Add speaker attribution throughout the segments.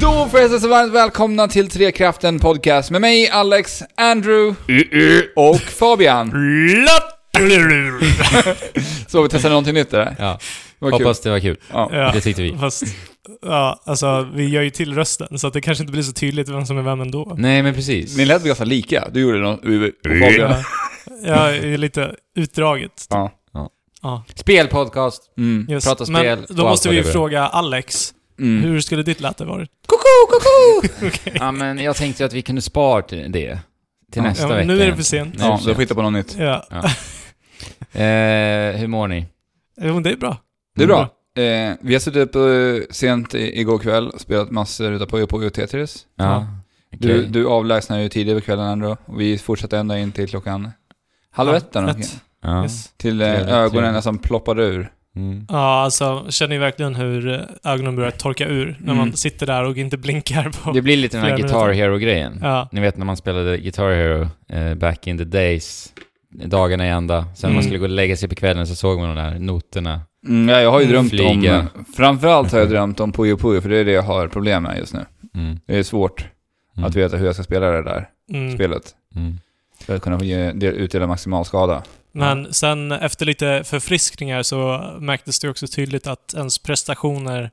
Speaker 1: Tjo förresten, så varmt välkomna till Trekraften Podcast med mig, Alex, Andrew och Fabian. Så vi testade någonting nytt där.
Speaker 2: Ja,
Speaker 1: Det var kul.
Speaker 2: hoppas det var kul.
Speaker 1: Ja.
Speaker 3: Ja,
Speaker 2: Det tyckte vi.
Speaker 3: Fast, ja, alltså vi gör ju till rösten, så att det kanske inte blir så tydligt vem som är vem ändå.
Speaker 2: Nej, men precis.
Speaker 1: Ni lät ganska lika. Du gjorde något... och Fabian.
Speaker 3: Ja, jag är lite utdraget.
Speaker 1: Ja.
Speaker 3: Ja,
Speaker 2: Spelpodcast.
Speaker 1: Mm.
Speaker 3: just.
Speaker 2: Prata spel
Speaker 3: Men
Speaker 2: och
Speaker 3: då
Speaker 2: allt
Speaker 3: måste
Speaker 2: vad
Speaker 3: vi
Speaker 2: det är.
Speaker 3: fråga Alex,
Speaker 1: Mm.
Speaker 3: hur skulle ditt läte varit?
Speaker 2: Koko, koko!
Speaker 3: Okej.
Speaker 2: Ja, men jag tänkte ju att vi kunde spara till det.
Speaker 1: Ja,
Speaker 2: Till nästa
Speaker 3: Ja,
Speaker 2: vecka.
Speaker 3: men nu är det för
Speaker 2: egentligen.
Speaker 3: sent.
Speaker 2: Nu är det
Speaker 1: Ja, då
Speaker 2: för sent.
Speaker 1: får vi hitta på något nytt.
Speaker 3: Ja,
Speaker 2: Eh, hur mår ni?
Speaker 3: jo, men det är bra.
Speaker 1: Det är bra. Eh, vi har suttit upp eh, sent i, igår kväll och spelat massor utav Puyo Puyo Tetris.
Speaker 2: Ja.
Speaker 1: Du,
Speaker 2: Okej.
Speaker 1: du avlägsnade ju tidigare på kvällen ändå och vi fortsatte ända in till klockan halv
Speaker 3: Ja,
Speaker 1: ett där någonting.
Speaker 3: ett.
Speaker 2: Ja.
Speaker 3: Yes.
Speaker 1: Till eh,
Speaker 2: Trevligt,
Speaker 1: ögonen
Speaker 2: trevligt.
Speaker 1: nästan ploppade ur.
Speaker 2: Mm.
Speaker 3: Ja, alltså känner ju verkligen hur eh, ögonen börjar torka ur när
Speaker 1: Mm.
Speaker 3: man sitter där och inte blinkar på...
Speaker 2: Det blir lite den här
Speaker 3: Flera
Speaker 2: Guitar
Speaker 3: minuter.
Speaker 2: Hero-grejen.
Speaker 3: Ja,
Speaker 2: Ni vet när man spelade Guitar Hero eh, back in the days, dagarna i ända. Sen när man
Speaker 3: Mm.
Speaker 2: skulle gå och lägga sig på kvällen så såg man de där noterna.
Speaker 1: Mm, ja, jag har ju
Speaker 3: Mm,
Speaker 1: drömt
Speaker 2: flyga.
Speaker 1: om... Framförallt har jag drömt om Puyo Puyo för det är det jag har problem med just nu.
Speaker 2: Mm.
Speaker 1: Det är svårt
Speaker 2: Mm.
Speaker 1: att veta hur jag ska spela det där
Speaker 3: mm.
Speaker 1: spelet.
Speaker 2: Mm.
Speaker 1: För att kunna ge, del- utdela maximal skada.
Speaker 3: Men sen efter lite förfriskningar så märktes det också tydligt att ens prestationer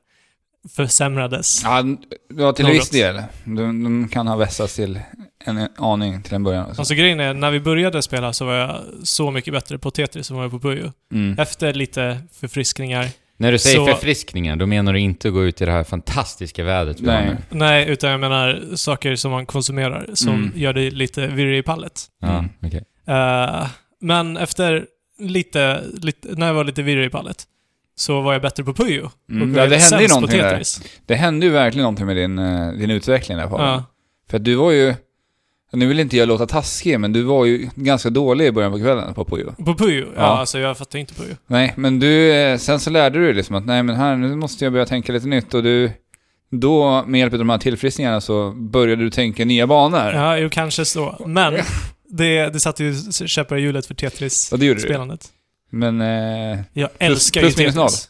Speaker 3: försämrades.
Speaker 1: Ja, n- ja till
Speaker 3: Något.
Speaker 1: viss del. De, de kan ha vässats till en aning till en början.
Speaker 3: Alltså grejen är, när vi började spela så var jag så mycket bättre på Tetris än vad jag var på Puyo.
Speaker 1: Mm.
Speaker 3: Efter lite förfriskningar.
Speaker 2: När du säger
Speaker 3: Så-
Speaker 2: förfriskningar, då menar du inte att gå ut i det här fantastiska vädret? vi har
Speaker 1: Nej.
Speaker 2: nu.
Speaker 3: Nej, utan jag menar saker som man konsumerar som
Speaker 1: Mm.
Speaker 3: gör dig lite virrig i pallet.
Speaker 2: Ja,
Speaker 1: Mm.
Speaker 2: okej.
Speaker 3: Eh, men efter lite, lite, när jag var lite virrig i pallet så var jag bättre på Puyo.
Speaker 1: Mm.
Speaker 3: Och
Speaker 1: Ja,
Speaker 3: jag
Speaker 1: det
Speaker 3: är
Speaker 1: hände ju
Speaker 3: sämst på
Speaker 1: någonting där.
Speaker 3: Tetris.
Speaker 1: Det hände ju verkligen någonting med din, eh, din utveckling där Fabian.
Speaker 3: Ja.
Speaker 1: För att du var ju... Nu vill inte jag låta taskig, men du var ju ganska dålig i början på kvällen på Puyo.
Speaker 3: På Puyo? Ja,
Speaker 1: Ja.
Speaker 3: alltså jag fattar inte Puyo.
Speaker 1: Nej, men du... eh, Sen så lärde du dig liksom att nej, men här, nu måste jag börja tänka lite nytt och du... Då, med hjälp av de här tillfriskningarna, så började du tänka nya banor.
Speaker 3: Ja, jo kanske så. Men det, det satte ju s- käppar i hjulet för
Speaker 1: Och det gjorde du.
Speaker 3: Tetris-spelandet.
Speaker 1: Men... Eh, Plus-
Speaker 3: Jag älskar
Speaker 1: plus
Speaker 3: ju
Speaker 1: minus
Speaker 3: Tetris.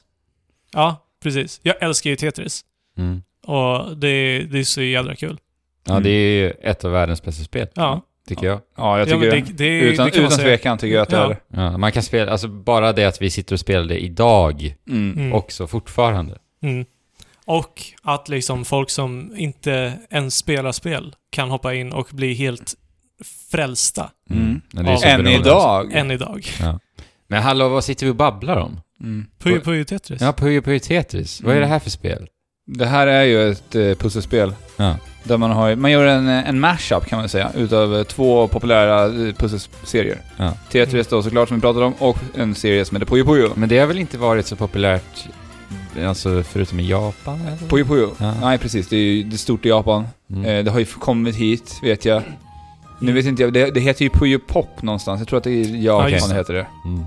Speaker 3: Ja, precis. Jag älskar ju Tetris.
Speaker 2: Mm.
Speaker 3: Och det, det är så jädra kul.
Speaker 2: Ja,
Speaker 1: Mm.
Speaker 2: det är ju ett av världens bästa spel,
Speaker 3: Ja.
Speaker 2: tycker jag.
Speaker 1: ja, jag
Speaker 3: ja,
Speaker 1: tycker...
Speaker 3: men det, det,
Speaker 1: utan
Speaker 3: det kan man
Speaker 1: utan
Speaker 3: säga.
Speaker 1: tvekan tycker jag att det
Speaker 3: Ja.
Speaker 1: är...
Speaker 2: Ja, man kan spela, alltså bara det att vi sitter och spelar det idag
Speaker 1: Mm.
Speaker 3: Mm.
Speaker 2: också fortfarande.
Speaker 3: Mm. Och att liksom folk som inte ens spelar spel kan hoppa in och bli helt frälsta
Speaker 1: Mm.
Speaker 2: Ja, det
Speaker 3: Ja.
Speaker 2: är
Speaker 1: Än
Speaker 2: superroligt.
Speaker 1: idag.
Speaker 3: än idag.
Speaker 2: Men hallå, vad sitter vi och babblar om?
Speaker 1: Mm.
Speaker 3: Puyo Puyo Tetris.
Speaker 2: Ja, Puyo Puyo Tetris. Vad är det här för spel?
Speaker 1: Det här är ju ett eh, pusselspel.
Speaker 2: Ja.
Speaker 1: Där man har, man gör en, eh, en mashup kan man säga, utav eh, två populära eh, pusselserier.
Speaker 2: Ja.
Speaker 1: Tetris då såklart som vi pratade om och en serie som heter Puyo Puyo.
Speaker 2: Men det har väl inte varit så populärt, alltså förutom i Japan? Eller?
Speaker 1: Puyo Puyo.
Speaker 2: Ja.
Speaker 1: Nej precis, det är ju det är stort i Japan.
Speaker 2: Mm.
Speaker 1: Eh, det har ju kommit hit, vet jag. Nu vet inte jag, det, det heter ju Puyo Pop någonstans. Jag tror att det är i Japan
Speaker 3: Ja, just
Speaker 1: det
Speaker 3: det. Mm.
Speaker 1: heter det.
Speaker 2: Mm.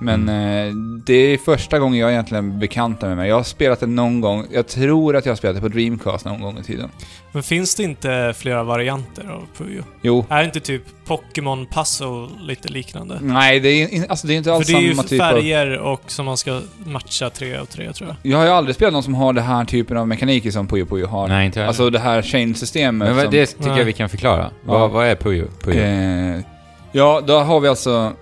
Speaker 1: Men eh, det är första gången jag egentligen bekantar mig med. Jag har spelat det någon gång, jag tror att jag har spelat det på Dreamcast någon gång i tiden.
Speaker 3: Men finns det inte flera varianter av Puyo?
Speaker 1: Jo.
Speaker 3: Är inte typ Pokémon Puzzle lite liknande?
Speaker 1: Nej, det är, in- alltså, Mm. det är inte
Speaker 3: För
Speaker 1: alls
Speaker 3: det är ju
Speaker 1: samma typ av...
Speaker 3: färger och som man ska matcha tre av tre tror jag.
Speaker 1: Jag har ju aldrig spelat någon som har den här typen av mekanik som Puyo Puyo har.
Speaker 2: Nej, inte jag.
Speaker 1: Alltså det här chain-systemet
Speaker 2: men vad-
Speaker 1: som,
Speaker 2: det tycker
Speaker 3: Nej.
Speaker 2: jag vi kan förklara. Vad, vad är Puyo? Puyo?
Speaker 1: eh, Ja, då har vi alltså...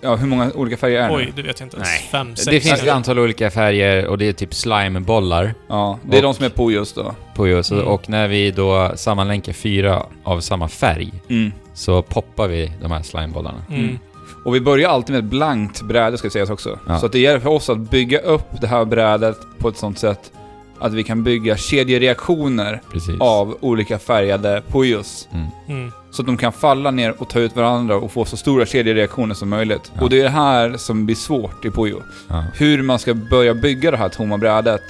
Speaker 1: Ja, hur många olika färger är det?
Speaker 3: Oj, det vet jag inte ens.
Speaker 2: Nej.
Speaker 3: Fem, sex
Speaker 2: det finns ett
Speaker 3: kanske.
Speaker 2: antal olika färger och det är typ slimebollar.
Speaker 1: Ja, det är
Speaker 2: Och-
Speaker 1: de som är Puyos då.
Speaker 2: Puyo. Så,
Speaker 3: Mm.
Speaker 2: Och när vi då sammanlänkar fyra av samma färg
Speaker 1: Mm.
Speaker 2: så poppar vi de här slimebollarna.
Speaker 3: Mm.
Speaker 1: Och vi börjar alltid med ett blankt bräde ska sägas också.
Speaker 2: Ja.
Speaker 1: Så att det gäller för oss att bygga upp det här brädet på ett sånt sätt att vi kan bygga kedjereaktioner
Speaker 2: Precis.
Speaker 1: av olika färgade Puyos.
Speaker 2: Mm.
Speaker 3: Mm.
Speaker 1: Så att de kan falla ner och ta ut varandra och få så stora kedjereaktioner som möjligt.
Speaker 2: Ja.
Speaker 1: Och det är det här som blir svårt i Puyo.
Speaker 2: Ja.
Speaker 1: hur man ska börja bygga det här tomma brädet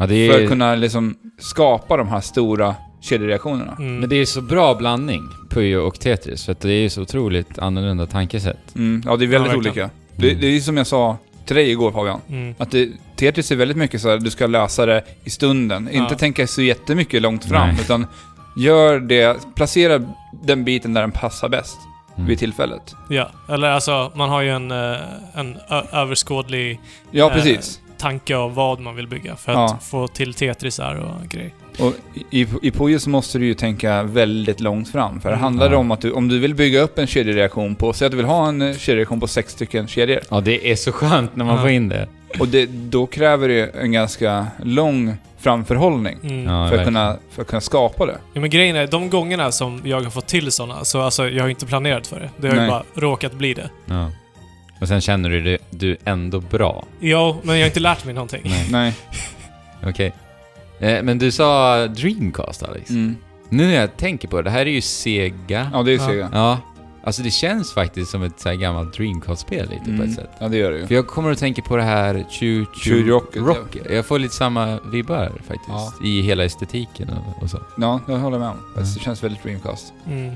Speaker 2: Ja, det
Speaker 1: för att
Speaker 2: är,
Speaker 1: kunna liksom skapa de här stora kedjereaktionerna.
Speaker 3: Mm.
Speaker 2: men det är så bra blandning, Puyo och Tetris, för att det är så otroligt annorlunda tankesätt.
Speaker 1: Mm, ja, det är väldigt
Speaker 3: Ja,
Speaker 1: olika.
Speaker 3: verkligen.
Speaker 1: Det, det är ju som jag sa till dig igår Fabian,
Speaker 3: Mm.
Speaker 1: att det, Tetris är väldigt mycket så här, du ska lösa det i stunden. Inte
Speaker 3: Ja.
Speaker 1: tänka så jättemycket långt fram,
Speaker 2: Nej.
Speaker 1: utan gör det, placera den biten där den passar bäst
Speaker 2: Mm.
Speaker 1: vid tillfället.
Speaker 3: Ja, eller alltså man har ju en, eh, en ö- överskådlig
Speaker 1: Ja,
Speaker 3: Eh,
Speaker 1: precis.
Speaker 3: tanke av vad man vill bygga för
Speaker 1: Ja.
Speaker 3: att få till Tetrisar och grejer.
Speaker 1: Och i, i Puyo så måste du ju tänka väldigt långt fram. För det
Speaker 3: Mm.
Speaker 1: handlar det
Speaker 2: Ja.
Speaker 1: om att du, om du vill bygga upp en kedjereaktion på, säg att du vill ha en eh, kedjereaktion på sex stycken kedjor.
Speaker 2: Ja, det är så skönt när man
Speaker 3: Ja.
Speaker 2: får in det.
Speaker 1: Och det, då kräver det en ganska lång framförhållning
Speaker 3: Mm.
Speaker 2: Ja,
Speaker 1: för, att
Speaker 2: verkligen.
Speaker 1: kunna, för att kunna skapa det.
Speaker 3: Ja, men grejen är, de gångerna som jag har fått till sådana, så alltså, jag har inte planerat för det. Det har
Speaker 1: Nej.
Speaker 3: ju bara råkat bli det.
Speaker 2: Ja. Och sen känner du dig du ändå bra.
Speaker 3: Ja, men jag har inte lärt mig någonting.
Speaker 2: Nej.
Speaker 1: Nej.
Speaker 2: Okej. Eh, Men du sa Dreamcast, Alex.
Speaker 1: Mm.
Speaker 2: Nu när jag tänker på det, det här är ju Sega.
Speaker 1: Ja, det är ju
Speaker 3: Ja.
Speaker 1: Sega.
Speaker 2: Ja. Alltså det känns faktiskt som ett så här gammalt Dreamcast-spel lite på
Speaker 1: Mm.
Speaker 2: ett sätt.
Speaker 1: Ja, det gör det ju.
Speaker 2: För jag kommer att tänka på det här Choo
Speaker 1: Choo
Speaker 2: Choo
Speaker 1: Rocket, ja.
Speaker 2: Rocket. Jag får lite samma vibbar faktiskt.
Speaker 1: Ja.
Speaker 2: I hela estetiken och, och så.
Speaker 1: Ja, jag håller med om. Alltså,
Speaker 2: Mm.
Speaker 1: Det känns väldigt Dreamcast.
Speaker 3: Mm.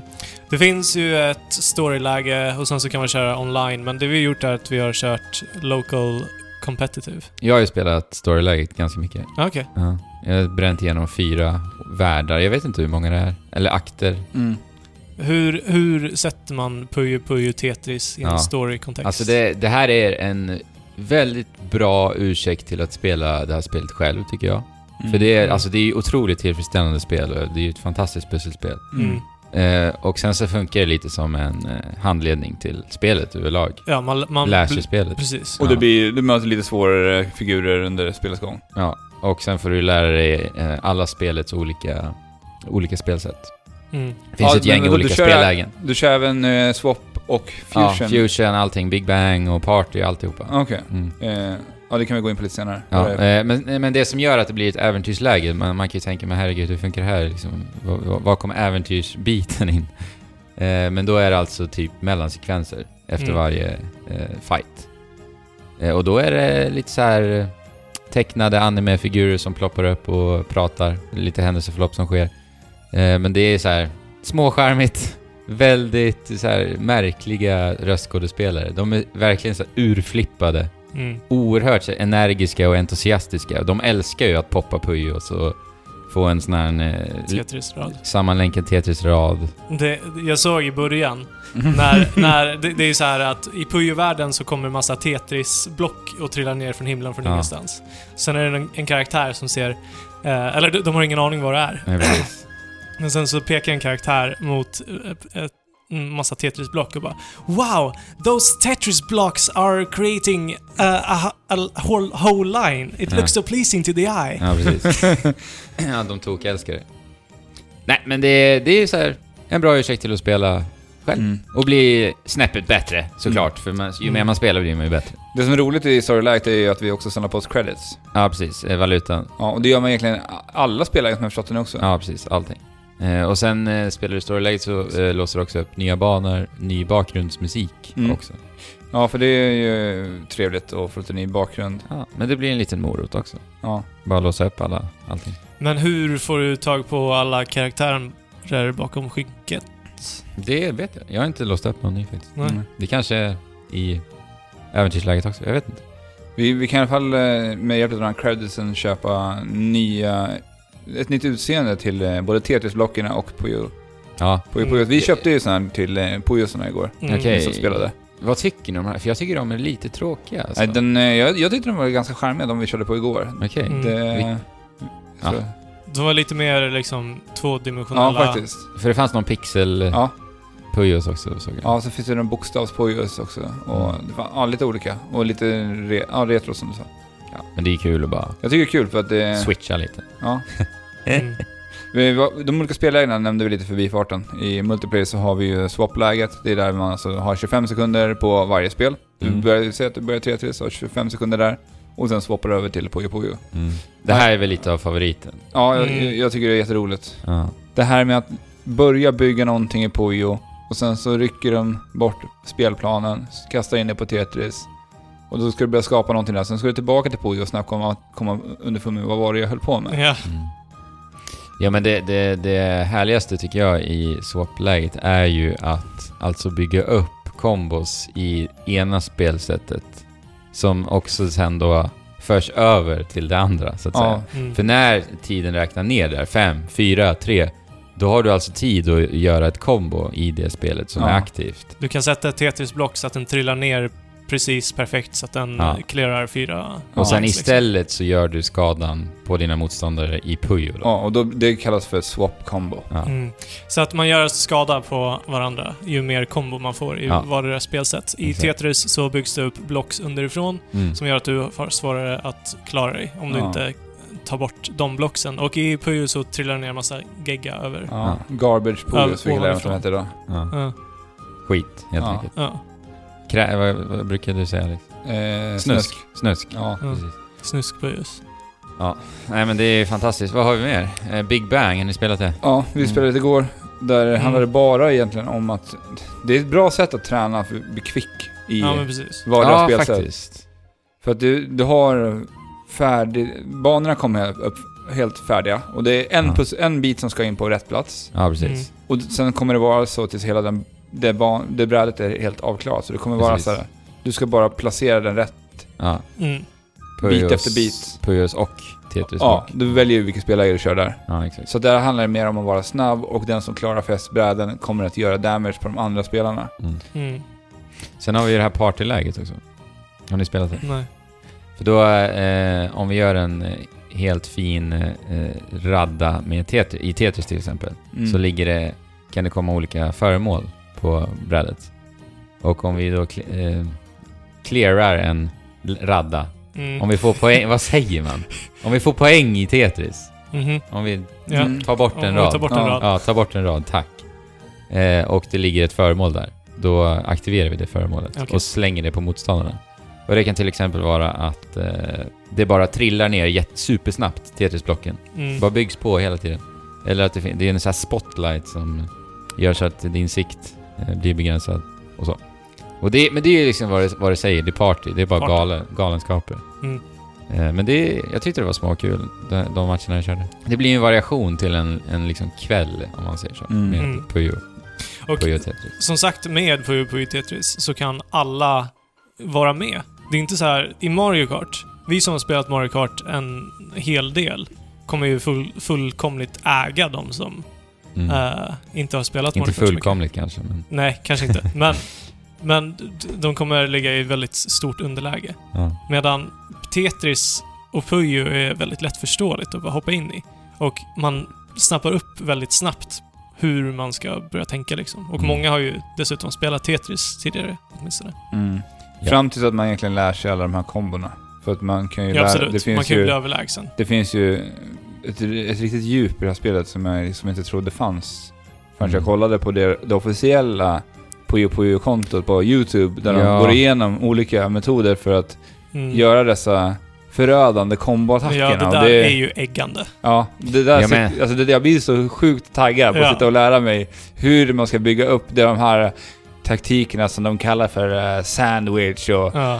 Speaker 3: Det finns ju ett storyläge och sen så kan man köra online, men det vi har gjort är att vi har kört local competitive.
Speaker 2: Jag har ju spelat storyläget ganska mycket.
Speaker 3: Ja, Okej.
Speaker 2: Ja. Jag har bränt igenom fyra världar. Jag vet inte hur många det är. Eller akter.
Speaker 1: Mm.
Speaker 3: Hur, hur sätter man Puyo Puyo Tetris i en
Speaker 2: Ja.
Speaker 3: story-kontext?
Speaker 2: Alltså det, det här är en väldigt bra ursäkt till att spela det här spelet själv tycker jag. För det är,
Speaker 3: Mm.
Speaker 2: alltså, det är ju otroligt tillfredsställande spel och det är ju ett fantastiskt pusselspel.
Speaker 3: Mm.
Speaker 2: Eh, och sen så funkar det lite som en eh, handledning till spelet överlag.
Speaker 3: Ja, man... man
Speaker 2: Lär sig spelet.
Speaker 3: Precis.
Speaker 1: Och
Speaker 2: Ja.
Speaker 1: det blir, du möter lite svårare figurer under spelets gång.
Speaker 2: Ja, och sen får du lära dig eh, alla spelets olika, olika spelsätt.
Speaker 3: Mm.
Speaker 2: Det finns
Speaker 1: Ja,
Speaker 2: ett gäng
Speaker 1: men då
Speaker 2: olika
Speaker 1: du kör-
Speaker 2: spellägen.
Speaker 1: Du kör även eh, Swap och
Speaker 2: Ja,
Speaker 1: Fusion.
Speaker 2: fusion, allting. Big Bang och Party, alltihopa.
Speaker 1: Okej.
Speaker 2: Mm.
Speaker 1: Eh, ja, det kan vi gå in på lite senare.
Speaker 2: Ja,
Speaker 1: Eh,
Speaker 2: eh, men, eh, men det som gör att det blir ett äventyrsläge, man, man kan ju tänka men herregud hur funkar det här liksom? Var, var- var kommer äventyrsbiten in? Eh, men då är det alltså typ mellansekvenser efter
Speaker 3: Mm.
Speaker 2: varje eh, fight. Eh, och då är det lite så här eh, tecknade animefigurer som ploppar upp och pratar, lite händelseförlopp som sker. Eh, men det är så här småskärmigt, väldigt så här märkliga röstskådespelare. De är verkligen så här urflippade
Speaker 3: Mm.
Speaker 2: oerhört energiska och entusiastiska. De älskar ju att poppa Puyo och så få en sån här eh,
Speaker 3: Tetris-rad.
Speaker 2: sammanlänkad Tetris-rad.
Speaker 3: Det, jag såg i början,
Speaker 2: Mm.
Speaker 3: när, när det, det är ju så här att i Puyo-världen så kommer massa Tetris-block och trillar ner från himlen från
Speaker 2: Ja.
Speaker 3: ingenstans. Sen är det en, en karaktär som ser, eh, eller de, de har ingen aning vad det är.
Speaker 2: Nej, precis.
Speaker 3: Men sen så pekar en karaktär mot eh, ett en massa Tetris-block och bara Wow! Those Tetris-blocks are creating a, a, a whole, whole line. It
Speaker 2: Ja.
Speaker 3: looks so pleasing to the eye.
Speaker 2: Ja, precis. ja, de tokälskar det. Nej, men det, är- det är ju så här en bra ursäkt till att spela själv.
Speaker 1: Mm.
Speaker 2: Och bli snäppet bättre, såklart. För man, ju mer
Speaker 3: Mm.
Speaker 2: man spelar blir man ju bättre.
Speaker 1: Det som är roligt i Storylight är ju att vi också samlar på oss credits.
Speaker 2: Ja, precis. Eh, Valutan.
Speaker 1: Ja, och det gör man egentligen alla spelare som har förstått den också.
Speaker 2: Ja, precis. Allting. Eh, och sen eh, spelar du storyläget så eh, låser du också upp nya banor, ny bakgrundsmusik
Speaker 1: Mm.
Speaker 2: också.
Speaker 1: Ja, för det är ju trevligt att få lite ny bakgrund.
Speaker 2: Ja, men det blir en liten morot också.
Speaker 1: Ja.
Speaker 2: Bara låsa upp alla, allting.
Speaker 3: Men hur får du tag på alla karaktärer bakom skynket?
Speaker 2: Det vet jag. Jag har inte låst upp någon ny faktiskt.
Speaker 3: Nej.
Speaker 1: Mm.
Speaker 2: Det kanske är i äventyrsläget också. Jag vet inte.
Speaker 1: Vi, vi kan i alla fall eh, med hjälp av den här creditsen köpa nya, ett nytt utseende till eh, både Tetris-blocken och Puyo.
Speaker 2: Ja,
Speaker 1: Puyo, Puyo. Vi köpte ju sådana till eh, Puyo såna igår.
Speaker 3: Mm.
Speaker 2: Okej. Alltså.
Speaker 1: Som spelade.
Speaker 2: vad tycker ni om de här? För jag tycker de är lite tråkiga alltså.
Speaker 1: Nej, den, eh, jag, jag tyckte de var ganska charmiga, de vi körde på igår.
Speaker 2: Okej.
Speaker 3: Mm.
Speaker 1: Det,
Speaker 2: Ja.
Speaker 1: så,
Speaker 3: De var lite mer liksom
Speaker 1: ja,
Speaker 3: tvådimensionella.
Speaker 1: faktiskt.
Speaker 2: För det fanns någon pixel
Speaker 1: Ja.
Speaker 2: Puyos också såg jag.
Speaker 1: Ja, så finns det någon bokstavspojus också.
Speaker 2: Mm.
Speaker 1: Och det var, ja, lite olika. Och lite re, ja, retro som du sa.
Speaker 2: Men det är kul att bara
Speaker 1: Jag tycker det är kul för att det...
Speaker 2: switcha lite.
Speaker 1: Ja.
Speaker 2: Eh.
Speaker 3: Mm.
Speaker 1: Vi var- De olika spellägena nämnde vi lite förbi farten. I multiplayer så har vi ju swap-läget. Det är där man alltså har 25 sekunder på varje spel. Du
Speaker 2: Mm.
Speaker 1: börjar, säg att du börjar 3-3, så har 25 sekunder där. Och sen swappar du över till Puyo Puyo.
Speaker 2: Det här är väl lite av favoriten.
Speaker 1: Ja, jag-
Speaker 3: Mm.
Speaker 1: jag, jag tycker det är jätteroligt.
Speaker 2: Ja.
Speaker 1: Det här med att börja bygga någonting i Puyo och sen så rycker de bort spelplanen, kastar in det på Tetris. Och då ska du börja skapa någonting där. Sen ska du tillbaka till Puyo och snabbt komma, komma underfund med vad var det jag höll på med.
Speaker 3: Ja.
Speaker 2: Ja men det, det, det härligaste tycker jag i swap-läget är ju att alltså bygga upp kombos i ena spelsättet som också sen då förs över till det andra så att
Speaker 1: Ja,
Speaker 2: säga.
Speaker 3: Mm.
Speaker 2: För när tiden räknar ner där, fem, fyra, tre, då har du alltså tid att göra ett kombo i det spelet som
Speaker 1: Ja.
Speaker 2: är aktivt.
Speaker 3: Du kan sätta ett Tetris-block så att den trillar ner precis perfekt så att den
Speaker 2: Ja.
Speaker 3: ja. clearar fyra
Speaker 2: Och sen
Speaker 3: max,
Speaker 2: istället så gör du skadan på dina motståndare i Puyo då.
Speaker 1: Ja, och då, det kallas för swap combo.
Speaker 2: Ja.
Speaker 3: Mm. Så att man gör skada på varandra ju mer kombo man får i
Speaker 2: Ja.
Speaker 3: vardera spelsätt. I
Speaker 2: Exakt.
Speaker 3: Tetris så byggs det upp blocks underifrån
Speaker 2: Mm.
Speaker 3: som gör att du får svårare att klara dig om du
Speaker 1: Ja.
Speaker 3: inte tar bort de blocksen. Och i Puyo så trillar det ner en massa gegga över. Ja.
Speaker 1: Ja. Garbage
Speaker 3: Ja,
Speaker 1: Puyo fick jag lära mig att
Speaker 3: ovanifrån.
Speaker 1: de hette då.
Speaker 2: Ja.
Speaker 3: Ja.
Speaker 2: Skit, helt
Speaker 1: Ja.
Speaker 2: enkelt. Krä, vad, vad brukar du säga Alex?
Speaker 1: Eh,
Speaker 2: Snusk. Snusk.
Speaker 1: Ja.
Speaker 3: Ja.
Speaker 2: Precis.
Speaker 3: Snusk Puyos.
Speaker 2: Nej men det är fantastiskt. Vad har vi mer? Eh, Big Bang, har ni spelat det?
Speaker 1: ja, vi
Speaker 2: Mm.
Speaker 1: spelade lite igår. Där
Speaker 3: Mm.
Speaker 1: handlade det bara egentligen om att det är ett bra sätt att träna för att bli kvick i
Speaker 3: Ja, men precis.
Speaker 1: vardera spelsätt.
Speaker 2: faktiskt.
Speaker 1: För att du, du har färdig... Banorna kommer upp helt färdiga och det är en,
Speaker 2: Ja.
Speaker 1: plus, en bit som ska in på rätt plats.
Speaker 2: Ja, precis.
Speaker 1: Och sen kommer det vara så tills hela den, det, ban, det brädet är helt avklarat. Så det kommer vara
Speaker 2: Precis.
Speaker 1: så här. Du ska bara placera den rätt.
Speaker 2: Ja.
Speaker 3: Mm.
Speaker 1: Bit efter bit.
Speaker 2: Puyos och Tetris
Speaker 1: Ja,
Speaker 2: och.
Speaker 1: du väljer ju vilken spelare du kör där.
Speaker 2: Ja, exakt.
Speaker 1: Så där handlar det mer om att vara snabb och den som klarar flest bräden kommer att göra damage på de andra spelarna.
Speaker 3: Mm.
Speaker 2: Sen har vi ju det här partyläget också. Har ni spelat det?
Speaker 3: Nej.
Speaker 2: För då, eh, om vi gör en eh, helt fin eh, radda med tetri, i Tetris till exempel,
Speaker 1: Mm.
Speaker 2: så ligger det, kan det komma olika föremål på brädet. Och om vi då cl- eh, clearar en l- radda,
Speaker 3: Mm.
Speaker 2: om vi får poäng, vad säger man? Om vi får poäng i Tetris,
Speaker 3: Mhm.
Speaker 2: om vi
Speaker 3: Ja.
Speaker 1: Mm.
Speaker 2: tar bort
Speaker 3: Om
Speaker 2: en
Speaker 3: vi
Speaker 2: rad.
Speaker 3: tar bort en
Speaker 1: Ja.
Speaker 3: rad.
Speaker 2: Ja, ta bort en rad, tack. Eh, och det ligger ett föremål där. Då aktiverar vi det föremålet
Speaker 3: Okej.
Speaker 2: och slänger det på motståndarna. Och det kan till exempel vara att eh, det bara trillar ner jätte- supersnabbt, Tetrisblocken.
Speaker 3: Mm.
Speaker 2: Bara byggs på hela tiden. Eller att det, fin- det är en sån här spotlight som gör så att din sikt eh, blir begränsad och så. Och det, men det är ju liksom vad det, vad det säger, det är party. Det är bara
Speaker 3: Party.
Speaker 2: galen, galenskaper.
Speaker 3: Mm.
Speaker 2: Eh, Men det, jag tyckte det var småkul, de, de matcherna jag körde. Det blir ju en variation till en, en liksom kväll, om man säger så,
Speaker 1: Mm.
Speaker 2: med
Speaker 3: Mm.
Speaker 2: Puyo,
Speaker 3: Och
Speaker 2: Puyo Tetris.
Speaker 3: som sagt, med Puyo Puyo Tetris så kan alla vara med. Det är inte så här i Mario Kart, vi som har spelat Mario Kart en hel del kommer ju full, fullkomligt äga de som
Speaker 2: Mm.
Speaker 3: eh, inte har spelat
Speaker 2: Inte
Speaker 3: Mario Kart så mycket.
Speaker 2: fullkomligt kanske, men...
Speaker 3: Nej, kanske inte. Men, men d- de kommer ligga i väldigt stort underläge.
Speaker 2: Ja.
Speaker 3: Medan Tetris och Puyo är väldigt lättförståeligt att bara hoppa in i. Och man snappar upp väldigt snabbt hur man ska börja tänka liksom. Och
Speaker 2: Mm.
Speaker 3: många har ju dessutom spelat Tetris tidigare åtminstone.
Speaker 1: Mm.
Speaker 2: Ja.
Speaker 1: Fram tills att man egentligen lär sig alla de här kombona. För att man kan ju
Speaker 3: Ja,
Speaker 1: lära, Det
Speaker 3: absolut.
Speaker 1: finns
Speaker 3: Man kan ju
Speaker 1: ju,
Speaker 3: bli överlägsen.
Speaker 1: det finns ju ett, ett riktigt djup i det här spelet som jag som inte trodde fanns. Förrän
Speaker 2: Mm.
Speaker 1: jag kollade på det, det officiella Puyo Puyo-kontot på YouTube. Där
Speaker 2: Ja.
Speaker 1: de går igenom olika metoder för att
Speaker 3: Mm.
Speaker 1: göra dessa förödande komboattackerna.
Speaker 3: ja, det
Speaker 1: Och
Speaker 3: där är ju äggande.
Speaker 1: Ja, det där
Speaker 2: Jag
Speaker 1: sit-
Speaker 2: med.
Speaker 1: alltså det, jag blir så sjukt taggad på att
Speaker 3: Ja.
Speaker 1: sitta och lära mig hur man ska bygga upp det- de här taktikerna som de kallar för eh, sandwich och,
Speaker 3: Ja.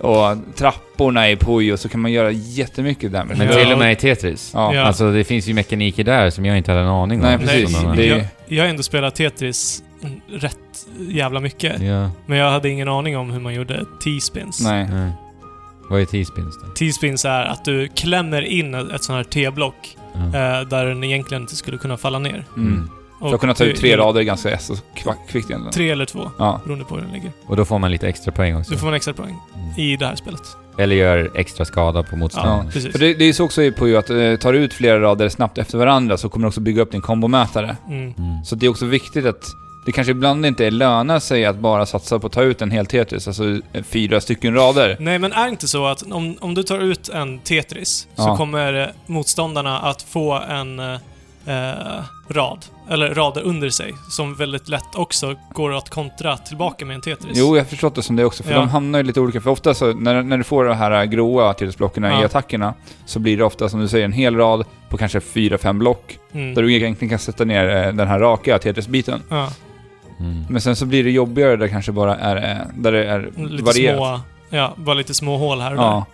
Speaker 1: och trapporna i Puyo, så kan man göra jättemycket damage.
Speaker 2: Men
Speaker 3: Ja.
Speaker 2: till och med i Tetris.
Speaker 1: Ja.
Speaker 3: Ja.
Speaker 2: Alltså det finns ju mekaniker där som jag inte hade en aning om.
Speaker 1: Nej,
Speaker 3: Nej,
Speaker 1: precis.
Speaker 2: Sådana-
Speaker 3: det-
Speaker 1: det,
Speaker 3: jag,
Speaker 1: är-
Speaker 3: jag har ändå spelat Tetris mm, rätt jävla mycket.
Speaker 2: Ja.
Speaker 3: Men jag hade ingen aning om hur man gjorde T-spins.
Speaker 1: nej.
Speaker 2: Nej. Mm. Vad är T-spins då?
Speaker 3: T-spins är att du klämmer in ett ett sånt här T-block
Speaker 2: Ja.
Speaker 3: eh, där den egentligen inte skulle kunna falla ner.
Speaker 1: Mm.
Speaker 3: Och
Speaker 1: För att kunna ta ut
Speaker 3: du-
Speaker 1: tre rader ganska s- och kvack- kvickt egentligen.
Speaker 3: Tre eller två,
Speaker 1: Ja.
Speaker 3: beroende på hur den ligger.
Speaker 2: Och då får man lite extra poäng
Speaker 3: Så
Speaker 2: också.
Speaker 3: får man extra poäng
Speaker 2: Mm.
Speaker 3: i det här spelet.
Speaker 2: Eller gör extra skada på
Speaker 3: Ja,
Speaker 2: motståndaren.
Speaker 3: precis.
Speaker 1: För det, det är så också i Puyo att eh, tar du ut flera rader snabbt efter varandra så kommer du också bygga upp din kombomätare.
Speaker 3: Mm.
Speaker 2: Mm.
Speaker 1: Så det är också viktigt att det kanske ibland inte lönar sig att bara satsa på att ta ut en hel Tetris, alltså eh, fyra stycken rader.
Speaker 3: Nej, men är det inte så att om, om du tar ut en Tetris så
Speaker 1: Ja.
Speaker 3: kommer eh, motståndarna att få en eh, eh, rad, eller rader under sig, som väldigt lätt också går att kontra tillbaka med en Tetris.
Speaker 1: Jo, jag har förstått det som det också, för
Speaker 3: Ja.
Speaker 1: de hamnar ju lite olika. För ofta så, när, när du får de här eh, gråa tillsblocken i
Speaker 3: Ja.
Speaker 1: attackerna, så blir det ofta, som du säger, en hel rad på kanske fyra, fem block.
Speaker 3: Mm.
Speaker 1: Där du egentligen kan sätta ner eh, den här raka Tetris-biten.
Speaker 3: Ja,
Speaker 2: Mm.
Speaker 1: Men sen så blir det jobbigare där det kanske bara är, eh, där det är
Speaker 3: lite
Speaker 1: varierat.
Speaker 3: små... Ja, bara lite små hål här och där.
Speaker 1: ja,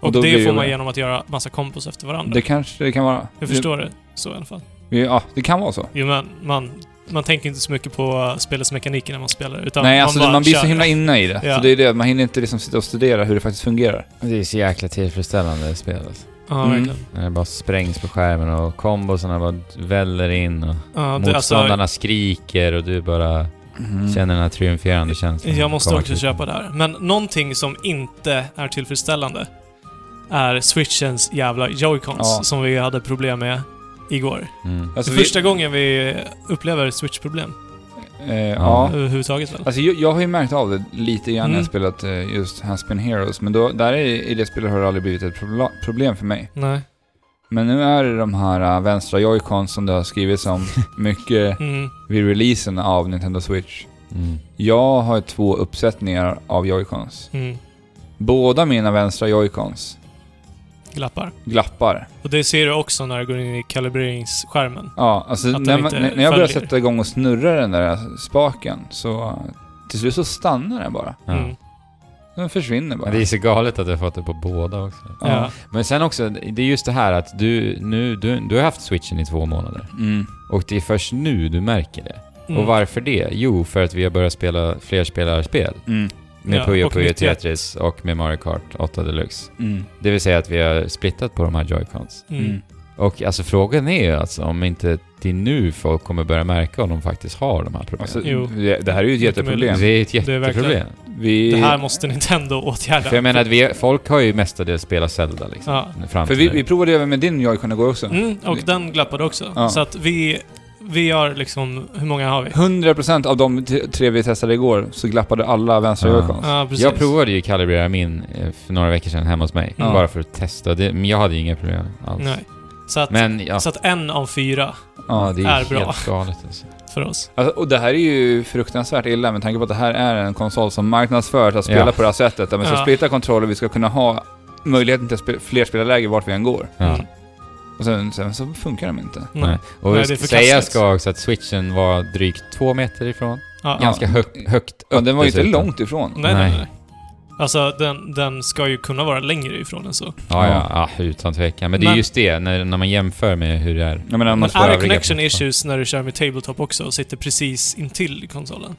Speaker 3: Och,
Speaker 1: och då blir
Speaker 3: det
Speaker 1: det
Speaker 3: får man
Speaker 1: ju-
Speaker 3: genom att göra massa kompos efter varandra.
Speaker 1: det kanske det kan vara.
Speaker 3: jag förstår det så i alla fall.
Speaker 1: Det, ja, det kan vara så.
Speaker 3: Jo, men man, man tänker inte så mycket på eh, spelets mekanik när man spelar, utan
Speaker 1: Nej, alltså
Speaker 3: man bara
Speaker 1: man blir
Speaker 3: kör.
Speaker 1: så himla inne i det.
Speaker 3: Ja.
Speaker 1: Så det är det, man hinner inte liksom sitta och studera hur det faktiskt fungerar.
Speaker 2: Det är så jäkla tillfredsställande spel alltså.
Speaker 3: Ja,
Speaker 1: Mm.
Speaker 3: verkligen.
Speaker 2: När det bara sprängs på skärmen och kombosarna bara väller in och
Speaker 3: Ja, det, alltså,
Speaker 2: motståndarna skriker och du bara
Speaker 1: Mm.
Speaker 2: Känner den här triumferande känslan.
Speaker 3: alltså, Jag måste
Speaker 2: Komma
Speaker 3: också
Speaker 2: till-
Speaker 3: köpa det här. Men någonting som inte är tillfredsställande är switchens jävla joycons
Speaker 1: Ja.
Speaker 3: som vi hade problem med igår.
Speaker 2: Mm.
Speaker 1: Alltså,
Speaker 3: det
Speaker 1: vi-
Speaker 3: är första gången vi upplever switch-problem
Speaker 1: Eh, ja.
Speaker 3: överhuvudtaget väl?
Speaker 1: Alltså jag, jag har ju märkt av det lite grann när
Speaker 3: Mm.
Speaker 1: jag spelat eh, just Haspin Heroes, men då, där i, i det spelet har det aldrig blivit ett probla- problem för mig.
Speaker 3: Nej.
Speaker 1: Men nu är det de här eh, vänstra joycons som det har skrivits om mycket
Speaker 3: Mm.
Speaker 1: vid releasen av Nintendo Switch.
Speaker 2: Mm.
Speaker 1: Jag har två uppsättningar av joycons.
Speaker 3: Mm.
Speaker 1: Båda mina vänstra joycons
Speaker 3: Glappar.
Speaker 1: glappar.
Speaker 3: Och det ser du också när du går in i kalibreringsskärmen.
Speaker 1: Ja, alltså
Speaker 3: Att den
Speaker 1: när, man,
Speaker 3: inte
Speaker 1: när när jag börjar
Speaker 3: följer.
Speaker 1: sätta igång och snurra den där spaken så eh, till slut så stannar den bara.
Speaker 2: Ja.
Speaker 3: Mm.
Speaker 1: Den försvinner bara.
Speaker 2: Men det är så galet att du har fått det på båda också.
Speaker 1: Ja.
Speaker 3: Ja.
Speaker 2: Men sen också, det är just det här att du, nu, du, du har haft switchen i två månader.
Speaker 1: Mm.
Speaker 2: Och det är först nu du märker det.
Speaker 3: Mm.
Speaker 2: Och varför det? Jo, för att vi har börjat spela flerspelarspel.
Speaker 1: Mm.
Speaker 2: Med
Speaker 3: Ja,
Speaker 2: Puyo
Speaker 3: och
Speaker 2: Puyo
Speaker 3: nytt Jet.
Speaker 2: Tetris och med Mario Kart 8 Deluxe.
Speaker 1: Mm.
Speaker 2: Det vill säga att vi har splittat på de här joycons.
Speaker 3: Mm.
Speaker 1: Mm.
Speaker 2: Och alltså frågan är ju alltså om inte till nu folk kommer börja märka om de faktiskt har de här problemen.
Speaker 1: Alltså,
Speaker 3: Jo.
Speaker 1: det, det här är ju ett
Speaker 3: Mycket
Speaker 1: jätteproblem.
Speaker 2: det är ett
Speaker 3: det är verkligen-
Speaker 2: jätteproblem.
Speaker 1: Vi,
Speaker 3: Det här måste Nintendo åtgärda.
Speaker 2: För jag menar att vi, folk har ju mestadels spelat Zelda liksom.
Speaker 3: Ja.
Speaker 2: Fram
Speaker 1: för
Speaker 2: till
Speaker 1: vi,
Speaker 2: nu.
Speaker 1: vi provade även med din Joy-Con igår också.
Speaker 3: Mm, och
Speaker 1: Vi-
Speaker 3: den glappade också.
Speaker 1: Ja.
Speaker 3: Så att vi, vi har liksom... Hur många har vi?
Speaker 1: 100% av de t- tre vi testade igår så glappade alla vänstra
Speaker 2: Ja.
Speaker 1: Joy-Cons.
Speaker 3: Ja, precis.
Speaker 2: jag provade ju kalibrera min eh, för några veckor sedan hemma hos mig.
Speaker 1: Ja.
Speaker 2: Bara för att testa. Det, men jag hade ju inga problem alls.
Speaker 3: Nej. Så att,
Speaker 2: Men ja,
Speaker 3: så att en av fyra
Speaker 2: ja, det är,
Speaker 3: är
Speaker 2: helt
Speaker 3: bra.
Speaker 2: galet alltså.
Speaker 3: för oss.
Speaker 1: Alltså, och det här är ju fruktansvärt illa med tanke på att det här är en konsol som marknadsförs att spela
Speaker 2: Ja.
Speaker 1: på det här sättet. Där man ska
Speaker 3: Ja.
Speaker 1: splitta kontroller, vi ska kunna ha möjligheten till spe- flerspelarläge vart vi än går.
Speaker 2: Ja.
Speaker 3: Mm.
Speaker 1: Och sen, sen så funkar de inte.
Speaker 3: Nej.
Speaker 2: Nej. Och
Speaker 3: Nej,
Speaker 2: jag
Speaker 3: det är
Speaker 2: ska säga
Speaker 3: förkastligt.
Speaker 2: ska också att switchen var drygt två meter ifrån.
Speaker 3: Ja.
Speaker 2: Ganska hög, högt upp
Speaker 1: Ja, den var ju inte
Speaker 2: dessutom.
Speaker 1: långt ifrån.
Speaker 3: Nej, nej,
Speaker 2: Nej.
Speaker 3: nej. Alltså, den, den ska ju kunna vara längre ifrån än så.
Speaker 2: Ja, ja, ja, utan tvekan. Men det är
Speaker 3: Men-
Speaker 2: just det, när, när man jämför med hur det är.
Speaker 1: Jag menar, man
Speaker 3: Men
Speaker 2: får
Speaker 3: är det
Speaker 2: övriga
Speaker 3: connection
Speaker 2: platser.
Speaker 1: liksom.
Speaker 3: issues när du kör med tabletop också och sitter precis intill konsolen?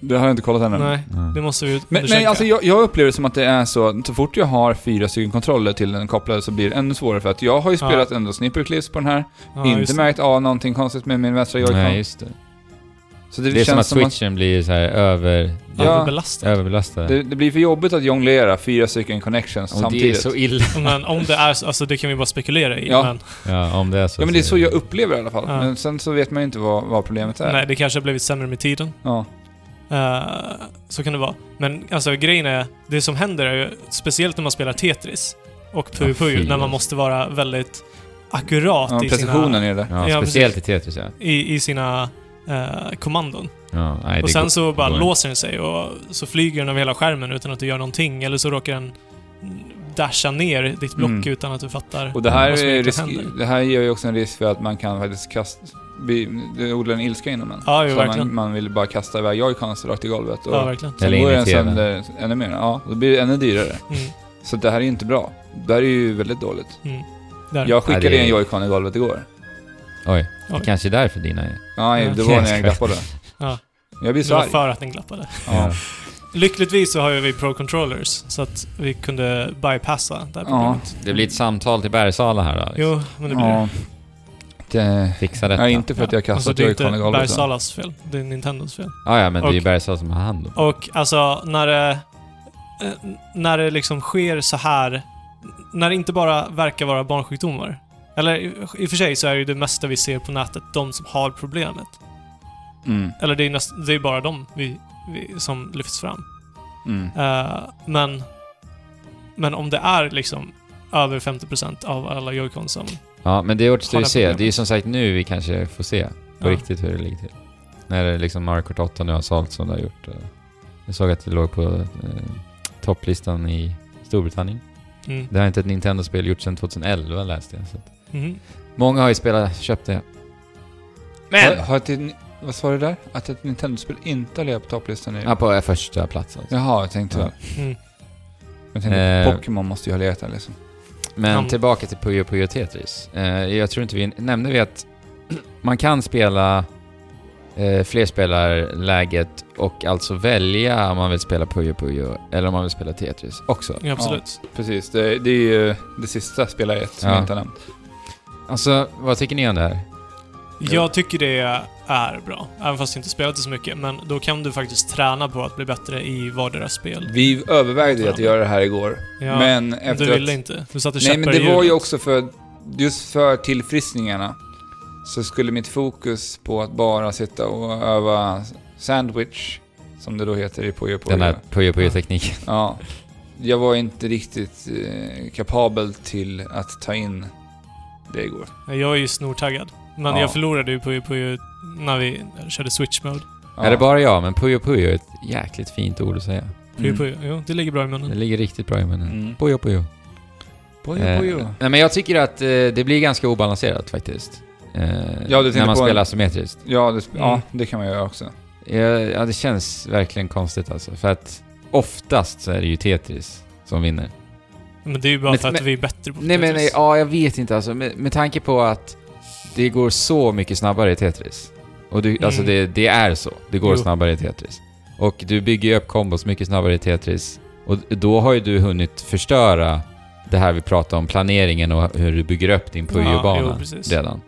Speaker 1: det har jag inte kollat ännu.
Speaker 3: Nej, det
Speaker 2: Mm.
Speaker 3: måste vi ju
Speaker 1: Men, men
Speaker 3: undersöka.
Speaker 1: alltså jag, jag upplever det som att det är så, så fort jag har fyra stycken kontroller till den kopplade så blir det ännu svårare för att jag har ju
Speaker 3: Ja.
Speaker 1: spelat ändå snipperclips på den här,
Speaker 3: Ja, just
Speaker 1: inte
Speaker 3: det.
Speaker 1: märkt av någonting konstigt med min vänstra joycon.
Speaker 2: Nej, just det.
Speaker 1: så
Speaker 2: Det,
Speaker 1: det,
Speaker 2: är som att
Speaker 1: känns som att,
Speaker 2: switchen blir så här över,
Speaker 1: Ja.
Speaker 3: Överbelastad.
Speaker 2: överbelastad.
Speaker 1: det, det blir för jobbigt att jonglera fyra stycken connections
Speaker 2: och det är
Speaker 1: samtidigt.
Speaker 2: så illa.
Speaker 3: Men om det är så, alltså det kan vi bara spekulera i.
Speaker 1: Ja.
Speaker 3: Men,
Speaker 2: Ja, om det är så.
Speaker 1: ja men det är så jag upplever det i alla fall.
Speaker 3: Ja.
Speaker 1: Men sen så vet man ju inte vad, vad problemet är.
Speaker 3: nej, det kanske har blivit sämre med tiden.
Speaker 1: Ja.
Speaker 3: Eh, så kan det vara. Men alltså grejen är, det som händer är ju, speciellt när man spelar Tetris och Puyo
Speaker 2: Ja, fy,
Speaker 3: Puyo, när
Speaker 2: alltså.
Speaker 3: man måste vara väldigt akkurat
Speaker 1: Ja,
Speaker 3: i,
Speaker 1: precisionen
Speaker 3: sina,
Speaker 1: är det.
Speaker 2: Ja,
Speaker 3: Ja,
Speaker 2: speciellt i Tetris ja.
Speaker 3: i, i sina eh, kommandon.
Speaker 2: ja nej,
Speaker 3: och
Speaker 2: det
Speaker 3: sen
Speaker 2: går-
Speaker 3: så bara
Speaker 2: går inte.
Speaker 3: låser den sig och så flyger den över hela skärmen utan att du gör någonting. Eller så råkar den dasha ner ditt block
Speaker 1: Mm.
Speaker 3: utan att du fattar.
Speaker 1: Och det här,
Speaker 3: Vad som
Speaker 1: är risk,
Speaker 3: egentligen händer.
Speaker 1: det här ger ju också en risk för att man kan faktiskt kasta... bli- Det odlar en ilska inom en.
Speaker 3: Ja, jo,
Speaker 1: så man,
Speaker 3: verkligen.
Speaker 1: man vill bara kasta iväg joycons rakt i golvet. Och
Speaker 3: Ja, verkligen.
Speaker 1: Sen
Speaker 2: Eller
Speaker 1: går
Speaker 2: in i
Speaker 1: den
Speaker 2: TV:n.
Speaker 1: sönder ännu mer. Ja, då blir det ännu dyrare.
Speaker 3: Mm,
Speaker 1: Så det här är ju inte bra. Det här är ju väldigt dåligt.
Speaker 3: mm. Där.
Speaker 1: Jag skickade
Speaker 2: Ja, det är-
Speaker 1: en joycon i golvet igår.
Speaker 2: Oj,
Speaker 3: Oj.
Speaker 2: det kanske är därför dina är...
Speaker 1: Nej, det var när jag glappade.
Speaker 3: Ja.
Speaker 1: Jag blir
Speaker 3: det
Speaker 1: så
Speaker 3: var
Speaker 1: arg.
Speaker 3: för att den glappade.
Speaker 1: Ja.
Speaker 3: Lyckligtvis så har ju vi Pro Controllers, så att vi kunde bypassa det
Speaker 1: Ja.
Speaker 3: här problemet.
Speaker 2: Det blir ett samtal till Bergsala här då. liksom.
Speaker 3: Jo, men det blir det.
Speaker 1: Ja. Det...
Speaker 2: Fixa detta.
Speaker 1: Nej, inte för att jag
Speaker 3: alltså,
Speaker 1: kastat
Speaker 3: det är
Speaker 1: joycon i
Speaker 3: inte
Speaker 1: golvet. så.
Speaker 3: Bergsalas fel. Det är Nintendos fel.
Speaker 2: Ah, ja, men det är ju
Speaker 3: Och-
Speaker 2: Bergsala som har hand om det.
Speaker 3: Och alltså, när det... eh, När det liksom sker så här... När det inte bara verkar vara barnsjukdomar. Eller i- i och för sig så är ju det mesta vi ser på nätet de som har problemet.
Speaker 1: Mm.
Speaker 3: Eller det är, näst, det är bara de vi, vi, som lyfts fram.
Speaker 1: Mm.
Speaker 3: Eh, men, men om det är liksom över 50% av alla joycons som...
Speaker 2: Ja, men det återstår ju
Speaker 3: Kolla
Speaker 2: att se.
Speaker 3: problemet.
Speaker 2: Det är ju som sagt nu vi kanske får se på
Speaker 3: Ja.
Speaker 2: riktigt hur det ligger till. När det liksom Mario Kart 8 nu har sålt som det har gjort. eh. Jag såg att det låg på eh, topplistan i Storbritannien.
Speaker 3: Mm.
Speaker 2: Det här är inte ett Nintendo-spel gjort sedan 2011 läste jag. Så att
Speaker 3: Mhm.
Speaker 2: många har ju spelat, köpt det.
Speaker 1: Har,
Speaker 2: Men!
Speaker 1: har ett, vad sa du där? Att ett Nintendo-spel inte har legat på topplistan i...
Speaker 2: Ja, på eh, första plats alltså.
Speaker 1: Jaha, jag tänkte
Speaker 2: Ja.
Speaker 1: väl.
Speaker 3: Mm.
Speaker 1: Jag tänkte,
Speaker 2: Eh.
Speaker 1: Pokémon måste ju ha legat där liksom.
Speaker 2: Men
Speaker 3: Mm.
Speaker 2: tillbaka till Puyo Puyo Tetris. Eh, jag tror inte vi... Nämnde vi att man kan spela eh, flerspelarläget och alltså välja om man vill spela Puyo Puyo eller om man vill spela Tetris också.
Speaker 3: Ja, absolut.
Speaker 1: Precis, det, det är ju det sista spelariet som
Speaker 2: Ja.
Speaker 1: jag inte har nämnt.
Speaker 2: Alltså, vad tycker ni om det här?
Speaker 3: Jag tycker det är bra, även fast jag inte spelat det så mycket. Men då kan du faktiskt träna på att bli bättre i vardera spel.
Speaker 1: Vi övervägde ju att göra det här igår.
Speaker 3: Ja,
Speaker 1: men
Speaker 3: men
Speaker 1: efter
Speaker 3: du ville
Speaker 1: att...
Speaker 3: inte. Du satte
Speaker 1: Nej, men
Speaker 3: käppar i
Speaker 1: det var ju
Speaker 3: hjulet.
Speaker 1: också för... Just för tillfriskningarna så skulle mitt fokus på att bara sitta och öva sandwich, som det då heter i Puyo Puyo.
Speaker 2: Den här Puyo Puyo-tekniken.
Speaker 1: Ja. Jag var inte riktigt eh, kapabel till att ta in det igår.
Speaker 3: Jag är ju snortaggad. Men
Speaker 1: Ja.
Speaker 3: jag förlorade ju på, på, när vi körde switch mode.
Speaker 1: Ja.
Speaker 2: Är det bara jag? Men Puyo Puyo är ett jäkligt fint ord att säga.
Speaker 3: Puyo Puyo. Jo, det ligger bra i
Speaker 2: Det
Speaker 3: munnen.
Speaker 2: ligger riktigt bra i munnen.
Speaker 1: Mm.
Speaker 2: Puyo Puyo.
Speaker 1: Puyo
Speaker 2: Eh,
Speaker 1: Puyo.
Speaker 2: nej, men jag tycker att eh, det blir ganska obalanserat faktiskt. Eh,
Speaker 1: Ja, du tänker
Speaker 2: när man
Speaker 1: på en-
Speaker 2: spelar asymmetriskt.
Speaker 1: Ja, det,
Speaker 3: Mm.
Speaker 1: ja, det kan man göra också.
Speaker 2: Ja, ja, det känns verkligen konstigt alltså. För att oftast så är det ju Tetris som vinner.
Speaker 3: Men det är ju bara
Speaker 2: Men-
Speaker 3: för att
Speaker 2: men-
Speaker 3: vi är bättre på
Speaker 2: Nej men
Speaker 3: Tetris.
Speaker 2: ja, jag vet inte alltså. Med, med tanke på att det går så mycket snabbare i Tetris. Och du, alltså
Speaker 3: Mm.
Speaker 2: det, det är så. Det går
Speaker 3: Jo.
Speaker 2: snabbare i Tetris. Och du bygger ju upp kombos mycket snabbare i Tetris. Och då har ju du hunnit förstöra det här vi pratade om, planeringen och hur du bygger upp din
Speaker 3: Ja,
Speaker 2: Puyo-bana
Speaker 3: jo, precis.
Speaker 2: redan.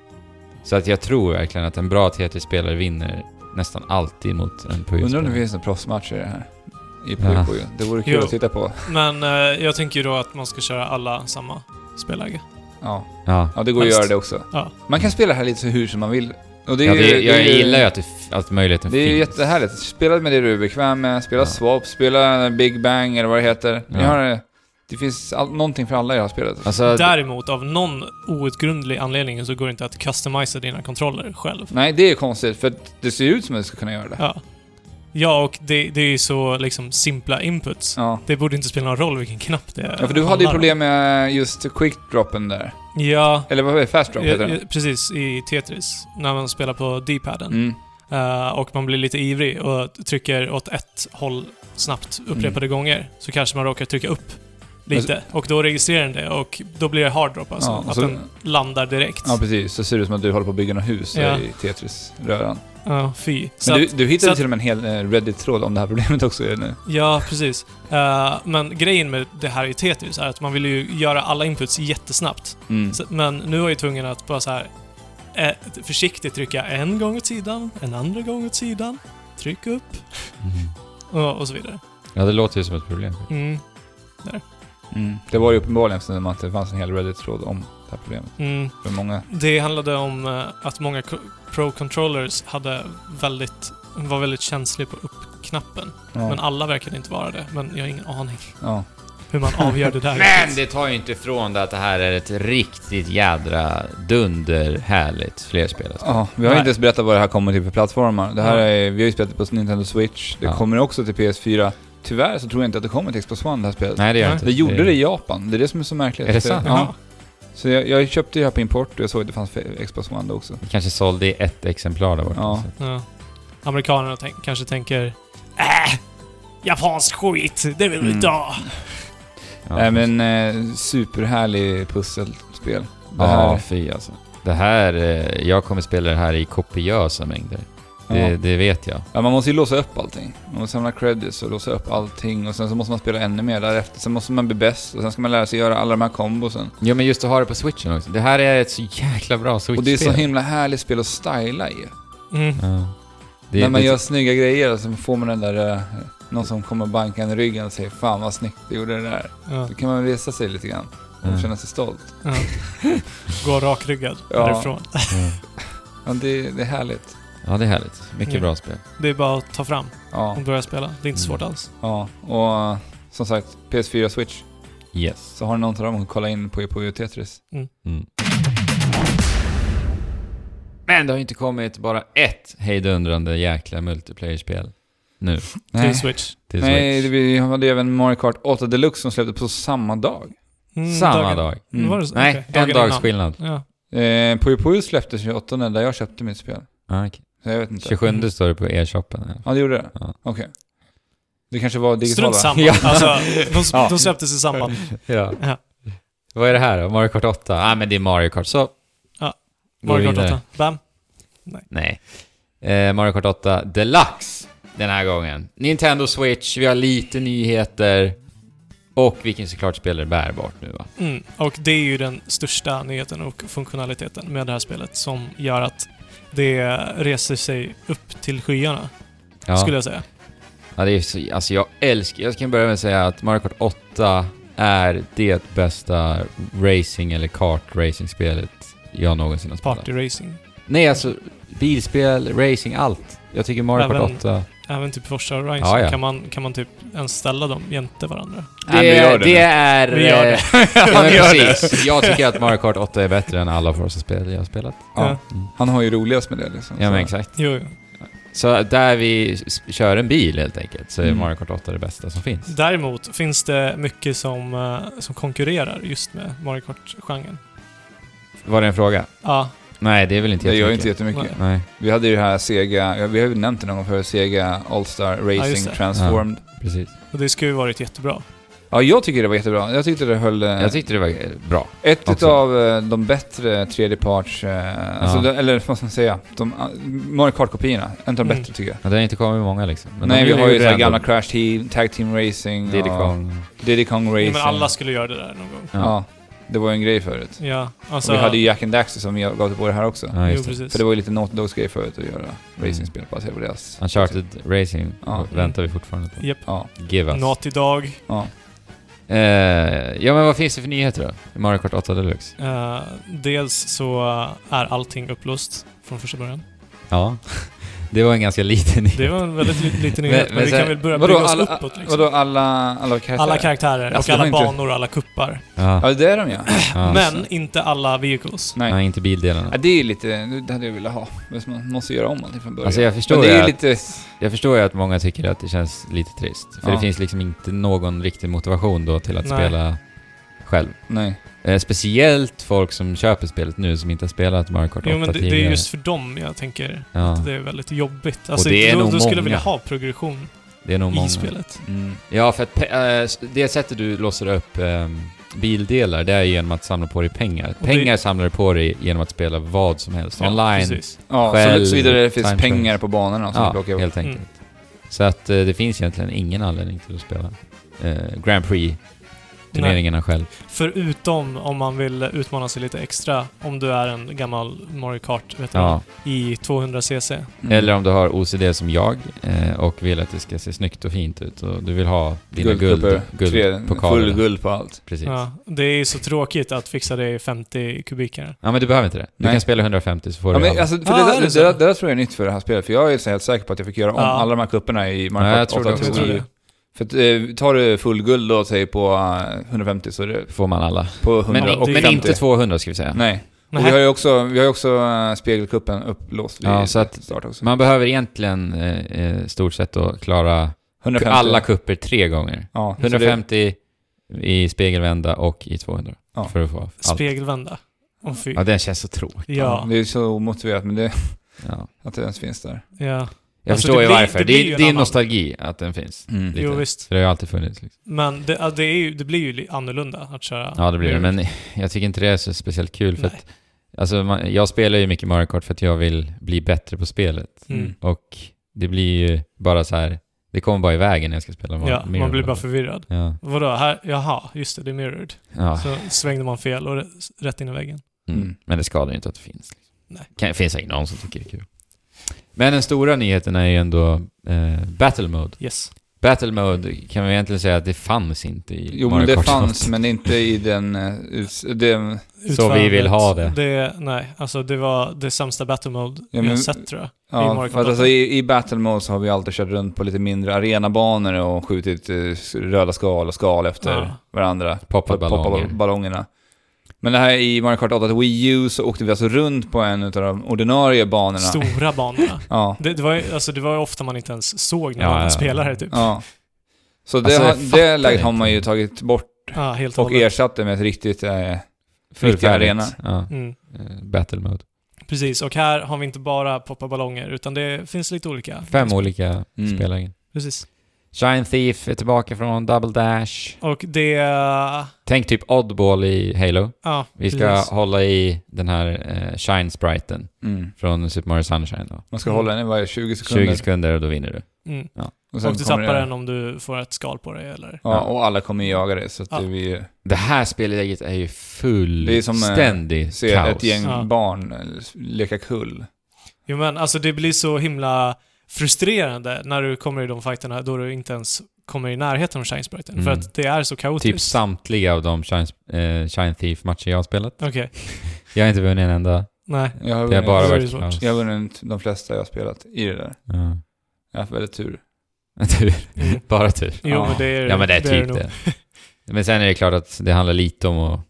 Speaker 2: Så att jag tror verkligen att en bra Tetris-spelare vinner nästan alltid mot en
Speaker 1: Undrar om det
Speaker 2: Puyo-spelare.
Speaker 1: finns några proffsmatcher i det här. I
Speaker 2: Ja.
Speaker 1: Puyo Puyo. Det vore kul
Speaker 3: Jo.
Speaker 1: att titta på.
Speaker 3: Men eh, jag tänker ju då att man ska köra alla samma spelläge.
Speaker 1: Ja,
Speaker 2: Ja.
Speaker 1: ja det går att
Speaker 3: Helst.
Speaker 1: göra det också.
Speaker 3: Ja.
Speaker 1: Man kan spela det här lite så hur som man vill. Och det är
Speaker 2: ja,
Speaker 1: ju-
Speaker 2: det, jag
Speaker 1: det är ju-
Speaker 2: gillar ju att, det, f- att möjligheten
Speaker 1: Det är ju
Speaker 2: finns.
Speaker 1: jättehärligt. Spela med det du är bekväm med. Spela
Speaker 2: Ja.
Speaker 1: Swap, spela Big Bang eller vad det heter. Ni
Speaker 2: Ja.
Speaker 1: har, det finns all, någonting för alla i det här spelet.
Speaker 2: Alltså,
Speaker 3: Däremot, av någon outgrundlig anledning så går det inte att customisa dina kontroller själv.
Speaker 1: Nej, det är konstigt för att det ser ut som att du ska kunna göra det.
Speaker 3: Ja. Ja, och det, det är ju så liksom simpla inputs.
Speaker 1: Ja.
Speaker 3: Det borde inte spela någon roll vilken knapp det är.
Speaker 1: Ja, för du hade ju problem med just quick-droppen där.
Speaker 3: Ja,
Speaker 1: Eller vad är det? Fast-drop heter
Speaker 3: ja,
Speaker 1: den.
Speaker 3: ja, precis. I Tetris. När man spelar på D-paden.
Speaker 1: Mm.
Speaker 3: Eh, och man blir lite ivrig och trycker åt ett håll snabbt
Speaker 1: Mm.
Speaker 3: upprepade gånger. Så kanske man råkar trycka upp lite. Och då registrerar den det och då blir det harddrop alltså.
Speaker 1: Alltså- Ja, och
Speaker 3: att
Speaker 1: så-
Speaker 3: den landar direkt.
Speaker 1: Ja, precis. Så ser det ut som att du håller på att bygga något hus
Speaker 3: Ja.
Speaker 1: där i Tetris-röran.
Speaker 3: Ja, fy. Så
Speaker 1: Men du,
Speaker 3: att,
Speaker 1: du
Speaker 3: så
Speaker 1: hittade
Speaker 3: att-
Speaker 1: till och med en hel eh, Reddit-tråd om det här problemet också ju nu.
Speaker 3: ja, precis. Eh, men grejen med det här i Tetris är att man vill ju göra alla inputs jättesnabbt.
Speaker 1: Mm.
Speaker 3: Så, men nu är jag ju tvungen att bara så här eh, försiktigt trycka en gång åt sidan, en andra gång åt sidan, tryck upp
Speaker 2: Mm.
Speaker 3: och, och så vidare.
Speaker 2: Ja, det låter ju som ett problem.
Speaker 3: Mm.
Speaker 1: Mm. Det var ju uppenbarligen eftersom att det fanns en hel Reddit-tråd om det här problemet.
Speaker 3: Mm.
Speaker 1: För många.
Speaker 3: Det handlade om eh, att många co- pro-controllers hade väldigt, var väldigt känsliga på upp-knappen.
Speaker 1: Ja.
Speaker 3: Men alla verkade inte vara det. Men jag har ingen aning
Speaker 1: ja.
Speaker 3: hur man avgör det där.
Speaker 2: Men det tar ju inte ifrån det att det här är ett riktigt jädra dunder härligt flerspel. alltså.
Speaker 1: Ja, vi har
Speaker 3: Nej.
Speaker 1: inte ens berättat vad det här kommer till för plattformar. Det här
Speaker 3: Ja.
Speaker 1: är, vi har ju spelat det på Nintendo Switch. Det
Speaker 2: Ja.
Speaker 1: kommer också till PS4. Tyvärr så tror jag inte att det kommer till Xbox One det här spelet.
Speaker 2: Nej, det gör
Speaker 3: Nej.
Speaker 2: inte.
Speaker 1: Det gjorde det i Japan. Det är det som är så märkligt.
Speaker 2: Är det
Speaker 1: Så-
Speaker 2: sant?
Speaker 1: Ja. Så jag, jag köpte ju här på import och jag såg att det fanns för Xbox One då också.
Speaker 2: Vi kanske sålde i ett exemplar där borta.
Speaker 1: Ja.
Speaker 2: så att-
Speaker 3: Ja. Amerikanerna tänk, kanske tänker äh, japansk skit, det vill vi inte
Speaker 1: Mm.
Speaker 3: ha.
Speaker 1: Nej
Speaker 2: Ja,
Speaker 1: men eh, superhärlig pusselspel. Det här,
Speaker 2: Ja, fy alltså. Det här... eh, Jag kommer spela det här i kopiösa mängder. Det,
Speaker 1: ja.
Speaker 2: det vet jag.
Speaker 1: Ja, man måste ju låsa upp allting. Man måste samla credits och låsa upp allting och sen så måste man spela ännu mer därefter. Sen måste man bli bäst och sen ska man lära sig göra alla de här kombosen.
Speaker 2: Ja, men just att ha det på switchen också. Det här är ett så jäkla bra switchspel.
Speaker 1: Och det är så himla härligt spel att styla i.
Speaker 3: Mm.
Speaker 2: Ja. Det,
Speaker 1: När man
Speaker 2: det,
Speaker 1: gör snygga grejer och så får man den där... eh, Någon som kommer och bankar en i ryggen och säger “Fan vad snyggt du gjorde det där”.
Speaker 3: Ja.
Speaker 1: Då kan man resa sig lite grann och
Speaker 2: Mm.
Speaker 1: känna sig stolt.
Speaker 3: Ja. Gå rakryggad
Speaker 1: Ja.
Speaker 3: därifrån.
Speaker 2: ja.
Speaker 1: Ja, det, det är härligt.
Speaker 2: ja, det är härligt. Mycket
Speaker 3: Mm.
Speaker 2: bra spel.
Speaker 3: Det är bara att ta fram
Speaker 1: Ja,
Speaker 3: och börja spela. Det är inte svårt
Speaker 2: Mm.
Speaker 3: alls.
Speaker 1: ja. och eh, som sagt, PS4 och Switch.
Speaker 2: Yes.
Speaker 1: Så har ni någon av dem att kolla in på på Tetris.
Speaker 2: Mm. Men det har ju inte kommit bara ett hejdundrande jäkla multiplayer-spel nu
Speaker 3: Det är
Speaker 1: Nej,
Speaker 3: Switch.
Speaker 2: till
Speaker 1: Nej det,
Speaker 2: Switch.
Speaker 1: vi hade även Mario Kart 8 Deluxe som släpptes på samma dag.
Speaker 3: Mm,
Speaker 2: Samma
Speaker 3: dagen-
Speaker 2: dag.
Speaker 1: Mm.
Speaker 3: Var det så?
Speaker 2: Nej,
Speaker 3: Okej,
Speaker 2: en
Speaker 3: dagen
Speaker 2: dags
Speaker 3: innan.
Speaker 2: skillnad.
Speaker 3: Ja.
Speaker 1: Eh, Puyo Puyo släpptes 28 där jag köpte mitt spel.
Speaker 2: Ah, okej.
Speaker 1: Så jag vet inte.
Speaker 2: 27 står det på e-shoppen.
Speaker 1: Ja, det gjorde det?
Speaker 2: Ja.
Speaker 1: Okej. Det kanske var digitala?
Speaker 3: Strunt samma.
Speaker 2: Ja.
Speaker 3: Alltså, de,
Speaker 1: Ja.
Speaker 3: de släpptes i samband.
Speaker 2: Ja.
Speaker 3: Ja.
Speaker 2: Vad är det här då? Mario Kart 8? Ah, men det är Mario Kart. Så...
Speaker 3: Ja.
Speaker 2: Gå
Speaker 3: Mario Kart
Speaker 2: vidare.
Speaker 3: 8. Bam.
Speaker 2: Nej. Eh, Mario Kart 8 Deluxe den här gången. Nintendo Switch, vi har lite nyheter. Och vi kan såklart spela det bärbart nu va?
Speaker 3: Mm. Och det är ju den största nyheten och funktionaliteten med det här spelet som gör att det reser sig upp till skyarna,
Speaker 2: Ja.
Speaker 3: skulle jag säga.
Speaker 2: Ja, det är så, alltså jag älskar... Jag kan börja med att säga att Mario Kart 8 är det bästa racing eller kart-racing-spelet jag någonsin har spelat.
Speaker 3: Partyracing.
Speaker 2: Nej, alltså bilspel, racing, allt. Jag tycker Mario Kart
Speaker 3: Även-
Speaker 2: 8...
Speaker 3: Även typ Forza Horizon.
Speaker 2: Ja, ja.
Speaker 3: Kan, man, kan man typ ens ställa dem jämte varandra?
Speaker 4: Nej, men gör det nu.
Speaker 2: är...
Speaker 3: Vi gör det.
Speaker 2: eh, ja, men
Speaker 3: Vi gör
Speaker 2: precis. Jag tycker att Mario Kart 8 är bättre än alla Forza-spel jag har spelat.
Speaker 1: Ja.
Speaker 2: Mm.
Speaker 1: Han har ju roligast med det liksom.
Speaker 2: Ja,
Speaker 1: Så-
Speaker 2: men exakt.
Speaker 3: Jo, jo.
Speaker 2: Så där vi s- kör en bil helt enkelt, så är
Speaker 1: Mm.
Speaker 2: Mario Kart 8 det bästa som finns.
Speaker 3: Däremot finns det mycket som, eh, som konkurrerar just med Mario Kart-genren.
Speaker 2: Var det en fråga?
Speaker 3: Ja,
Speaker 2: Nej, det är väl inte
Speaker 1: Det gör ju inte
Speaker 2: jättemycket.
Speaker 1: jättemycket.
Speaker 3: Nej.
Speaker 2: Nej,
Speaker 1: Vi hade ju det här Sega, ja, vi har ju nämnt det någon gång förut, Sega All-Star Racing
Speaker 3: det.
Speaker 1: Transformed. Ja.
Speaker 2: precis.
Speaker 3: och det skulle ju varit jättebra.
Speaker 1: jag tycker det var jättebra. Jag tyckte det höll... eh,
Speaker 2: Jag tyckte det var eh, bra.
Speaker 1: Ett
Speaker 2: Också.
Speaker 1: utav eh, de bättre tredjeparts... Eh, alltså
Speaker 2: Ja.
Speaker 1: de, eller vad ska man säga? De, eh, Mario Kart-kopiorna. En av de
Speaker 3: Mm.
Speaker 1: bättre tycker jag.
Speaker 2: Ja, det har inte kommit många liksom. Men
Speaker 1: Nej,
Speaker 2: de
Speaker 1: vi har ju
Speaker 2: gjorde
Speaker 1: det här
Speaker 2: ändå
Speaker 1: gamla Crash Team, Tag Team Racing
Speaker 2: Diddy
Speaker 1: och
Speaker 2: Kong.
Speaker 1: Diddy Kong Racing.
Speaker 3: Nej, men alla skulle göra det där någon gång.
Speaker 1: ja. det var ju en grej förut.
Speaker 3: Ja, alltså...
Speaker 1: Och vi hade ju Jack and Daxter som vi gav till på det här också.
Speaker 2: Ja, Mm.
Speaker 3: jo,
Speaker 2: just det.
Speaker 3: precis.
Speaker 1: För det var ju lite Naughty Dogs grej förut att göra racingspel baserat på deras...
Speaker 2: Uncharted Racing
Speaker 1: Ja.
Speaker 2: väntar vi fortfarande på.
Speaker 3: Japp.
Speaker 1: Ja.
Speaker 2: Give us.
Speaker 3: Naughty Dog.
Speaker 1: ja.
Speaker 2: Eh, ja, men vad finns det för nyheter då? I Mario Kart 8 Deluxe?
Speaker 3: Eh, dels så eh, är allting upplöst från första början.
Speaker 2: Ja. det var en ganska liten nyhet.
Speaker 3: Det var en väldigt li- liten
Speaker 2: Men-
Speaker 3: nyhet, men,
Speaker 2: men
Speaker 3: vi
Speaker 2: så här-
Speaker 3: kan väl börja
Speaker 1: Vadå
Speaker 3: bygga oss
Speaker 1: alla,
Speaker 3: uppåt liksom.
Speaker 1: vadå alla, alla karaktärer?
Speaker 3: Alla karaktärer
Speaker 1: Alltså,
Speaker 3: och
Speaker 1: det var
Speaker 3: alla
Speaker 1: inte-
Speaker 3: banor och alla kuppar.
Speaker 2: Ja,
Speaker 1: Ja, det är de ja.
Speaker 2: ja.
Speaker 3: Men inte alla vehicles.
Speaker 1: Nej.
Speaker 2: Nej, inte bildelen.
Speaker 1: Ja, det är lite, det hade jag velat ha. Men Man måste göra om allting från början.
Speaker 2: Alltså jag
Speaker 1: men
Speaker 2: förstår,
Speaker 1: det
Speaker 2: ju
Speaker 1: är
Speaker 2: att,
Speaker 1: lite...
Speaker 2: jag förstår ju att många tycker att det känns lite trist. För
Speaker 1: Ja.
Speaker 2: det finns liksom inte någon riktig motivation då till att
Speaker 3: Nej.
Speaker 2: spela själv.
Speaker 1: Nej.
Speaker 2: Eh, speciellt folk som köper spelet nu som inte har spelat Mario Kart 8
Speaker 3: Jo, men det, det är
Speaker 2: tidigare.
Speaker 3: just för dem jag tänker
Speaker 2: Ja,
Speaker 3: att det är väldigt jobbigt. Alltså,
Speaker 2: det är
Speaker 3: då,
Speaker 2: nog
Speaker 3: då skulle jag vilja
Speaker 2: många.
Speaker 3: ha progression
Speaker 2: det är nog många.
Speaker 3: i spelet.
Speaker 1: Mm.
Speaker 2: Ja, för att pe- eh, s- det sättet du låser upp ehm, bildelar, det är genom att samla på dig pengar.
Speaker 3: det-
Speaker 2: pengar samlar du på dig genom att spela vad som helst.
Speaker 3: Ja,
Speaker 2: Online,
Speaker 3: precis.
Speaker 1: Ja,
Speaker 2: Själv-
Speaker 1: så, så vidare det finns
Speaker 2: time
Speaker 1: pengar
Speaker 2: trials.
Speaker 1: på banorna som
Speaker 2: Ja,
Speaker 1: du plockar upp.
Speaker 2: helt enkelt.
Speaker 3: Mm.
Speaker 2: Så att eh, det finns egentligen ingen anledning till att spela eh, Grand Prix-turneringarna själv.
Speaker 3: Förutom om man vill utmana sig lite extra, om du är en gammal Mario Kart vet
Speaker 2: Ja.
Speaker 3: du, i 200cc.
Speaker 1: Mm.
Speaker 2: Eller om du har OCD som jag eh, och vill att det ska se snyggt och fint ut och du vill ha dina
Speaker 1: Guldklubbor,
Speaker 2: guld,
Speaker 1: tre-
Speaker 2: guldpokaler.
Speaker 1: Full guld på allt.
Speaker 2: Precis. Ja.
Speaker 3: Ja, det är så tråkigt att fixa det i 50 kubikare.
Speaker 2: men du behöver inte det. Du
Speaker 1: Nej.
Speaker 2: kan spela 150 så får
Speaker 1: Ja,
Speaker 2: du
Speaker 1: men,
Speaker 2: alla.
Speaker 1: alltså, för
Speaker 3: Ah,
Speaker 1: det,
Speaker 3: är
Speaker 1: där,
Speaker 3: det
Speaker 1: det,
Speaker 3: så?
Speaker 1: där, det där tror jag är nytt för det här spelet, för jag är så helt säker på att jag fick göra om
Speaker 3: Ja.
Speaker 1: alla de här kupperna i
Speaker 2: Ja,
Speaker 1: Mario Kart
Speaker 2: jag tror det
Speaker 1: 8
Speaker 2: också.
Speaker 1: till
Speaker 3: Jag tror
Speaker 1: 10.
Speaker 3: det.
Speaker 1: För att, eh, tar du full guld då, säg på eh, 150 så är det
Speaker 2: får man alla.
Speaker 1: på
Speaker 2: Men,
Speaker 1: 100 och
Speaker 2: men
Speaker 1: 50.
Speaker 2: inte 200 ska vi säga.
Speaker 1: Nej.
Speaker 3: Nej.
Speaker 1: Och vi har ju också, vi har ju också eh, spegelkuppen upplåst vid
Speaker 2: Ja, så att
Speaker 1: start också.
Speaker 2: Man behöver egentligen eh, eh, stort sett då klara
Speaker 1: 150.
Speaker 2: alla kupper tre gånger.
Speaker 1: Ja, så det-
Speaker 2: 150 i spegelvända och i 200.
Speaker 1: Ja.
Speaker 2: För att få allt.
Speaker 3: Spegelvända. Åh fy.
Speaker 2: Ja, den känns så tråkig.
Speaker 3: Ja.
Speaker 1: Det är så omotiverat, men det,
Speaker 2: Ja.
Speaker 1: att det ens finns där.
Speaker 3: ja.
Speaker 2: Jag
Speaker 3: Alltså,
Speaker 2: förstår
Speaker 3: det
Speaker 2: ju
Speaker 3: blir-
Speaker 2: varför.
Speaker 3: det
Speaker 2: Det,
Speaker 3: blir ju
Speaker 2: är,
Speaker 3: en
Speaker 2: det är
Speaker 3: annan-
Speaker 2: nostalgi att den finns.
Speaker 1: Mm.
Speaker 3: Jo,
Speaker 2: Lite.
Speaker 3: visst.
Speaker 2: För det har ju alltid funnits. Liksom.
Speaker 3: Men det, ja, det, är ju, det blir ju li- annorlunda att köra.
Speaker 2: Ja, det blir det. Men jag tycker inte det är så speciellt kul. För
Speaker 3: Nej.
Speaker 2: att, alltså, man, jag spelar ju mycket Mario Kart för att jag vill bli bättre på spelet.
Speaker 3: Mm.
Speaker 2: Och det blir ju bara så här... Det kommer bara i vägen när jag ska spela Mario
Speaker 3: Ja, man blir bara förvirrad.
Speaker 2: Ja.
Speaker 3: Vadå, här, jaha, just det, det är mirrored.
Speaker 2: ja.
Speaker 3: Så svängde man fel och re- rätt in i väggen.
Speaker 2: Mm.
Speaker 1: Mm.
Speaker 2: Men det skadar ju inte att det finns. Liksom.
Speaker 3: Nej.
Speaker 2: Kan, finns säkert någon som tycker det är kul. Men den stora nyheten är ju ändå eh, Battle Mode.
Speaker 3: Yes.
Speaker 2: Battle Mode kan vi egentligen säga att det fanns inte i
Speaker 1: Jo,
Speaker 2: Mario
Speaker 1: men det
Speaker 2: Kart
Speaker 1: fanns,
Speaker 2: 8.
Speaker 1: men inte i den... eh, uts- den
Speaker 2: Så vi vill ha det.
Speaker 3: Nej, alltså det var det sämsta battle mode
Speaker 1: Ja,
Speaker 3: vi har
Speaker 1: men-
Speaker 3: sett tror jag. I
Speaker 1: ja,
Speaker 3: Mario
Speaker 1: för att
Speaker 3: Kart
Speaker 1: alltså,
Speaker 3: 8.
Speaker 1: i, I Battle Mode så har vi alltid kört runt på lite mindre arenabanor och skjutit eh, s- röda skal och skal efter
Speaker 3: Ja.
Speaker 1: varandra. För
Speaker 2: Poppa
Speaker 1: att poppa
Speaker 2: ballonger.
Speaker 1: ball- ballongerna. Men det här i Mario Kart 8 till Wii U så åkte vi alltså runt på en av de ordinarie banorna.
Speaker 3: Stora banorna.
Speaker 1: Ja,
Speaker 3: Det, det, var ju, alltså, det var ju ofta man inte ens såg när
Speaker 2: Ja,
Speaker 3: man
Speaker 2: ja, ja.
Speaker 3: spelade typ. Ja,
Speaker 1: ja. Så det,
Speaker 2: Alltså, jag
Speaker 1: har,
Speaker 2: fattar
Speaker 1: det läget har man ju
Speaker 2: inte.
Speaker 1: tagit bort
Speaker 3: helt och
Speaker 1: och
Speaker 3: hållet.
Speaker 1: ersatt det med ett riktigt... Eh,
Speaker 2: Förfärligt.
Speaker 1: Riktig arena.
Speaker 2: Ja.
Speaker 3: Mm.
Speaker 2: eh, Battle Mode.
Speaker 3: Precis, och här har vi inte bara poppa ballonger utan det finns lite olika.
Speaker 2: Fem olika
Speaker 1: Mm.
Speaker 2: spelare.
Speaker 3: Precis.
Speaker 2: Shine Thief är tillbaka från Double Dash.
Speaker 3: Och det... Ja,
Speaker 2: Tänk typ Oddball i Halo. Vi ska
Speaker 3: precis.
Speaker 2: hålla i den här eh, Shine-spriten
Speaker 1: mm.
Speaker 2: från Super Mario Sunshine. Då.
Speaker 1: Man ska hålla den i varje 20 sekunder.
Speaker 2: 20 sekunder och då vinner du.
Speaker 3: Mm.
Speaker 1: sen
Speaker 3: Och du
Speaker 1: kommer
Speaker 3: tappar
Speaker 1: det-
Speaker 3: den om du får ett skal på dig eller...
Speaker 1: Ja, och alla kommer ju jaga dig så att
Speaker 3: Ja.
Speaker 1: det blir
Speaker 2: Det här spelläget är ju
Speaker 1: Det är som, eh,
Speaker 2: fullständigt
Speaker 1: se
Speaker 2: kaos.
Speaker 1: ett gäng
Speaker 3: Ja.
Speaker 1: barn eh, leka kull.
Speaker 3: Jo men alltså det blir så himla frustrerande när du kommer i de fighterna då du inte ens kommer i närheten av Shinespriten. För
Speaker 2: Mm.
Speaker 3: att det är så
Speaker 2: Typ
Speaker 3: kaotiskt.
Speaker 2: samtliga av de Shine, eh, Shine Thief-matcher jag har spelat.
Speaker 3: Okej,
Speaker 2: Jag har inte vunnit en enda.
Speaker 3: nej.
Speaker 1: Jag har
Speaker 2: Det har
Speaker 1: vunnit,
Speaker 2: bara
Speaker 3: det är
Speaker 2: varit
Speaker 3: svårt.
Speaker 2: kaos.
Speaker 1: jag har vunnit de flesta jag har spelat i det där.
Speaker 2: Ja.
Speaker 1: Jag har haft väldigt tur.
Speaker 2: Tur.
Speaker 3: Mm.
Speaker 2: Bara tur.
Speaker 3: Jo
Speaker 1: Ja.
Speaker 3: men det är
Speaker 2: Ja men det är typ
Speaker 3: nog.
Speaker 2: det. Men sen är det klart att det handlar lite om att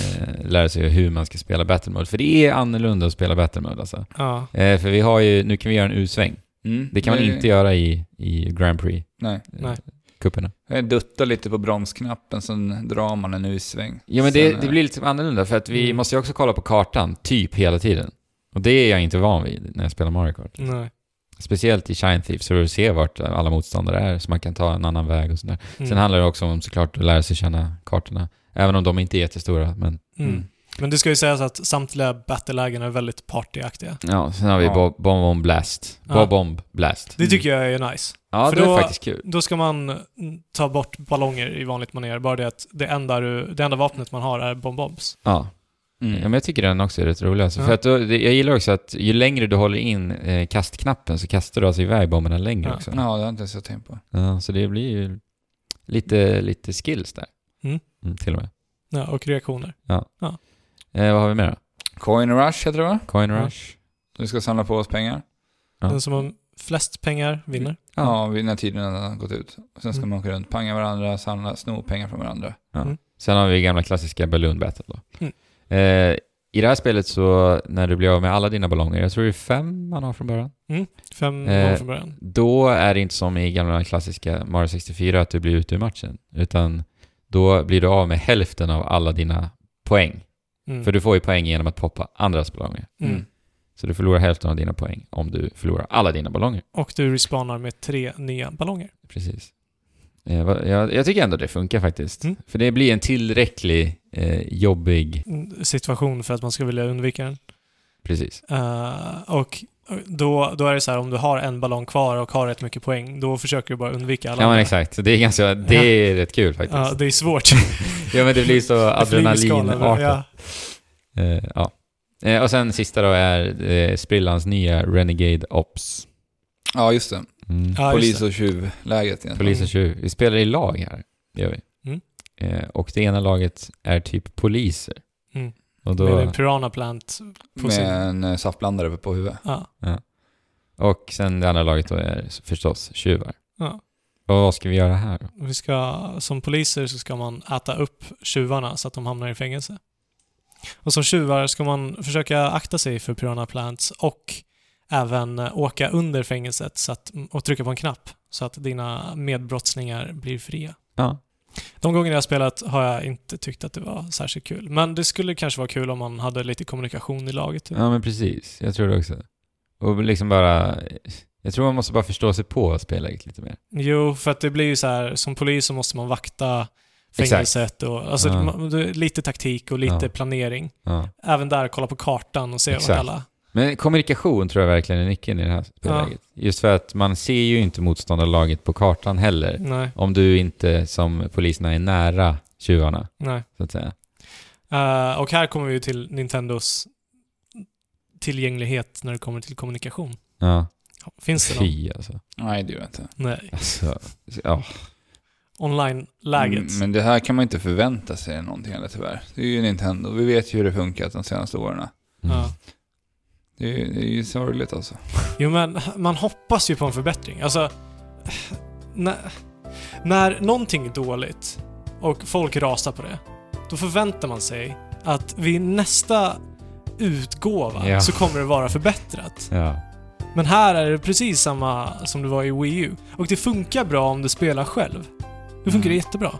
Speaker 2: eh, lära sig hur man ska spela battle mode. För det är annorlunda att spela battle mode alltså.
Speaker 3: Ja.
Speaker 2: Eh, för vi har ju, nu kan vi göra en U-sväng.
Speaker 1: Mm.
Speaker 2: Det kan man
Speaker 1: Nej,
Speaker 2: inte göra i, i Grand Prix.
Speaker 1: Nej.
Speaker 2: eh,
Speaker 3: Nej.
Speaker 2: Cuperna.
Speaker 1: Jag duttar lite på bromsknappen, sen drar man en U-sväng.
Speaker 2: Ja men
Speaker 1: Sen,
Speaker 2: det, det
Speaker 1: eh,
Speaker 2: blir lite annorlunda för att vi
Speaker 3: Mm.
Speaker 2: måste ju också kolla på kartan typ hela tiden. Och det är jag inte van vid när jag spelar Mario Kart.
Speaker 3: Nej.
Speaker 2: Speciellt i Shine Thief så du ser vart alla motståndare är så man kan ta en annan väg och sådär.
Speaker 3: Mm.
Speaker 2: Sen handlar det också om såklart att lära sig känna kartorna. Även om de inte är jättestora men
Speaker 3: mm. Men det ska ju sägas att samtliga battlelägen är väldigt partyaktiga.
Speaker 2: Ja, sen har vi
Speaker 1: Ja.
Speaker 2: Bob Bomb Bomb Blast.
Speaker 3: Ja.
Speaker 2: Bob Bomb Blast.
Speaker 3: Det tycker jag är nice.
Speaker 2: Ja,
Speaker 3: för
Speaker 2: det
Speaker 3: då-
Speaker 2: är faktiskt kul.
Speaker 3: Då ska man mm, ta bort ballonger i vanligt manér, bara det att det enda, du, det enda vapnet man har är bombbobs.
Speaker 2: Ja.
Speaker 1: Mm.
Speaker 2: ja, men jag tycker den också är rätt rolig. Alltså.
Speaker 3: Ja.
Speaker 2: För att då, det, jag gillar också att ju längre du håller in eh, kastknappen så kastar du alltså iväg bomberna längre
Speaker 3: Ja.
Speaker 2: också.
Speaker 1: Ja, det har jag inte ens jag tänkt på.
Speaker 2: Ja, så det blir ju lite, lite skills där.
Speaker 3: Mm.
Speaker 2: till och med.
Speaker 3: Ja, och reaktioner.
Speaker 2: Eh, vad har vi mer då?
Speaker 1: Coin Rush heter det va?
Speaker 2: Coin
Speaker 3: Ja.
Speaker 2: Rush?
Speaker 1: Vi ska samla på oss pengar.
Speaker 2: Ja.
Speaker 3: Den som har flest pengar vinner.
Speaker 2: Ja.
Speaker 1: Ja, vid när tiden har gått ut. Sen ska
Speaker 3: Mm.
Speaker 1: man åka runt, panga varandra, samla, sno pengar från varandra.
Speaker 2: Sen har vi gamla klassiska Balloon Battle då.
Speaker 3: Mm.
Speaker 2: Eh, I det här spelet så, när du blir av med alla dina ballonger, jag tror det är fem man har från början.
Speaker 3: Fem
Speaker 2: Eh,
Speaker 3: gånger från början.
Speaker 2: då är det inte som i gamla klassiska Mario 64 att du blir ute ur matchen, utan då blir du av med hälften av alla dina poäng.
Speaker 3: Mm.
Speaker 2: För du får ju poäng genom att poppa andras ballonger.
Speaker 3: Mm.
Speaker 2: Så du förlorar hälften av dina poäng om du förlorar alla dina ballonger.
Speaker 3: Och du respawnar med tre nya ballonger.
Speaker 2: Precis. Eh, va- Jag, jag tycker ändå det funkar faktiskt.
Speaker 3: Mm.
Speaker 2: För det blir en tillräcklig eh, jobbig...
Speaker 3: Mm, Situation för att man ska vilja undvika den.
Speaker 2: Precis.
Speaker 3: Eh, och då, då är det så här, om du har en ballong kvar och har rätt mycket poäng, då försöker du bara undvika alla.
Speaker 2: Ja men
Speaker 3: andra.
Speaker 2: exakt. Så det är ganska... Det är rätt kul faktiskt.
Speaker 3: Ja,
Speaker 2: Ja,
Speaker 3: det är svårt.
Speaker 2: men det blir så
Speaker 3: Det flyger skalan över-
Speaker 2: adrenalinartat.
Speaker 3: Ja.
Speaker 2: Eh, ja. Eh, och sen sista då är eh, sprillans nya Renegade Ops.
Speaker 1: Ja, just det.
Speaker 2: Mm.
Speaker 3: Ja, just
Speaker 1: Polis
Speaker 3: det.
Speaker 1: och tjuvläget egentligen.
Speaker 2: Polis och tjuv. Vi spelar i lag här, det gör vi.
Speaker 3: Mm.
Speaker 2: Eh, och det ena laget är typ poliser.
Speaker 3: Mm.
Speaker 2: Och,
Speaker 3: Med en
Speaker 2: då,
Speaker 3: piranha plant. på sin-
Speaker 1: Med en eh, saftblandare uppe på huvudet.
Speaker 3: Ja.
Speaker 2: och sen det andra laget då är förstås tjuvar.
Speaker 3: Ja.
Speaker 2: Och vad ska vi göra här då?
Speaker 3: Vi ska, som poliser så ska man äta upp tjuvarna så att de hamnar i fängelse. Och som tjuvar ska man försöka akta sig för Piranha Plants och även eh, åka under fängelset så att, och trycka på en knapp så att dina medbrottslingar blir fria.
Speaker 2: Ja.
Speaker 3: De gånger jag har spelat har jag inte tyckt att det var särskilt kul. Men det skulle kanske vara kul om man hade lite kommunikation i laget. Typ.
Speaker 2: ja, men precis. Jag tror det också. Och liksom bara... Jag tror man måste bara förstå sig på spelläget lite mer.
Speaker 3: Jo, för att det blir ju så här, som polis så måste man vakta
Speaker 2: Exakt.
Speaker 3: fängelset och alltså,
Speaker 2: Ja.
Speaker 3: man- det är lite taktik och lite
Speaker 2: Ja.
Speaker 3: planering.
Speaker 2: Ja.
Speaker 3: även där kolla på kartan och se vart
Speaker 2: Exakt.
Speaker 3: alla...
Speaker 2: Men kommunikation tror jag verkligen är nyckeln i det här spelläget. Just för att man ser ju inte motståndarlaget på kartan heller.
Speaker 3: Nej,
Speaker 2: Om du inte som poliserna är nära tjuvarna,
Speaker 3: nej.
Speaker 2: så att säga.
Speaker 3: Eh, och här kommer vi ju till Nintendos tillgänglighet när det kommer till kommunikation.
Speaker 2: Ja.
Speaker 3: Finns det någon?
Speaker 2: Fy alltså.
Speaker 1: Nej, det gör jag inte.
Speaker 3: Nej.
Speaker 2: alltså ja.
Speaker 3: Online-läget.
Speaker 1: Mm, Men det här kan man inte förvänta sig någonting heller tyvärr. Det är ju Nintendo. Vi vet ju hur det funkat de senaste åren.
Speaker 2: Mm.
Speaker 3: Ja.
Speaker 1: Det är ju, det är ju sorgligt alltså.
Speaker 3: Jo, men man hoppas ju på en förbättring. Alltså, när, när någonting är dåligt och folk rasar på det, då förväntar man sig att vid nästa utgåva
Speaker 2: Ja.
Speaker 3: så kommer det vara förbättrat.
Speaker 2: ja.
Speaker 3: Men här är det precis samma som det var i Wii U. Och det funkar bra om du spelar själv. Det funkar
Speaker 1: Mm.
Speaker 3: jättebra.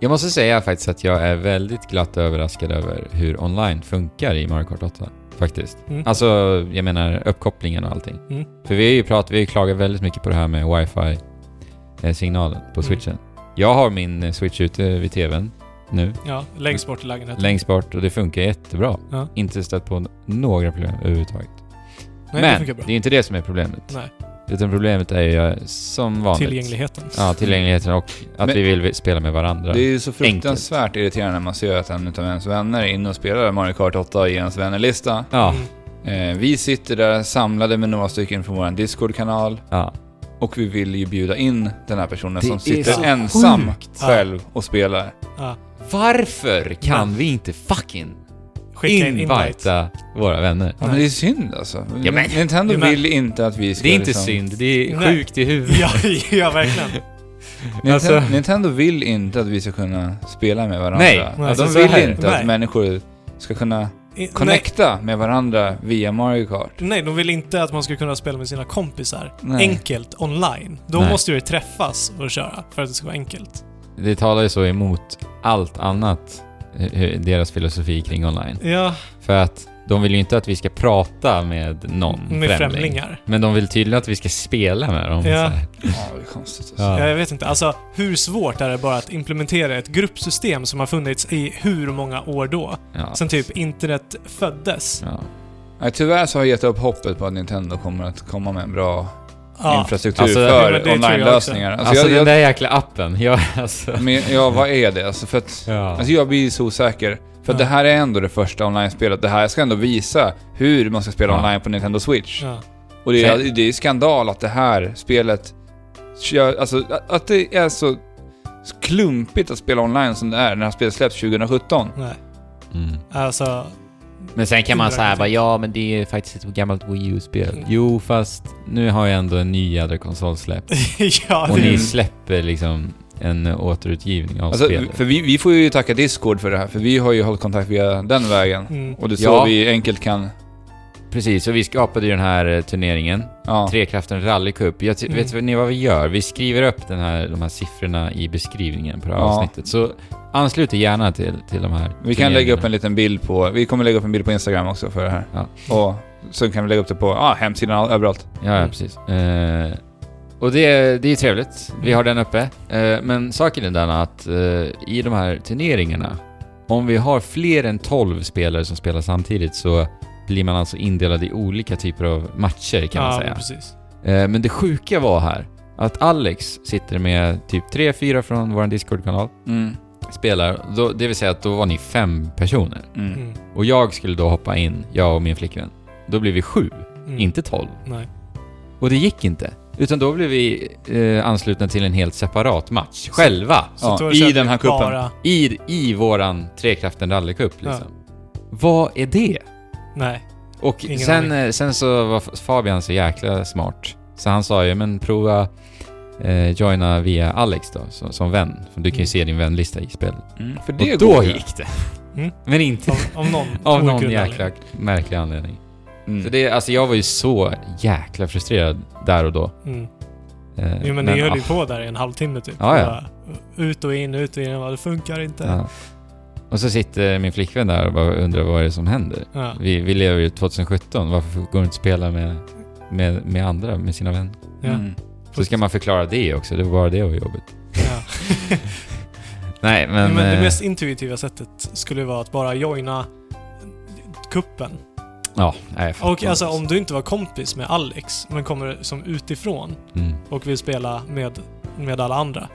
Speaker 2: Jag måste säga faktiskt att jag är väldigt glatt överraskad över hur online funkar i Mario Kart 8. Faktiskt.
Speaker 3: Mm.
Speaker 2: Alltså, jag menar uppkopplingen och allting.
Speaker 3: Mm.
Speaker 2: För vi har ju pratat, vi har ju klagat väldigt mycket på det här med wifi-signalen på
Speaker 3: Mm.
Speaker 2: switchen. Jag har min eh, switch ute vid tvn nu,
Speaker 3: Ja, längst bort i lägenheten.
Speaker 2: längst bort, och det funkar jättebra.
Speaker 3: Ja.
Speaker 2: Inte stött på n- några problem överhuvudtaget.
Speaker 3: Nej, det
Speaker 2: Men
Speaker 3: funkar
Speaker 2: det,
Speaker 3: bra.
Speaker 2: är inte det som är problemet.
Speaker 3: Nej.
Speaker 2: Utan problemet är ju eh, som vanligt.
Speaker 3: Tillgängligheten.
Speaker 2: Ja, tillgängligheten och att
Speaker 1: Men-
Speaker 2: vi vill spela med varandra.
Speaker 1: Det är ju så fruktansvärt irriterande när man ser att en av ens vänner är inne och spelar Mario Kart 8 i ens vännerlista.
Speaker 2: Ja,
Speaker 3: Mm.
Speaker 1: Eh, vi sitter där samlade med några stycken från vår Discord-kanal
Speaker 2: Ja.
Speaker 1: och vi vill ju bjuda in den här personen
Speaker 2: Det
Speaker 1: som
Speaker 2: är
Speaker 1: sitter
Speaker 2: så
Speaker 1: ensam
Speaker 2: sjukt.
Speaker 1: själv och spelar.
Speaker 2: Varför kan vi inte fucking
Speaker 3: Skicka in invite.
Speaker 2: invita våra vänner?
Speaker 1: Ja, men
Speaker 3: Nej.
Speaker 1: det är synd alltså.
Speaker 2: Ja, men-
Speaker 1: Nintendo
Speaker 3: Ja, men-
Speaker 1: vill inte att vi ska
Speaker 2: Det är inte
Speaker 1: liksom,
Speaker 2: synd, det är
Speaker 3: Nej.
Speaker 2: sjukt i huvudet.
Speaker 3: Ja, ja, verkligen.
Speaker 1: Nintendo,
Speaker 2: Alltså-
Speaker 1: Nintendo vill inte att vi ska kunna spela med varandra.
Speaker 2: Nej.
Speaker 1: Ja,
Speaker 3: Alltså,
Speaker 1: de
Speaker 3: så
Speaker 1: vill
Speaker 2: här.
Speaker 1: inte
Speaker 3: Nej.
Speaker 1: att människor ska kunna
Speaker 3: I-
Speaker 1: connecta med varandra via Mario Kart.
Speaker 3: Nej, nej, de vill inte att man ska kunna spela med sina kompisar
Speaker 1: Nej.
Speaker 3: enkelt online. Då
Speaker 2: Nej.
Speaker 3: måste du ju träffas och köra för att det ska vara enkelt.
Speaker 2: Det talar ju så emot allt annat, eh, hur- deras filosofi kring online.
Speaker 3: Ja,
Speaker 2: För att de vill ju inte att vi ska prata med någon
Speaker 3: Mm, med
Speaker 2: främling.
Speaker 3: främlingar.
Speaker 2: Men de vill tydligen att vi ska spela med dem.
Speaker 3: Ja.
Speaker 2: så här.
Speaker 1: Ja, det är konstigt. Alltså.
Speaker 2: Ja.
Speaker 3: Ja. Jag vet inte. Alltså, hur svårt är det bara att implementera ett gruppsystem som har funnits i hur många år då?
Speaker 2: Ja.
Speaker 3: Sen typ internet föddes.
Speaker 2: Ja.
Speaker 1: Nej, tyvärr så har jag gett upp hoppet på att Nintendo kommer att komma med en bra
Speaker 3: Ja,
Speaker 1: infrastruktur
Speaker 2: Alltså,
Speaker 3: ja, men det
Speaker 1: för
Speaker 3: tror jag
Speaker 1: online-lösningar. Alltså,
Speaker 2: Alltså, den
Speaker 1: jag,
Speaker 2: där jäkla appen. Ja, alltså.
Speaker 1: jag, men, ja, vad är det? Alltså, för att,
Speaker 2: Ja.
Speaker 1: alltså, jag blir så osäker. För att det
Speaker 3: Ja.
Speaker 1: här är ändå det första online-spelet. Det här ska ändå visa hur man ska spela
Speaker 2: Ja.
Speaker 1: online på Nintendo Switch.
Speaker 3: ja.
Speaker 1: Och det är,
Speaker 2: Sen-
Speaker 1: det är skandal att det här spelet... Kör, alltså, att det är så klumpigt att spela online som det är när det här spelet släpps 2017.
Speaker 3: Nej.
Speaker 2: Mm.
Speaker 3: Alltså,
Speaker 2: Men sen kan man säga bara ja, men det är faktiskt ett gammalt Wii
Speaker 3: Mm.
Speaker 2: U-spel. Jo, fast nu har jag ändå en ny jädra konsolsläpp.
Speaker 3: ja,
Speaker 2: Och
Speaker 3: det
Speaker 2: ni
Speaker 1: Mm.
Speaker 2: släpper liksom en återutgivning av
Speaker 1: Alltså,
Speaker 2: spelet.
Speaker 1: för vi, vi får ju tacka Discord för det här, för vi har ju hållit kontakt via den vägen.
Speaker 3: mm.
Speaker 1: Och det är så
Speaker 2: Ja.
Speaker 1: vi enkelt kan...
Speaker 2: Precis, och vi skapade ju den här eh, turneringen.
Speaker 1: Ja.
Speaker 2: Trekraften Rally Cup. Jag ty-
Speaker 3: Mm.
Speaker 2: Vet ni vad vi gör? Vi skriver upp den här, de här siffrorna i beskrivningen på det här
Speaker 1: Ja.
Speaker 2: avsnittet. Så anslut er gärna till, till de här
Speaker 1: Vi kan lägga upp en liten bild på... Vi kommer lägga upp en bild på Instagram också för det här.
Speaker 2: Ja.
Speaker 1: Och så kan vi lägga upp det på ah, hemsidan överallt.
Speaker 2: Ja, ja
Speaker 3: Mm.
Speaker 2: precis. Eh, och det, det är ju trevligt. Vi
Speaker 1: Mm.
Speaker 2: har den uppe. Eh, men saken är den att eh, i de här turneringarna, om vi har fler än 12 spelare som spelar samtidigt så blir man alltså indelad i olika typer av matcher kan
Speaker 3: ja,
Speaker 2: man
Speaker 3: men
Speaker 2: säga.
Speaker 3: precis.
Speaker 2: Eh, men det sjuka var här att Alex sitter med typ 3-4 från vår Discord-kanal,
Speaker 1: Mm.
Speaker 2: spelar, då, det vill säga att då var ni fem personer.
Speaker 1: Mm.
Speaker 3: Mm.
Speaker 2: Och jag skulle då hoppa in, jag och min flickvän. Då blir vi sju,
Speaker 3: Mm.
Speaker 2: inte 12.
Speaker 3: Nej.
Speaker 2: Och det gick inte. Utan då blev vi eh, anslutna till en helt separat match. Själva.
Speaker 1: Ja,
Speaker 3: då
Speaker 1: i
Speaker 3: köper
Speaker 1: den här
Speaker 3: vi
Speaker 1: kuppen.
Speaker 3: Bara,
Speaker 2: I, i våran Trekraften rallycup liksom. Vad är det?
Speaker 3: nej.
Speaker 2: Och
Speaker 3: Ingen
Speaker 2: sen, eh, sen så var F- Fabian så jäkla smart. Så han sa ju, men prova eh, joina via Alex då, som, som vän. För du kan ju
Speaker 3: Mm.
Speaker 2: se din vänlista i spelet.
Speaker 1: Mm. För
Speaker 2: Och
Speaker 1: det
Speaker 2: då
Speaker 1: går ju.
Speaker 2: gick det.
Speaker 3: Mm.
Speaker 2: Men inte
Speaker 3: Av, av någon
Speaker 2: av någon
Speaker 3: outgrundlig
Speaker 2: jäkla märklig anledning.
Speaker 1: Mm.
Speaker 2: Så det, alltså jag var ju så jäkla frustrerad där och då.
Speaker 3: anledning. Mm.
Speaker 2: Eh,
Speaker 3: Jo, men, ni höll
Speaker 2: ah.
Speaker 3: ju på där i en halvtimme typ.
Speaker 2: Ja, ja.
Speaker 3: Bara, Ut och in, ut och in. Bara, Det funkar inte.
Speaker 2: Ja. Och så sitter min flickvän där och bara undrar vad är det som händer.
Speaker 3: Ja.
Speaker 2: Vi, vi lever ju 2017, varför går du inte spela med, med, med andra, med sina vänner?
Speaker 3: Ja.
Speaker 1: Mm.
Speaker 2: Så ska man förklara det också, det var bara det och jobbigt.
Speaker 3: Ja.
Speaker 2: Nej men...
Speaker 3: Men, det
Speaker 2: eh,
Speaker 3: mest intuitiva sättet skulle vara att bara joina kuppen.
Speaker 2: Ja, nej, jag
Speaker 3: Och
Speaker 2: fattar.
Speaker 3: alltså om du inte var kompis med Alex, men kommer som utifrån
Speaker 2: Mm,
Speaker 3: och vill spela med, med alla andra.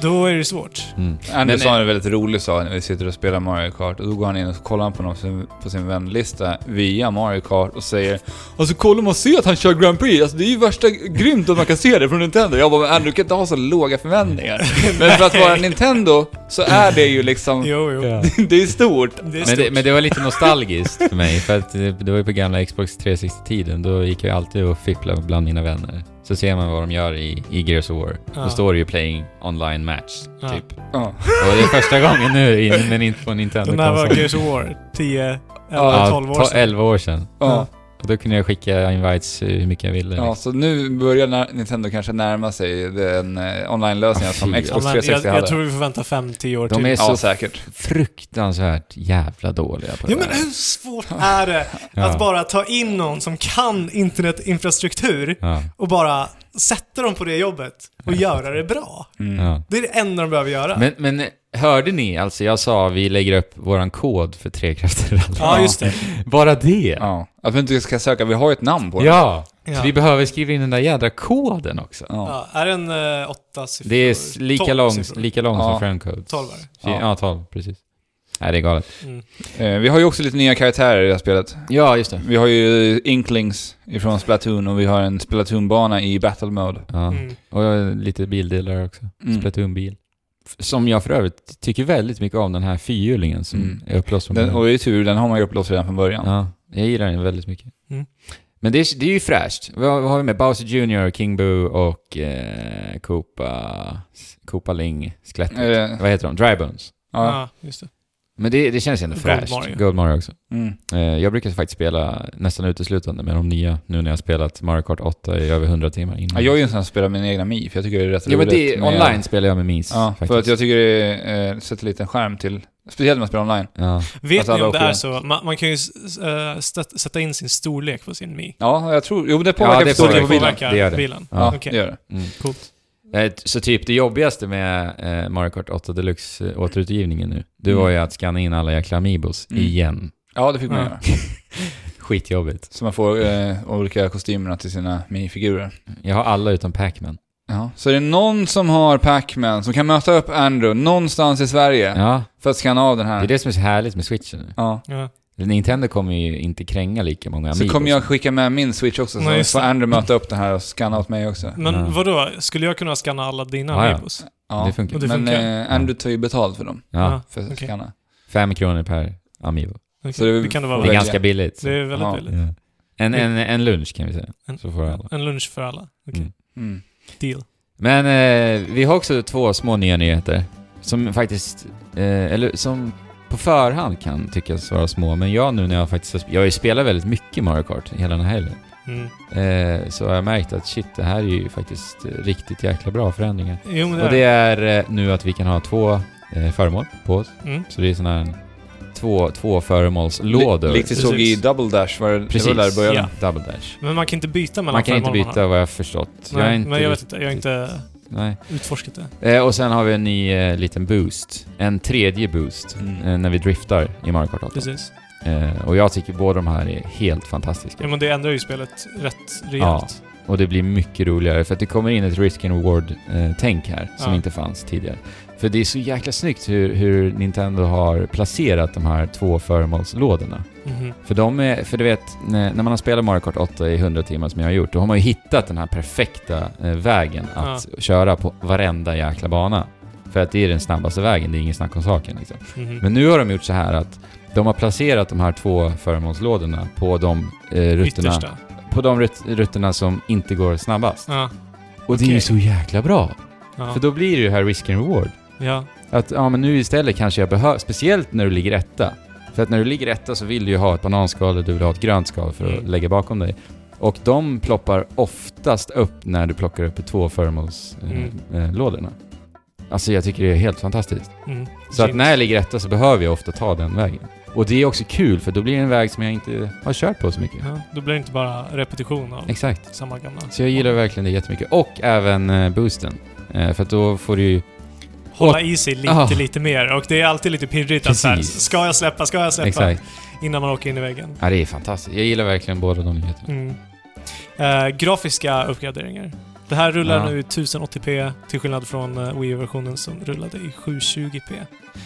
Speaker 3: Då är det svårt.
Speaker 2: mm.
Speaker 1: Anders
Speaker 2: Men-
Speaker 1: sa en väldigt rolig sak när vi sitter och spelar Mario Kart och då går han in och kollar på någon som- på sin vänlista via Mario Kart och säger Alltså kolla man ser att han kör Grand Prix, alltså det är ju värsta grymt att man kan se det från Nintendo. Jag bara, men Andrew, du kan inte ha så låga förväntningar. Men för att vara Nintendo så är det ju liksom,
Speaker 3: Jo, jo.
Speaker 1: det är stort.
Speaker 3: Det är
Speaker 2: Men,
Speaker 3: stort.
Speaker 2: det, men det var lite nostalgiskt för mig, för att det, det var ju på gamla Xbox 360-tiden, då gick jag alltid och fipplade bland mina vänner. Så ser man vad de gör i, i Gears of War.
Speaker 3: Ja.
Speaker 2: Då står det ju playing online match,
Speaker 3: Ja.
Speaker 2: typ.
Speaker 1: Ja.
Speaker 2: Och det är första gången nu, in- men inte på Nintendo
Speaker 3: Den här var Gears of War 10, 11,
Speaker 1: Ja,
Speaker 3: 12 år
Speaker 2: ta- 11 år sedan.
Speaker 1: Ja,
Speaker 2: Och då kunde jag skicka invites eh, hur mycket jag ville.
Speaker 1: ja, så nu börjar när- Nintendo kanske närma sig den eh, online-lösningen
Speaker 2: Ah,
Speaker 1: som
Speaker 2: fy.
Speaker 1: Xbox
Speaker 3: Ja, men
Speaker 1: 360
Speaker 3: jag, jag
Speaker 1: hade.
Speaker 3: tror vi får vänta 5-10 år
Speaker 2: De
Speaker 3: till.
Speaker 2: är
Speaker 1: Ja,
Speaker 2: så-
Speaker 1: säkert.
Speaker 2: Fruktansvärt jävla dåliga på det
Speaker 3: Ja, men
Speaker 2: där.
Speaker 3: hur svårt är det
Speaker 2: Ja.
Speaker 3: att bara ta in någon som kan internetinfrastruktur
Speaker 2: Ja,
Speaker 3: och bara sätta dem på det jobbet och göra det bra?
Speaker 1: Mm.
Speaker 2: ja.
Speaker 3: Det är det enda de behöver göra.
Speaker 2: Men, men hörde ni? Alltså jag sa vi lägger upp våran kod för trekrafter.
Speaker 3: ja, just det.
Speaker 2: Bara det? Ja.
Speaker 1: Ja. Att vi inte ska söka, vi har ju ett namn på den.
Speaker 2: Så
Speaker 3: Ja.
Speaker 2: vi behöver skriva in den där jädra koden också.
Speaker 1: Ja.
Speaker 3: Ja, är den eh, åtta siffror?
Speaker 2: Det är s- lika
Speaker 3: Tolv
Speaker 2: lång,
Speaker 3: siffror.
Speaker 2: lika lång
Speaker 1: Ja.
Speaker 2: som friendcode.
Speaker 3: Tolv är det.
Speaker 2: Ja, 12, precis. Nej, det är galet.
Speaker 3: Mm.
Speaker 1: Eh, vi har ju också lite nya karaktärer i det här spelet.
Speaker 2: Ja, just det.
Speaker 1: Vi har ju Inklings ifrån Splatoon och vi har en Splatoon-bana i Battle Mode.
Speaker 2: Ja.
Speaker 3: Mm.
Speaker 2: Och eh, lite bildelar också.
Speaker 1: Mm.
Speaker 2: Splatoon-bil. F- Som jag för övrigt tycker väldigt mycket om, den här fyrhjulingen som
Speaker 1: Mm.
Speaker 2: är upplåst från
Speaker 1: Den,
Speaker 2: början.
Speaker 1: och det är tur, den har man ju upplåst redan från början.
Speaker 2: Ja, jag gillar den väldigt mycket.
Speaker 3: Mm.
Speaker 2: Men det är, det är ju fräscht. Vad, har- vad har vi med? Bowser Jr, King Boo och eh, Koopa... Koopa Ling, skelettet.
Speaker 1: Eh,
Speaker 2: Vad heter de? Drybones.
Speaker 1: ja.
Speaker 3: Ja, just det.
Speaker 2: Men det, det känns ändå
Speaker 3: Gold
Speaker 2: fräscht.
Speaker 3: Mario.
Speaker 2: Gold Mario också.
Speaker 1: Mm.
Speaker 2: Eh, jag brukar faktiskt spela nästan uteslutande med de nya, nu när jag har spelat Mario Kart 8 i över 100 timmar
Speaker 1: Ja,
Speaker 2: innan.
Speaker 1: jag är ju en sån som spelar mina egna Mi, för jag tycker det är rätt
Speaker 2: Jo men det är,
Speaker 1: med-
Speaker 2: online spelar jag med Mis
Speaker 1: Ja,
Speaker 2: faktiskt.
Speaker 1: för att jag tycker det är, eh, sätter lite en skärm till... Speciellt när man spelar online.
Speaker 2: Ja.
Speaker 3: Vet
Speaker 1: Alltså,
Speaker 3: ni om
Speaker 1: alla
Speaker 3: det är
Speaker 1: åker.
Speaker 3: så? Man, man kan ju s- eh, stat- sätta in sin storlek på sin Mi.
Speaker 1: Ja, jag tror... Jo, det påverkar
Speaker 2: Ja, det
Speaker 1: storleken på bilen.
Speaker 2: påverkar.
Speaker 3: påverkar
Speaker 2: det gör det.
Speaker 3: bilen.
Speaker 1: Ja,
Speaker 3: Okej.
Speaker 1: det gör det.
Speaker 2: Mm.
Speaker 3: Coolt.
Speaker 2: Eh, t- Så typ det jobbigaste med eh, Mario Kart 8 Deluxe eh, återutgivningen nu, det var ju
Speaker 3: Mm.
Speaker 2: att scanna in alla jäkla Amiibos
Speaker 1: Mm.
Speaker 2: igen.
Speaker 1: Ja, det fick man
Speaker 3: Ja.
Speaker 1: göra.
Speaker 2: Skitjobbigt.
Speaker 1: Så man får eh, olika kostymerna till sina minifigurer.
Speaker 2: Jag har alla utom Pac-Man.
Speaker 1: Ja. Så är det någon som har Pac-Man som kan möta upp Andrew någonstans i Sverige
Speaker 2: Ja,
Speaker 1: för att skanna av den
Speaker 2: det
Speaker 1: här.
Speaker 2: är det som är så härligt med switchen nu.
Speaker 1: Ja.
Speaker 3: Ja.
Speaker 2: Nintendo kommer ju inte kränga lika många
Speaker 1: Så
Speaker 2: Amiibos.
Speaker 1: kommer jag skicka med min switch också, så
Speaker 3: Nej, just
Speaker 1: får
Speaker 3: det.
Speaker 1: Andrew möta upp den här och skanna åt mig också.
Speaker 3: Men
Speaker 2: Ja.
Speaker 3: vadå? Skulle jag kunna scanna alla dina
Speaker 2: Ja, ja.
Speaker 3: Amiibos?
Speaker 1: Ja.
Speaker 2: Det funkar.
Speaker 3: Och det
Speaker 1: Men
Speaker 3: funkar.
Speaker 1: eh, Andrew tar ju betalt för dem,
Speaker 2: Ja,
Speaker 1: för att
Speaker 3: Okej.
Speaker 1: skanna.
Speaker 2: fem kronor per Amiibo.
Speaker 3: okej.
Speaker 1: Så det-
Speaker 3: det, kan det vara
Speaker 2: Det är
Speaker 1: Välja.
Speaker 3: värt.
Speaker 2: ganska billigt.
Speaker 3: Det är väldigt
Speaker 1: Ja.
Speaker 3: billigt.
Speaker 2: Ja. En, en, en lunch kan vi säga.
Speaker 3: En-
Speaker 2: Så får alla.
Speaker 3: En lunch för alla. Okej.
Speaker 2: Mm.
Speaker 1: Mm.
Speaker 3: Deal.
Speaker 2: Men eh, vi har också två små nya nyheter. Som faktiskt, eh, eller som på förhand kan tyckas vara små, men jag nu när jag faktiskt har sp- jag har ju spelat väldigt mycket Mario Kart hela den här helgen.
Speaker 3: Mm.
Speaker 2: Eh, så har jag märkt att shit, det här är ju faktiskt eh, riktigt jäkla bra förändringar.
Speaker 3: Jo, men det,
Speaker 2: Och
Speaker 3: är
Speaker 2: det är eh, nu att vi kan ha två eh, föremål på oss.
Speaker 3: Mm.
Speaker 2: Så det är sån här en- två, två föremålslådor.
Speaker 1: Li- Likt vi såg i
Speaker 3: Precis.
Speaker 1: Double Dash, var det, det var
Speaker 2: Precis.
Speaker 1: där det började.
Speaker 3: Ja.
Speaker 2: Double dash.
Speaker 3: Men man kan inte byta mellan
Speaker 2: Man kan inte
Speaker 3: föremålen,
Speaker 2: byta vad jag har förstått.
Speaker 3: Nej,
Speaker 2: jag är inte
Speaker 3: men jag vet
Speaker 2: riktigt-
Speaker 3: inte. Jag har inte
Speaker 2: Nej.
Speaker 3: utforskat det.
Speaker 2: Eh, och sen har vi en ny eh, liten boost. En tredje boost
Speaker 1: Mm.
Speaker 2: eh, när vi driftar i Mario Kart 8.
Speaker 3: Precis.
Speaker 2: Eh, och jag tycker båda de här är helt fantastiska.
Speaker 3: Ja, men det ändrar ju spelet rätt rejält.
Speaker 2: Och det blir mycket roligare för att det kommer in ett risk and reward-tänk här som
Speaker 3: Ja.
Speaker 2: inte fanns tidigare. För det är så jäkla snyggt hur, hur Nintendo har placerat de här två föremålslådorna.
Speaker 3: Mhm.
Speaker 2: För de är, för du vet, när när man har spelat Mario Kart 8 i 100 timmar som jag har gjort, då har man ju hittat den här perfekta eh, vägen att köra på varenda jäkla bana. För att det är den snabbaste vägen, det är ingen snack om saken liksom.
Speaker 3: Mhm.
Speaker 2: Men nu har de gjort så här att de har placerat de här två föremålslådorna på de eh, rutterna,
Speaker 3: Yttersta.
Speaker 2: på de rut rutterna som inte går snabbast.
Speaker 3: Ja.
Speaker 2: Och det är ju
Speaker 3: okej.
Speaker 2: så jäkla bra!
Speaker 3: Ja.
Speaker 2: För då blir det ju här risk and reward.
Speaker 3: ja.
Speaker 2: Att ja, men nu istället kanske jag behöver, speciellt när du ligger etta. För att när du ligger etta så vill du ju ha ett bananskal eller du vill ha ett grönt skal för att
Speaker 3: Mm.
Speaker 2: lägga bakom dig. Och de ploppar oftast upp när du plockar upp i två
Speaker 3: Mm.
Speaker 2: föremålslådorna. Eh, lådorna. alltså jag tycker det är helt fantastiskt.
Speaker 3: Mm.
Speaker 2: Så att när jag ligger etta så behöver jag ofta ta den vägen. Och det är också kul för då blir det en väg som jag inte har kört på så mycket.
Speaker 3: Ja, då blir det inte bara repetition av
Speaker 2: Exakt.
Speaker 3: samma gamla.
Speaker 2: Så jag gillar verkligen det jättemycket. Och även eh, boosten. Eh, för att då får du ju...
Speaker 3: Hålla i sig lite,
Speaker 2: Ah.
Speaker 3: lite mer. Och det är alltid lite pirrigt att så här,
Speaker 2: Precis.
Speaker 3: ska jag släppa, ska jag släppa?
Speaker 2: Exakt.
Speaker 3: Innan man åker in i väggen.
Speaker 2: Ja, det är fantastiskt. Jag gillar verkligen båda de nyheterna.
Speaker 3: Mm. Eh, grafiska uppgraderingar. Det här rullar
Speaker 2: Ja.
Speaker 3: nu i 1080p till skillnad från eh, Wii U-versionen som rullade i 720p.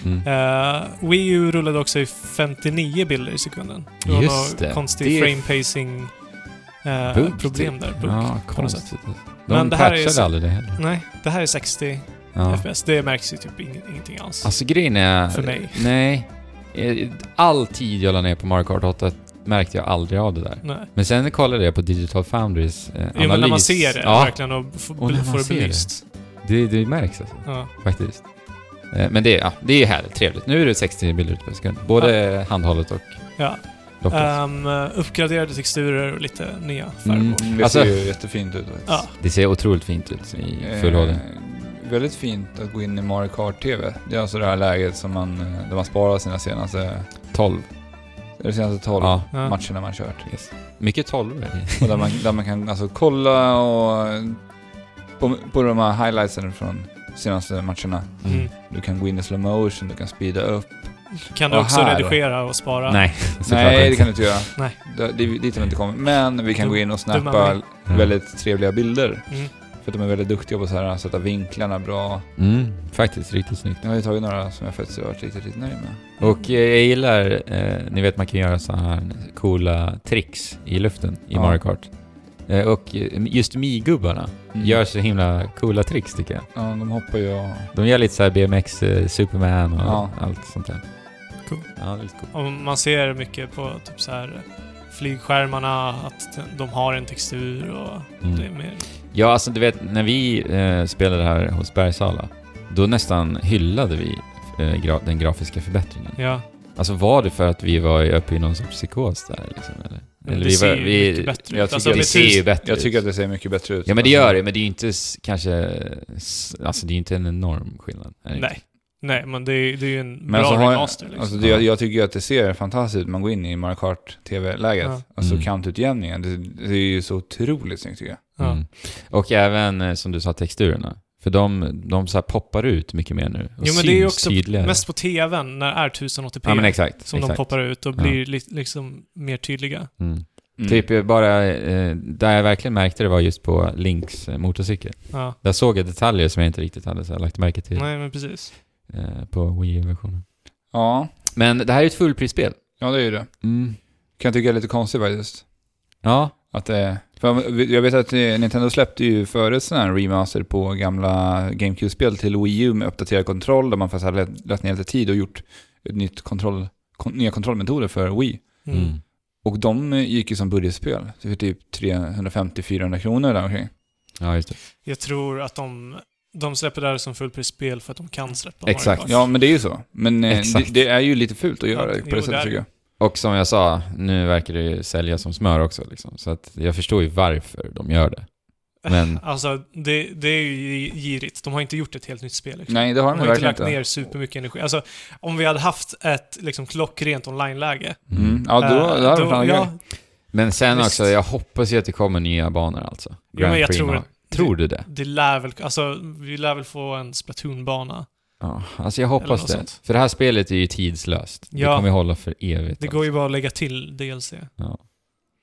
Speaker 2: Mm.
Speaker 3: Eh, Wii U rullade också i 59 bilder i sekunden. Det var
Speaker 2: Just
Speaker 3: något
Speaker 2: det.
Speaker 3: konstig
Speaker 2: det är-
Speaker 3: frame pacing eh,
Speaker 2: Bugg, typ.
Speaker 3: problem där. Bugg.
Speaker 2: Ja,
Speaker 3: på något
Speaker 2: konstigt. De
Speaker 3: Men det här är
Speaker 2: patchade
Speaker 3: så-
Speaker 2: aldrig det heller.
Speaker 3: Nej, det här är 60
Speaker 2: Ja.
Speaker 3: FPS. Det märks ju typ ing- ingenting alls.
Speaker 2: Alltså grejen är...
Speaker 3: För mig.
Speaker 2: Nej. Eh, All tid jag la ner på Mario Kart 8 märkte jag aldrig av det där.
Speaker 3: Nej.
Speaker 2: Men sen kollade jag på Digital Foundries eh,
Speaker 3: Jo, men när man
Speaker 2: analys.
Speaker 3: ser det
Speaker 2: ja,
Speaker 3: verkligen och, f-
Speaker 2: Och när man
Speaker 3: får det
Speaker 2: ser det.
Speaker 3: belyst.
Speaker 2: det, det märks alltså,
Speaker 3: Ja.
Speaker 2: faktiskt. Eh, Men det, är- ja, det är ju härligt, trevligt. Nu är det 60 bilder ute på sekund. Både handhållet och
Speaker 3: Ja.
Speaker 2: docket.
Speaker 3: Ehm, uppgraderade texturer och lite nya färger.
Speaker 2: Mm.
Speaker 1: Det
Speaker 2: Alltså-
Speaker 1: ser ju jättefint ut faktiskt.
Speaker 3: Ja.
Speaker 2: det ser otroligt fint ut i full
Speaker 1: Eh,
Speaker 2: HD.
Speaker 1: Väldigt fint att gå in i Mario Kart TV. Det är alltså det här läget som man, eh, där man sparar sina senaste,
Speaker 2: 12.
Speaker 1: eller senaste 12
Speaker 2: Ja,
Speaker 3: Ja.
Speaker 1: matcherna man kört.
Speaker 2: yes. Mycket 12 är det.
Speaker 1: Och där man, där man kan alltså kolla och eh, på, på de här highlightsen från senaste matcherna.
Speaker 3: Mm.
Speaker 1: Du kan gå in i slow motion, du kan speeda upp.
Speaker 3: Kan du
Speaker 1: Och
Speaker 3: också
Speaker 1: här då?
Speaker 3: redigera och spara?
Speaker 2: Nej, såklart
Speaker 1: Nej, det
Speaker 2: inte.
Speaker 1: kan du inte göra.
Speaker 3: Nej.
Speaker 1: Det, det, dit har vi inte kommit. Men vi kan
Speaker 3: Dum-
Speaker 1: gå in och
Speaker 3: dumma
Speaker 1: snappa
Speaker 3: mig.
Speaker 2: Mm.
Speaker 1: väldigt trevliga bilder.
Speaker 3: Mm.
Speaker 1: För att de är väldigt duktiga på så här, att sätta vinklarna bra.
Speaker 2: Mm, faktiskt riktigt snyggt.
Speaker 1: Jag har ju tagit några som jag faktiskt har varit riktigt, riktigt nöjd med.
Speaker 2: Och eh, jag gillar, eh, ni vet man kan göra sådana här coola tricks i luften i
Speaker 1: Ja.
Speaker 2: Mario Kart. Eh, och eh, just Mii-gubbarna
Speaker 1: Mm.
Speaker 2: gör så himla coola tricks tycker jag.
Speaker 1: Ja, de hoppar ju och...
Speaker 2: De gör lite såhär BMX, eh, Superman och
Speaker 1: Ja.
Speaker 2: allt sånt där.
Speaker 3: Cool.
Speaker 2: Ja, det är lite coolt.
Speaker 3: Och man ser mycket på typ så här flygskärmarna, att de har en textur och
Speaker 2: Mm.
Speaker 3: det är mer...
Speaker 2: Ja, alltså du vet, när vi eh, spelade här hos Bergsala, då nästan hyllade vi eh, gra den grafiska förbättringen.
Speaker 3: Ja,
Speaker 2: Alltså var det för att vi var uppe i någon sorts psykos där liksom, eller?
Speaker 3: men
Speaker 2: eller
Speaker 3: det
Speaker 2: vi
Speaker 3: ser
Speaker 2: var,
Speaker 3: ju
Speaker 2: vi,
Speaker 3: mycket bättre
Speaker 2: jag
Speaker 3: ut.
Speaker 2: tycker
Speaker 3: Alltså,
Speaker 2: att det
Speaker 3: precis.
Speaker 2: ser ju bättre
Speaker 1: Jag tycker
Speaker 2: ut.
Speaker 1: att det ser mycket bättre ut. Alltså,
Speaker 2: Ja men det gör det, men det är ju inte s- kanske... s- Alltså det är ju inte en enorm skillnad. är det inte?
Speaker 3: nej. Nej, men det är, det är ju en
Speaker 1: Men
Speaker 3: bra
Speaker 1: alltså, har-
Speaker 3: remaster liksom.
Speaker 1: Alltså, det, jag, jag tycker ju att det ser fantastiskt ut. Man går in i Mario Kart TV-läget.
Speaker 3: Ja.
Speaker 1: Alltså
Speaker 2: Mm.
Speaker 1: kantutjämningen. Det, det är ju så otroligt snyggt tycker jag.
Speaker 3: ja.
Speaker 2: Mm. Och även eh, som du sa, texturerna. För de, de så här poppar ut mycket mer nu och
Speaker 3: Jo, men
Speaker 2: syns
Speaker 3: det är ju också
Speaker 2: tydligare.
Speaker 3: mest på TVn när det är 1080p
Speaker 2: ja men exakt.
Speaker 3: som de
Speaker 2: exakt.
Speaker 3: poppar ut och
Speaker 2: Ja.
Speaker 3: blir li- liksom mer tydliga.
Speaker 2: Mm.
Speaker 1: Mm.
Speaker 2: Typ eh, bara, eh, där jag verkligen märkte det var just på Links eh, motorcykel.
Speaker 3: Ja.
Speaker 2: Där såg jag detaljer som jag inte riktigt hade så här, lagt märke till
Speaker 3: Nej, men precis.
Speaker 2: eh, på Wii-versionen.
Speaker 1: Ja.
Speaker 2: Men det här är ju ett fullprisspel.
Speaker 1: ja, det är ju det.
Speaker 2: Mm.
Speaker 1: Kan jag tycka är lite konstigt faktiskt.
Speaker 2: Ja,
Speaker 1: Att det, för jag vet att eh, Nintendo släppte ju förut sådana här remaster på gamla GameCube-spel till Wii U med uppdaterad kontroll där man faktiskt hade lagt- lagt ner lite tid och gjort ett nytt kontroll, kon, nya kontrollmetoder för Wii.
Speaker 3: Mm.
Speaker 2: Mm.
Speaker 1: Och de eh, gick ju som budgetspel. Så för typ 350-400 kronor där omkring.
Speaker 2: Ja, just det.
Speaker 3: Jag tror att de, de släpper det här som fullprisspel för att de kan släppa
Speaker 2: Exakt.
Speaker 3: Mario Kart.
Speaker 1: Ja, men det är ju så. Men eh,
Speaker 2: Exakt.
Speaker 1: det, det är ju lite fult att göra
Speaker 3: Ja,
Speaker 1: på
Speaker 3: jo,
Speaker 1: det
Speaker 3: det
Speaker 1: sättet
Speaker 3: är
Speaker 1: tycker jag.
Speaker 2: Och som jag sa, nu verkar det ju sälja som smör också liksom. Så att jag förstår ju varför de gör det. Men
Speaker 3: Alltså, det, det är ju girigt. De har inte gjort ett helt nytt spel. Liksom.
Speaker 1: Nej, det har de,
Speaker 3: De har inte
Speaker 1: verkligen
Speaker 3: lagt
Speaker 1: inte.
Speaker 3: ner supermycket energi. Alltså, om vi hade haft ett liksom, klockrent online-läge.
Speaker 1: Mm. Ja, då,
Speaker 3: eh,
Speaker 1: då hade det varit
Speaker 3: ja,
Speaker 1: ja.
Speaker 2: Men sen
Speaker 3: Visst.
Speaker 2: också, jag hoppas ju att det kommer nya banor alltså.
Speaker 3: ja, men jag
Speaker 2: Prix
Speaker 3: tror
Speaker 2: Mar-
Speaker 3: att
Speaker 2: Tror du det?
Speaker 3: det lär väl, alltså, vi lär väl få en Splatoon-bana.
Speaker 2: Ja, alltså jag
Speaker 3: Eller
Speaker 2: hoppas
Speaker 3: något
Speaker 2: det.
Speaker 3: sånt.
Speaker 2: För det här spelet är ju tidslöst. Det
Speaker 3: Ja.
Speaker 2: kommer ju hålla för evigt.
Speaker 3: Det går ju bara att lägga till DLC.
Speaker 2: alltså. ja.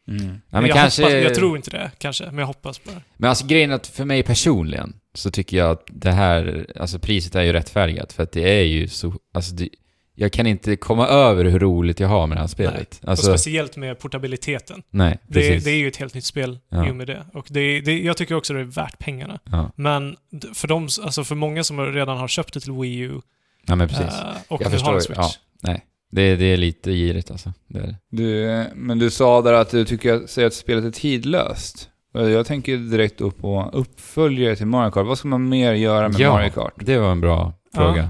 Speaker 1: mm.
Speaker 2: Ja, men
Speaker 3: jag,
Speaker 2: kanske...
Speaker 3: hoppas, jag tror inte det, kanske, men jag hoppas på det.
Speaker 2: Men alltså grejen är att för mig personligen så tycker jag att det här, alltså priset är ju rättfärdigat för att det är ju så, alltså det, jag kan inte komma över hur roligt jag har med det här spelet. alltså,
Speaker 3: och speciellt med portabiliteten.
Speaker 2: nej,
Speaker 3: Det,
Speaker 2: precis.
Speaker 3: det är ju ett helt nytt spel
Speaker 2: Ja.
Speaker 3: i och med det. Och det, det, jag tycker också det är värt pengarna.
Speaker 2: ja.
Speaker 3: Men d- för, de, alltså för många som redan har köpt det till Wii U
Speaker 2: ja, men precis.
Speaker 3: eh, och
Speaker 2: Jag
Speaker 3: vill
Speaker 2: förstår
Speaker 3: ha
Speaker 2: ju,
Speaker 3: en Switch.
Speaker 2: ja. Det, det är lite girigt alltså. Det är det.
Speaker 1: Du, eh, men du sa där att du tycker att, säger att spelet är tidlöst. Och Jag tänker direkt då på uppföljare till Mario Kart. Vad ska man mer göra med
Speaker 2: Ja.
Speaker 1: Mario Kart?
Speaker 2: det var en bra
Speaker 3: Ja.
Speaker 2: fråga.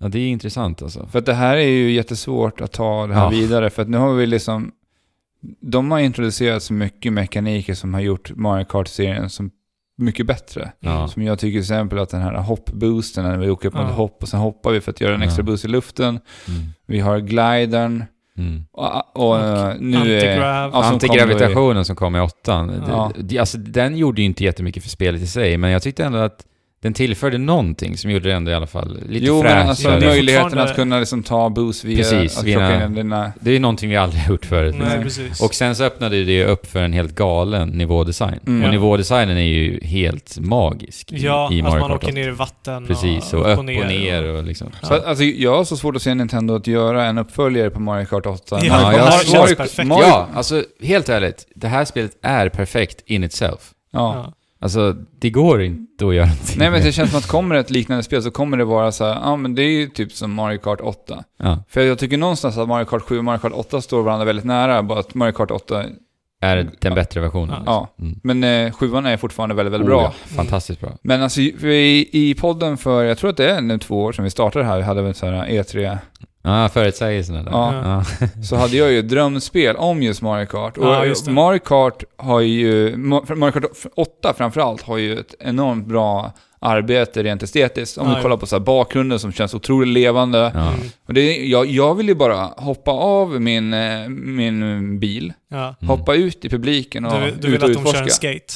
Speaker 2: Ja, det är intressant alltså.
Speaker 1: För att det här är ju jättesvårt att ta det här
Speaker 2: Ja.
Speaker 1: vidare. För att nu har vi liksom... De har introducerat så mycket mekaniker som har gjort Mario Kart-serien som mycket bättre.
Speaker 2: Ja.
Speaker 1: Som jag tycker till exempel att den här hoppboosten, när vi åker upp mot
Speaker 3: Ja.
Speaker 1: hopp och sen hoppar vi för att göra en extra
Speaker 2: Ja.
Speaker 1: boost i luften.
Speaker 2: Mm.
Speaker 1: Vi har glidern
Speaker 2: Mm.
Speaker 1: och, och, eh, nu är...
Speaker 3: Antigrav.
Speaker 1: Ja, som
Speaker 2: Antigravitationen som kom i åttan, det-
Speaker 1: Ja.
Speaker 2: det, alltså, den gjorde ju inte jättemycket för spelet i sig, men jag tyckte ändå att den tillförde någonting som gjorde det ändå i alla fall lite
Speaker 1: Jo, men alltså
Speaker 2: fräschare.
Speaker 3: det är
Speaker 1: möjligheten
Speaker 3: fortfarande-
Speaker 1: att kunna liksom ta boost via...
Speaker 2: Precis,
Speaker 1: att
Speaker 2: via-
Speaker 1: plocka in dina...
Speaker 2: Det är ju någonting vi aldrig har gjort förut. liksom.
Speaker 3: Nej,
Speaker 1: Nej.
Speaker 3: precis.
Speaker 2: Och sen så öppnade det ju upp för en helt galen nivådesign.
Speaker 1: Mm.
Speaker 2: Och
Speaker 3: Ja.
Speaker 2: nivådesignen är ju helt magisk i,
Speaker 3: ja,
Speaker 2: i
Speaker 3: att
Speaker 2: Mario
Speaker 3: man
Speaker 2: Kart.
Speaker 3: åker ner i vatten
Speaker 2: Precis, och upp och ner och liksom.
Speaker 1: Så att, alltså, jag har så svårt att se Nintendo att göra en uppföljare på Mario Kart 8.
Speaker 3: Ja,
Speaker 2: Ja, jag-
Speaker 1: Mario-
Speaker 2: känns
Speaker 1: Mario-
Speaker 3: perfekt.
Speaker 1: Mario-
Speaker 2: Ja, alltså helt ärligt, det här spelet är perfekt in itself.
Speaker 1: Ja.
Speaker 3: Ja.
Speaker 2: Alltså, det går inte att göra någonting
Speaker 1: Nej men
Speaker 2: med.
Speaker 1: det känns som att kommer ett liknande spel så kommer det vara så här, ja men det är ju typ som Mario Kart 8.
Speaker 2: ja,
Speaker 1: För jag tycker någonstans att Mario Kart 7 och Mario Kart 8 står varandra väldigt nära, bara att Mario Kart 8,
Speaker 2: är den bättre versionen.
Speaker 3: Ja.
Speaker 1: ja.
Speaker 2: Mm.
Speaker 1: Men eh, 7 är fortfarande väldigt, väldigt
Speaker 2: Oh,
Speaker 1: bra.
Speaker 2: ja, fantastiskt bra.
Speaker 1: Men alltså vi, i podden för, jag tror att det är nu två år sedan vi startade här, vi hade väl så här E3,
Speaker 2: Ja, förutsägelserna där.
Speaker 1: Ja.
Speaker 2: Ja.
Speaker 1: så hade jag ju ett drömspel om just Mario Kart. Och
Speaker 3: Ja, just det.
Speaker 1: Mario Kart har ju, Ma- Mario Kart 8 framförallt har ju ett enormt bra arbete rent estetiskt. Om
Speaker 3: Ja,
Speaker 1: vi
Speaker 3: ja.
Speaker 1: kollar på så här bakgrunden som känns otroligt levande.
Speaker 2: Ja.
Speaker 3: Mm.
Speaker 1: Och det, jag, jag vill ju bara hoppa av min, eh, min bil,
Speaker 3: Ja.
Speaker 2: Mm.
Speaker 1: hoppa ut i publiken och
Speaker 3: Du, du
Speaker 1: ut
Speaker 3: vill
Speaker 1: och
Speaker 3: att de kör
Speaker 1: utforska.
Speaker 3: en skate?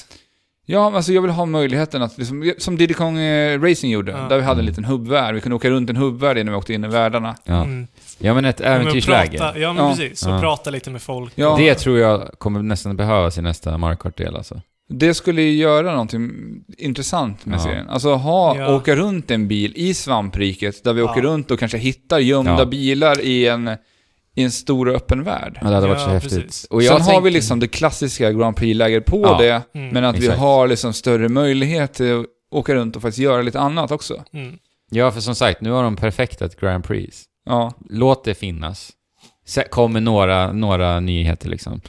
Speaker 1: Ja, men alltså jag vill ha möjligheten att, liksom, som Diddy Kong eh, Racing gjorde,
Speaker 3: Ja.
Speaker 1: där vi hade en
Speaker 2: Mm.
Speaker 1: liten hubbvärld. Vi kunde åka runt en hubbvärld innan vi åkte in i världarna.
Speaker 2: Ja.
Speaker 3: Mm.
Speaker 2: ja, men ett
Speaker 3: men
Speaker 2: äventyrsläge.
Speaker 3: prata, ja, men
Speaker 1: Ja.
Speaker 3: precis. Och
Speaker 2: Ja.
Speaker 3: prata lite med folk.
Speaker 1: Ja,
Speaker 2: Det tror jag kommer nästan behövas i nästa Mario Kart-del alltså.
Speaker 1: Det skulle ju göra någonting intressant med
Speaker 2: Ja.
Speaker 1: serien. Alltså ha,
Speaker 3: Ja.
Speaker 1: åka runt en bil i svampriket där vi
Speaker 3: Ja.
Speaker 1: åker runt och kanske hittar gömda
Speaker 2: Ja.
Speaker 1: bilar i en, i en stor och öppen värld.
Speaker 2: Ja, det hade varit så
Speaker 3: Ja,
Speaker 2: häftigt.
Speaker 3: precis.
Speaker 2: Och
Speaker 1: Sen
Speaker 2: jag
Speaker 1: har vi
Speaker 2: tänkte-
Speaker 1: liksom det klassiska Grand Prix-läget på
Speaker 2: Ja.
Speaker 1: det,
Speaker 3: Mm.
Speaker 1: men att vi
Speaker 2: Exakt.
Speaker 1: har liksom större möjlighet till att åka runt och faktiskt göra lite annat också.
Speaker 3: Mm.
Speaker 2: Ja, för som sagt, nu har de perfektat Grand Prix.
Speaker 1: Ja,
Speaker 2: Låt det finnas. Sen kommer några, några nyheter liksom.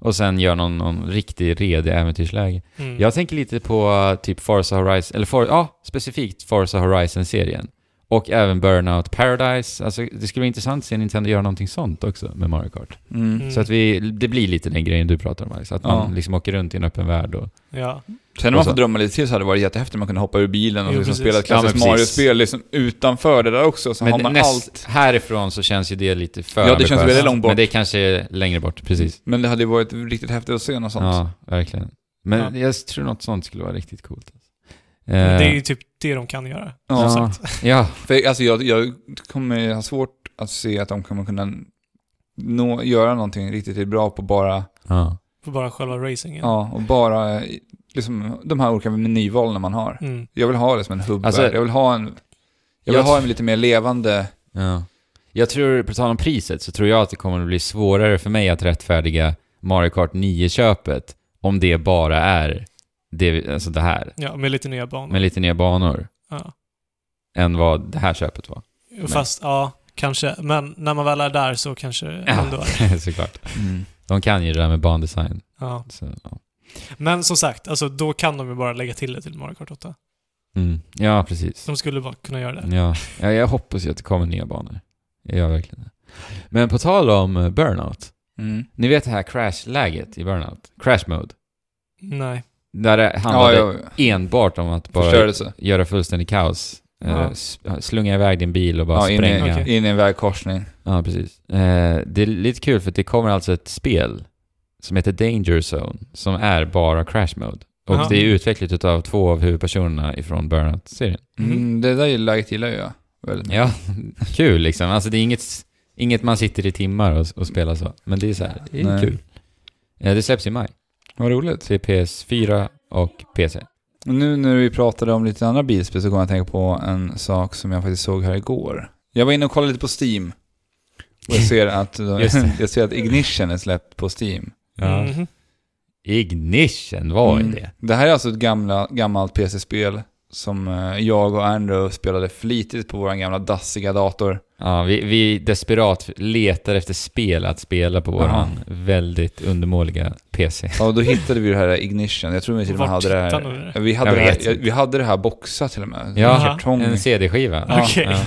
Speaker 2: Och sen gör någon, någon riktig redig äventyrsläge.
Speaker 3: Mm.
Speaker 2: Jag tänker lite på eh, typ Forza Horizon, eller For, ja, specifikt Forza Horizon-serien. Och även Burnout Paradise. Alltså, det skulle vara intressant att se Nintendo göra någonting sånt också med Mario Kart.
Speaker 1: mm.
Speaker 3: Mm.
Speaker 2: Så att vi, det blir lite den grejen du pratar om, Alex. Att man
Speaker 1: Ja.
Speaker 2: liksom åker runt i en öppen värld och...
Speaker 3: Ja.
Speaker 1: Sen om man
Speaker 2: Och så-
Speaker 1: får drömma lite till så hade det varit jättehäftigt om man kunde hoppa ur bilen och
Speaker 3: Jo,
Speaker 1: liksom
Speaker 3: precis.
Speaker 1: spela ett
Speaker 2: Ja, men
Speaker 1: klassiskt
Speaker 2: precis.
Speaker 1: Mario-spel liksom utanför det där också. Så har man
Speaker 2: näst-
Speaker 1: allt.
Speaker 2: härifrån så känns ju det lite för
Speaker 1: Ja, det känns
Speaker 2: ambitiöst.
Speaker 1: väldigt långt bort.
Speaker 2: Men det kanske är längre bort, precis.
Speaker 1: Men det hade ju varit riktigt häftigt att se något sånt.
Speaker 2: Ja, verkligen. Men
Speaker 3: Ja.
Speaker 2: jag tror något sånt skulle vara riktigt coolt.
Speaker 3: Men Det är
Speaker 2: Eh,
Speaker 3: ju typ det de kan göra.
Speaker 1: Ja.
Speaker 3: Som sagt.
Speaker 2: ja,
Speaker 1: För, alltså, jag, jag kommer ha svårt att se att de kommer kunna nå, göra någonting riktigt bra på bara,
Speaker 2: ja.
Speaker 3: För bara själva racingen.
Speaker 1: ja, och bara eh, liksom, de här olika menyvalen man har.
Speaker 3: Mm.
Speaker 1: Jag vill ha det som en hubb.
Speaker 2: Alltså-
Speaker 1: jag vill ha en, jag vill
Speaker 2: Jag-
Speaker 1: ha en lite mer levande...
Speaker 2: ja. Jag tror, på tal om priset, så tror jag att det kommer att bli svårare för mig att rättfärdiga Mario Kart 9-köpet om det bara är det, vi- alltså det här.
Speaker 3: Ja, med lite nya banor.
Speaker 2: Med lite nya banor,
Speaker 3: Ja.
Speaker 2: än vad det här köpet var.
Speaker 3: Fast, ja, kanske. Men när man väl är där så kanske det ändå är.
Speaker 2: Såklart.
Speaker 1: mm.
Speaker 2: De kan ju det där med bandesign.
Speaker 3: Ja.
Speaker 2: Så, ja.
Speaker 3: Men som sagt, alltså, då kan de ju bara lägga till det till Mario Kart 8.
Speaker 2: Mm. ja, precis.
Speaker 3: De skulle bara kunna göra det.
Speaker 2: Ja, ja jag hoppas ju att det kommer nya banor. Jag gör verkligen det. Men på tal om eh, burnout.
Speaker 1: Mm.
Speaker 2: Ni vet det här crash-läget i burnout? Crash mode.
Speaker 3: Nej.
Speaker 2: Där det handlade
Speaker 1: Ja, jag,
Speaker 2: enbart om att bara
Speaker 1: förstörelse.
Speaker 2: göra fullständig kaos. Eh,
Speaker 3: Ja.
Speaker 2: s- Slunga iväg din bil och bara
Speaker 1: Ja, in i,
Speaker 2: spränga.
Speaker 3: Okej.
Speaker 1: in i en vägkorsning.
Speaker 2: Ja, precis. Eh, det är lite kul för att det kommer alltså ett spel som heter Danger Zone som är bara crash mode. Och
Speaker 3: Jaha.
Speaker 2: det är utvecklat utav två av huvudpersonerna ifrån Burnout-serien.
Speaker 1: Mm.
Speaker 3: Mm.
Speaker 1: Det där läget gillar jag väldigt mycket.
Speaker 2: Ja, kul liksom. Alltså det är inget, inget man sitter i timmar och, och spelar så. Men det är så här, det är
Speaker 1: Nej.
Speaker 2: kul. Ja, det släpps i maj
Speaker 1: Vad roligt.
Speaker 2: till PS4 och PC.
Speaker 1: Och Nu när vi pratade om lite andra bilspel så kom jag att tänka på en sak som jag faktiskt såg här igår. Jag var inne och kollade lite på Steam. Och jag ser att,
Speaker 2: Just
Speaker 1: jag ser att Ignition är släppt på Steam.
Speaker 3: Mhm.
Speaker 2: Ignition, vad är
Speaker 1: Mm.
Speaker 2: det?
Speaker 1: Det här är alltså ett gamla, gammalt PC-spel som eh, jag och Andrew spelade flitigt på vår gamla dassiga dator.
Speaker 2: Ja, vi, vi desperat letar efter spel att spela på våran väldigt undermåliga PC.
Speaker 1: Ja, Och då hittade vi det här Ignition. Jag tror vi till och med
Speaker 3: Vart
Speaker 1: hade det
Speaker 3: hittade ni
Speaker 1: här...
Speaker 3: det?
Speaker 1: Vi hade
Speaker 2: Jag
Speaker 1: det här,
Speaker 2: vet
Speaker 1: ja,
Speaker 2: inte.
Speaker 1: vi hade det här boxat till och med.
Speaker 2: Ja.
Speaker 1: En kartong.
Speaker 2: En CD-skiva.
Speaker 1: Ja,
Speaker 3: Okej.
Speaker 2: Så här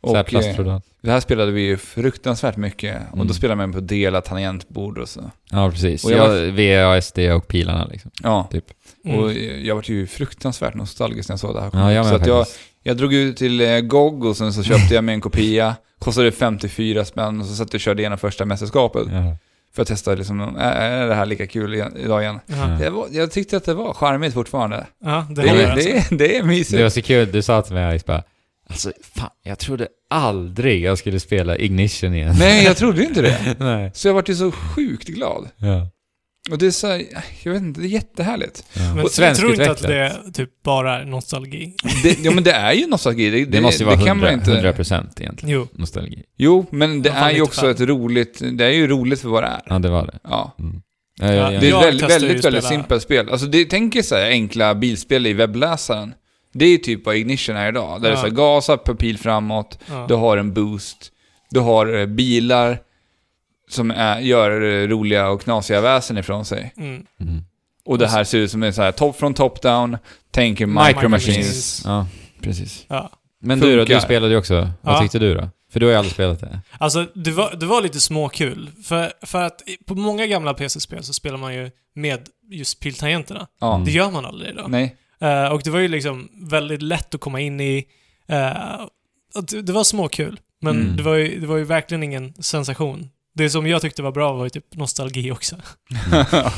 Speaker 1: Och, eh,
Speaker 2: plastprodukt.
Speaker 1: det här spelade vi ju fruktansvärt mycket. Och
Speaker 2: Mm.
Speaker 1: då spelade man på delat tangentbord och så.
Speaker 2: Ja, precis.
Speaker 1: Och
Speaker 2: Jag,
Speaker 1: jag
Speaker 2: VASD och pilarna liksom.
Speaker 1: Ja.
Speaker 3: Mm.
Speaker 1: Och eh, jag var ju fruktansvärt nostalgisk när jag såg det här.
Speaker 2: Ja, jag
Speaker 1: så
Speaker 2: med
Speaker 1: att jag,
Speaker 2: faktiskt.
Speaker 1: jag drog ut till eh, GOG och sen så köpte jag mig en kopia. Kostade 54 spänn och så satt jag och körde igenom första mästerskapet.
Speaker 2: Ja.
Speaker 1: För att testa liksom, är, är det här lika kul igen, idag igen?
Speaker 3: Ja.
Speaker 1: Jag, var, jag tyckte att det var charmigt fortfarande.
Speaker 3: Ja, det
Speaker 1: Det,
Speaker 3: håller
Speaker 1: är,
Speaker 3: alltså.
Speaker 1: det, är, det är mysigt.
Speaker 2: Det var så kul, du sa till mig Alex bara, alltså fan, jag trodde aldrig jag skulle spela Ignition igen.
Speaker 1: Nej, jag trodde ju inte det.
Speaker 2: Nej.
Speaker 1: Så jag vart ju så sjukt glad.
Speaker 2: Ja. Och
Speaker 1: Och det är så här, jag vet inte, det är jättehärligt.
Speaker 3: Men jag tror inte
Speaker 2: svenskutvecklat.
Speaker 3: att det typ bara är nostalgi.
Speaker 1: Det, ja men det är ju nostalgi, det, det,
Speaker 2: Det måste ju vara
Speaker 1: det kan
Speaker 2: 100,
Speaker 1: man inte...
Speaker 2: 100% egentligen.
Speaker 3: Jo.
Speaker 2: Nostalgi.
Speaker 1: Jo, men det
Speaker 3: Ja, fan,
Speaker 1: är ju också
Speaker 3: 95.
Speaker 1: ett roligt, det är ju roligt för vad det är.
Speaker 2: Ja, det var det.
Speaker 1: Ja.
Speaker 2: Mm. Ja, ja, ja.
Speaker 1: Det är
Speaker 3: Jag
Speaker 1: ett väldigt,
Speaker 3: testar ju
Speaker 1: väldigt,
Speaker 3: spela-
Speaker 1: väldigt simpelt spel. Alltså det, tänk er så här enkla bilspel i webbläsaren. Det är ju typ vad Ignition är idag. Där det är
Speaker 3: Ja.
Speaker 1: så här, gasa, pil framåt,
Speaker 3: Ja.
Speaker 1: du har en boost, du har eh, bilar som är, gör eh, roliga och knasiga väsen ifrån sig.
Speaker 3: Mm.
Speaker 2: Mm.
Speaker 1: Och det här ser ut som en så här top från top down, tänk er micro,
Speaker 3: Micro
Speaker 1: machines.
Speaker 3: Machines.
Speaker 2: ja, precis.
Speaker 3: Ja.
Speaker 2: Men du då,
Speaker 1: Funkar.
Speaker 2: du spelade ju också. Vad
Speaker 3: Ja.
Speaker 2: tyckte du då? För du har ju aldrig spelat det.
Speaker 3: Alltså, det var, det var lite småkul. För, för att i- på många gamla PC-spel så spelar man ju med just piltangenterna.
Speaker 1: Ja.
Speaker 2: Mm.
Speaker 3: Det gör man aldrig idag.
Speaker 1: Nej.
Speaker 3: Eh, och det var ju liksom väldigt lätt att komma in i. eh, och det, det var småkul, men
Speaker 2: Mm.
Speaker 3: det, var ju, det var ju verkligen ingen sensation. Det som jag tyckte var bra var ju typ nostalgi också.
Speaker 2: Mm.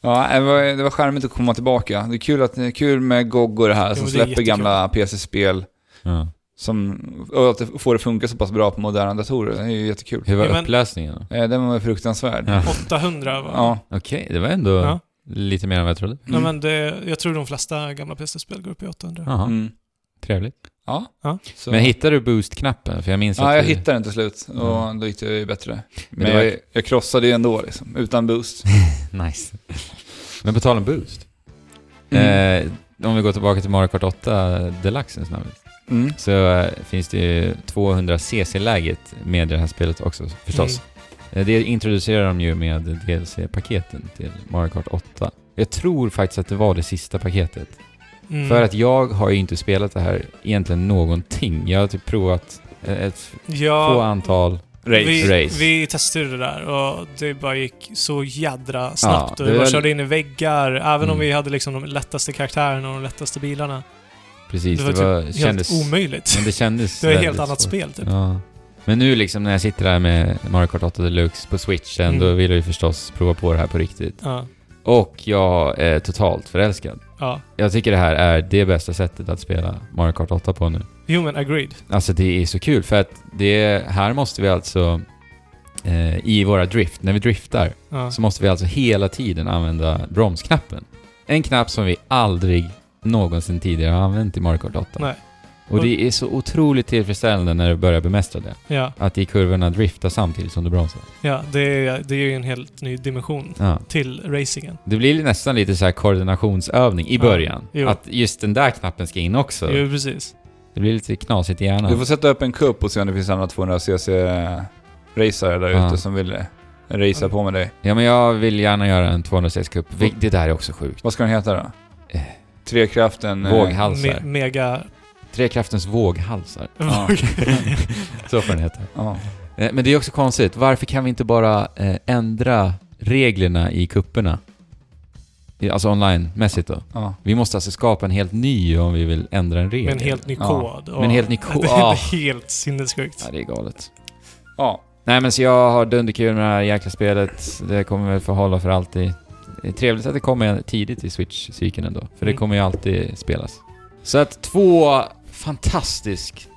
Speaker 1: ja, det var, det var charmigt att komma tillbaka. Det är kul, att, det är kul med GOG och det här
Speaker 3: Jo,
Speaker 1: som
Speaker 3: det är
Speaker 1: släpper
Speaker 3: jättekul.
Speaker 1: gamla PC-spel.
Speaker 2: Ja.
Speaker 1: Som, och att det får det funka så pass bra på moderna datorer, det är ju jättekul.
Speaker 2: Hur var
Speaker 3: Ja, men-
Speaker 2: upplösningen då?
Speaker 1: Eh, Den var fruktansvärd.
Speaker 2: Ja. Mm.
Speaker 3: 800 var
Speaker 1: Ja.
Speaker 2: Okej, det var ändå...
Speaker 3: Ja.
Speaker 2: Lite mer än vad jag trodde.
Speaker 3: Ja, men det, jag tror de flesta gamla PC-spel går upp i 800.
Speaker 2: Jaha,
Speaker 1: Mm.
Speaker 2: trevligt.
Speaker 1: Ja.
Speaker 3: Ja.
Speaker 1: Så.
Speaker 2: Men hittar du boost-knappen? För jag minns att
Speaker 1: ja, jag
Speaker 2: du...
Speaker 1: hittade den till slut och
Speaker 2: Mm.
Speaker 1: då gick det ju bättre.
Speaker 2: Men
Speaker 1: Men,
Speaker 2: det var-
Speaker 1: jag, jag krossade ju ändå liksom, utan boost.
Speaker 2: Nice. Men på tal om boost.
Speaker 1: Mm.
Speaker 3: Mm.
Speaker 2: Eh, om vi går tillbaka till Mario Kart 8 Deluxe en snabbis,
Speaker 1: Mm.
Speaker 2: Så eh, finns det ju 200cc-läget med i det här spelet också förstås.
Speaker 3: Mm.
Speaker 2: Eh, det introducerar de ju med DLC-paketen till Mario Kart 8. Jag tror faktiskt att det var det sista paketet.
Speaker 3: Mm.
Speaker 2: För att jag har ju inte spelat det här egentligen någonting. Jag har typ provat eh, ett få
Speaker 3: ja,
Speaker 2: antal.
Speaker 1: Race.
Speaker 3: Vi,
Speaker 2: Race.
Speaker 3: vi testade det där och det bara gick så jädra snabbt.
Speaker 2: det
Speaker 3: och vi
Speaker 2: var-
Speaker 3: bara körde in i väggar, även
Speaker 2: Mm.
Speaker 3: om vi hade liksom de lättaste karaktärerna och de lättaste bilarna.
Speaker 2: Precis,
Speaker 3: Det var
Speaker 2: det,
Speaker 3: typ
Speaker 2: var,
Speaker 3: Helt
Speaker 2: kändes...
Speaker 3: omöjligt.
Speaker 2: Men det kändes
Speaker 3: Det var ett
Speaker 2: väldigt
Speaker 3: helt annat
Speaker 2: svårt.
Speaker 3: spel typ.
Speaker 2: Ja. Men nu liksom när jag sitter här med Mario Kart 8 Deluxe på switchen,
Speaker 3: Mm.
Speaker 2: då vill jag ju förstås prova på det här på riktigt.
Speaker 3: Ja.
Speaker 2: Och jag är totalt förälskad.
Speaker 3: ja.
Speaker 2: Jag tycker det här är det bästa sättet att spela Mario Kart 8 på nu.
Speaker 3: Jo men agreed.
Speaker 2: Alltså det är så kul för att det, här måste vi alltså eh, i våra drift, när vi driftar,
Speaker 3: Ja.
Speaker 2: så måste vi alltså hela tiden använda bromsknappen. En knapp som vi aldrig någonsin tidigare har använt i Mario Kart 8.
Speaker 3: Nej.
Speaker 2: Och det är så otroligt tillfredsställande när du börjar bemästra det.
Speaker 3: Ja,
Speaker 2: Att i kurvorna drifta samtidigt som du bromsar.
Speaker 3: ja. Det, är, det är ju en helt ny dimension
Speaker 2: Ja.
Speaker 3: till racingen.
Speaker 2: Det blir nästan lite så här koordinationsövning i
Speaker 3: Ja,
Speaker 2: början.
Speaker 3: jo.
Speaker 2: Att just den där knappen ska in också.
Speaker 3: Jo, precis.
Speaker 2: Det blir lite knasigt i hjärnan.
Speaker 1: Du får sätta upp en cup och se om det finns andra 200cc-racare där
Speaker 2: Ja.
Speaker 1: ute som vill eh, racea på med dig.
Speaker 2: Ja, men jag vill gärna göra en 206 cup. Vi- Det där är också sjukt.
Speaker 1: Vad ska den heta då?
Speaker 2: Eh.
Speaker 1: Trekraften... eh,
Speaker 2: Våghalsar.
Speaker 3: mega...
Speaker 2: Trekraftens våghalsar.
Speaker 1: Ja.
Speaker 2: Så får den heta.
Speaker 1: Ja.
Speaker 2: Eh, Men det är också konstigt. Varför kan vi inte bara eh, ändra reglerna i kupperna? I- Alltså online-mässigt då.
Speaker 1: ja.
Speaker 2: Vi måste alltså skapa en helt ny om vi vill ändra en regel.
Speaker 3: Med en helt ny
Speaker 1: Ja.
Speaker 3: kod.
Speaker 2: Med en helt ny
Speaker 3: Det
Speaker 2: kod.
Speaker 3: är
Speaker 2: Ah.
Speaker 3: helt sinnessjukt.
Speaker 2: Ja, det är galet.
Speaker 1: ja.
Speaker 2: Nej men så jag har dunderkul med det här jäkla spelet. Det kommer väl få hålla för alltid. Det är trevligt att det kommer tidigt i Switch-cykeln ändå. För det
Speaker 3: Mm.
Speaker 2: kommer ju alltid spelas. Så att två fantastiskt,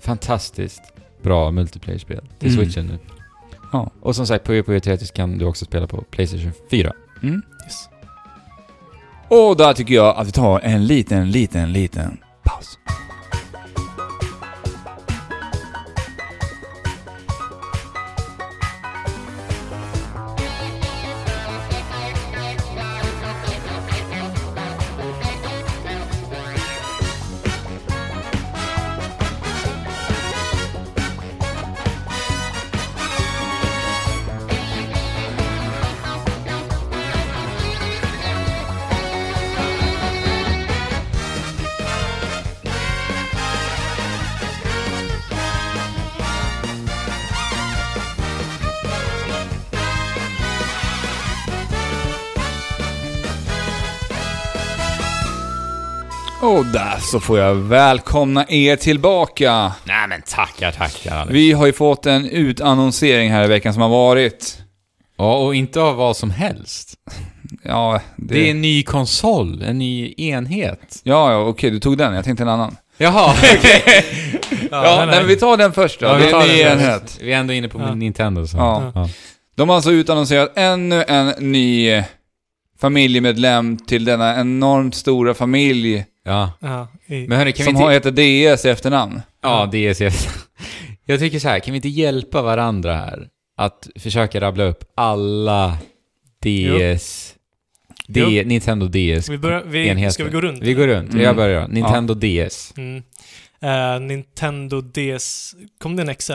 Speaker 2: fantastiskt bra multiplayer-spel till
Speaker 1: Mm.
Speaker 2: Switchen nu.
Speaker 1: Ja.
Speaker 2: Och som sagt, Puyo Puyo Tetris kan du också spela på Playstation 4.
Speaker 1: Mm.
Speaker 3: Yes.
Speaker 1: Och där tycker jag att vi tar en liten, liten, liten paus. Och där så får jag välkomna er tillbaka.
Speaker 2: Nej men tackar, tackar Alex.
Speaker 1: Vi har ju fått en utannonsering här i veckan som har varit.
Speaker 2: Ja, och inte av vad som helst.
Speaker 1: Ja, det...
Speaker 2: Det är en ny konsol, en ny enhet.
Speaker 1: Ja, ja, okej, du tog den. Jag tänkte en annan.
Speaker 2: Jaha, okej.
Speaker 1: Ja, nej, men vi tar den först då.
Speaker 2: Ja,
Speaker 1: det
Speaker 2: vi tar
Speaker 1: är en ny
Speaker 2: den först.
Speaker 1: enhet.
Speaker 2: Vi är ändå inne på
Speaker 3: Ja.
Speaker 2: Nintendo så.
Speaker 1: Ja. De har alltså utannonserat ännu en ny familjemedlem till denna enormt stora familj
Speaker 2: Ja.
Speaker 3: Ja, i,
Speaker 2: Men hörni, kan
Speaker 1: som
Speaker 2: vi inte...
Speaker 1: har heter DS i efternamn.
Speaker 2: Ja, det är så- Jag tycker så här, kan vi inte hjälpa varandra här? Att försöka rabbla upp alla DS... D,
Speaker 3: Jo.
Speaker 2: Nintendo DS.
Speaker 3: vi börjar, vi,
Speaker 2: enheter.
Speaker 3: ska vi gå runt?
Speaker 2: Vi går runt.
Speaker 1: Mm.
Speaker 2: Jag börjar. Nintendo DS.
Speaker 3: Mm. Eh, Nintendo DS... Kom det en XL?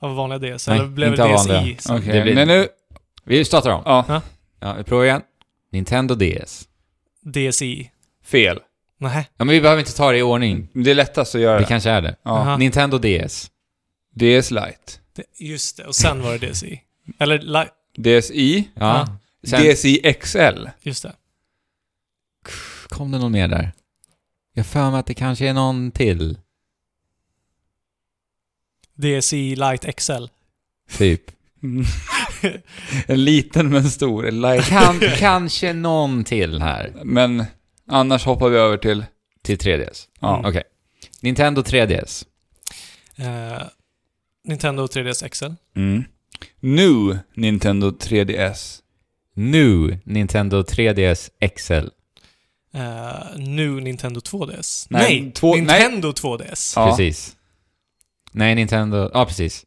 Speaker 3: Av vanliga DS?
Speaker 2: Nej,
Speaker 3: eller blev
Speaker 2: inte
Speaker 3: det
Speaker 2: av
Speaker 3: DSi?
Speaker 2: vanliga.
Speaker 3: sen?
Speaker 1: Okej,
Speaker 2: Det blir-
Speaker 1: men nu...
Speaker 2: Vi startar om.
Speaker 1: Ja,
Speaker 2: Ja, vi provar igen. Nintendo DS.
Speaker 3: DSi.
Speaker 1: fel.
Speaker 3: Nej.
Speaker 2: Ja, men vi behöver inte ta det i ordning.
Speaker 1: Det är lättast att göra.
Speaker 2: Det kanske är det.
Speaker 1: Ja.
Speaker 3: Aha.
Speaker 2: Nintendo DS.
Speaker 1: DS Lite.
Speaker 3: Det, just det. Och sen var det DSi. Eller, li-
Speaker 1: DSi.
Speaker 2: Ja. Sen
Speaker 1: DSi XL.
Speaker 3: just det.
Speaker 2: kom det någon mer där. Jag för mig att det kanske är någon till.
Speaker 3: DSi Lite XL.
Speaker 2: Typ.
Speaker 1: en liten men stor. Lite.
Speaker 2: Kan, kanske någon till här.
Speaker 1: Men annars hoppar vi över till...
Speaker 2: Till 3DS.
Speaker 1: Ja.
Speaker 2: Okej. Nintendo 3DS.
Speaker 3: Eh, Nintendo 3DS XL.
Speaker 1: Mm. Nu Nintendo 3DS.
Speaker 2: Nu Nintendo 3DS XL.
Speaker 3: Eh, nu Nintendo 2DS.
Speaker 1: Nej,
Speaker 3: Nej!
Speaker 1: två-
Speaker 3: Nintendo 2DS.
Speaker 1: Ja.
Speaker 2: Precis. Nej, Nintendo... Ja, precis.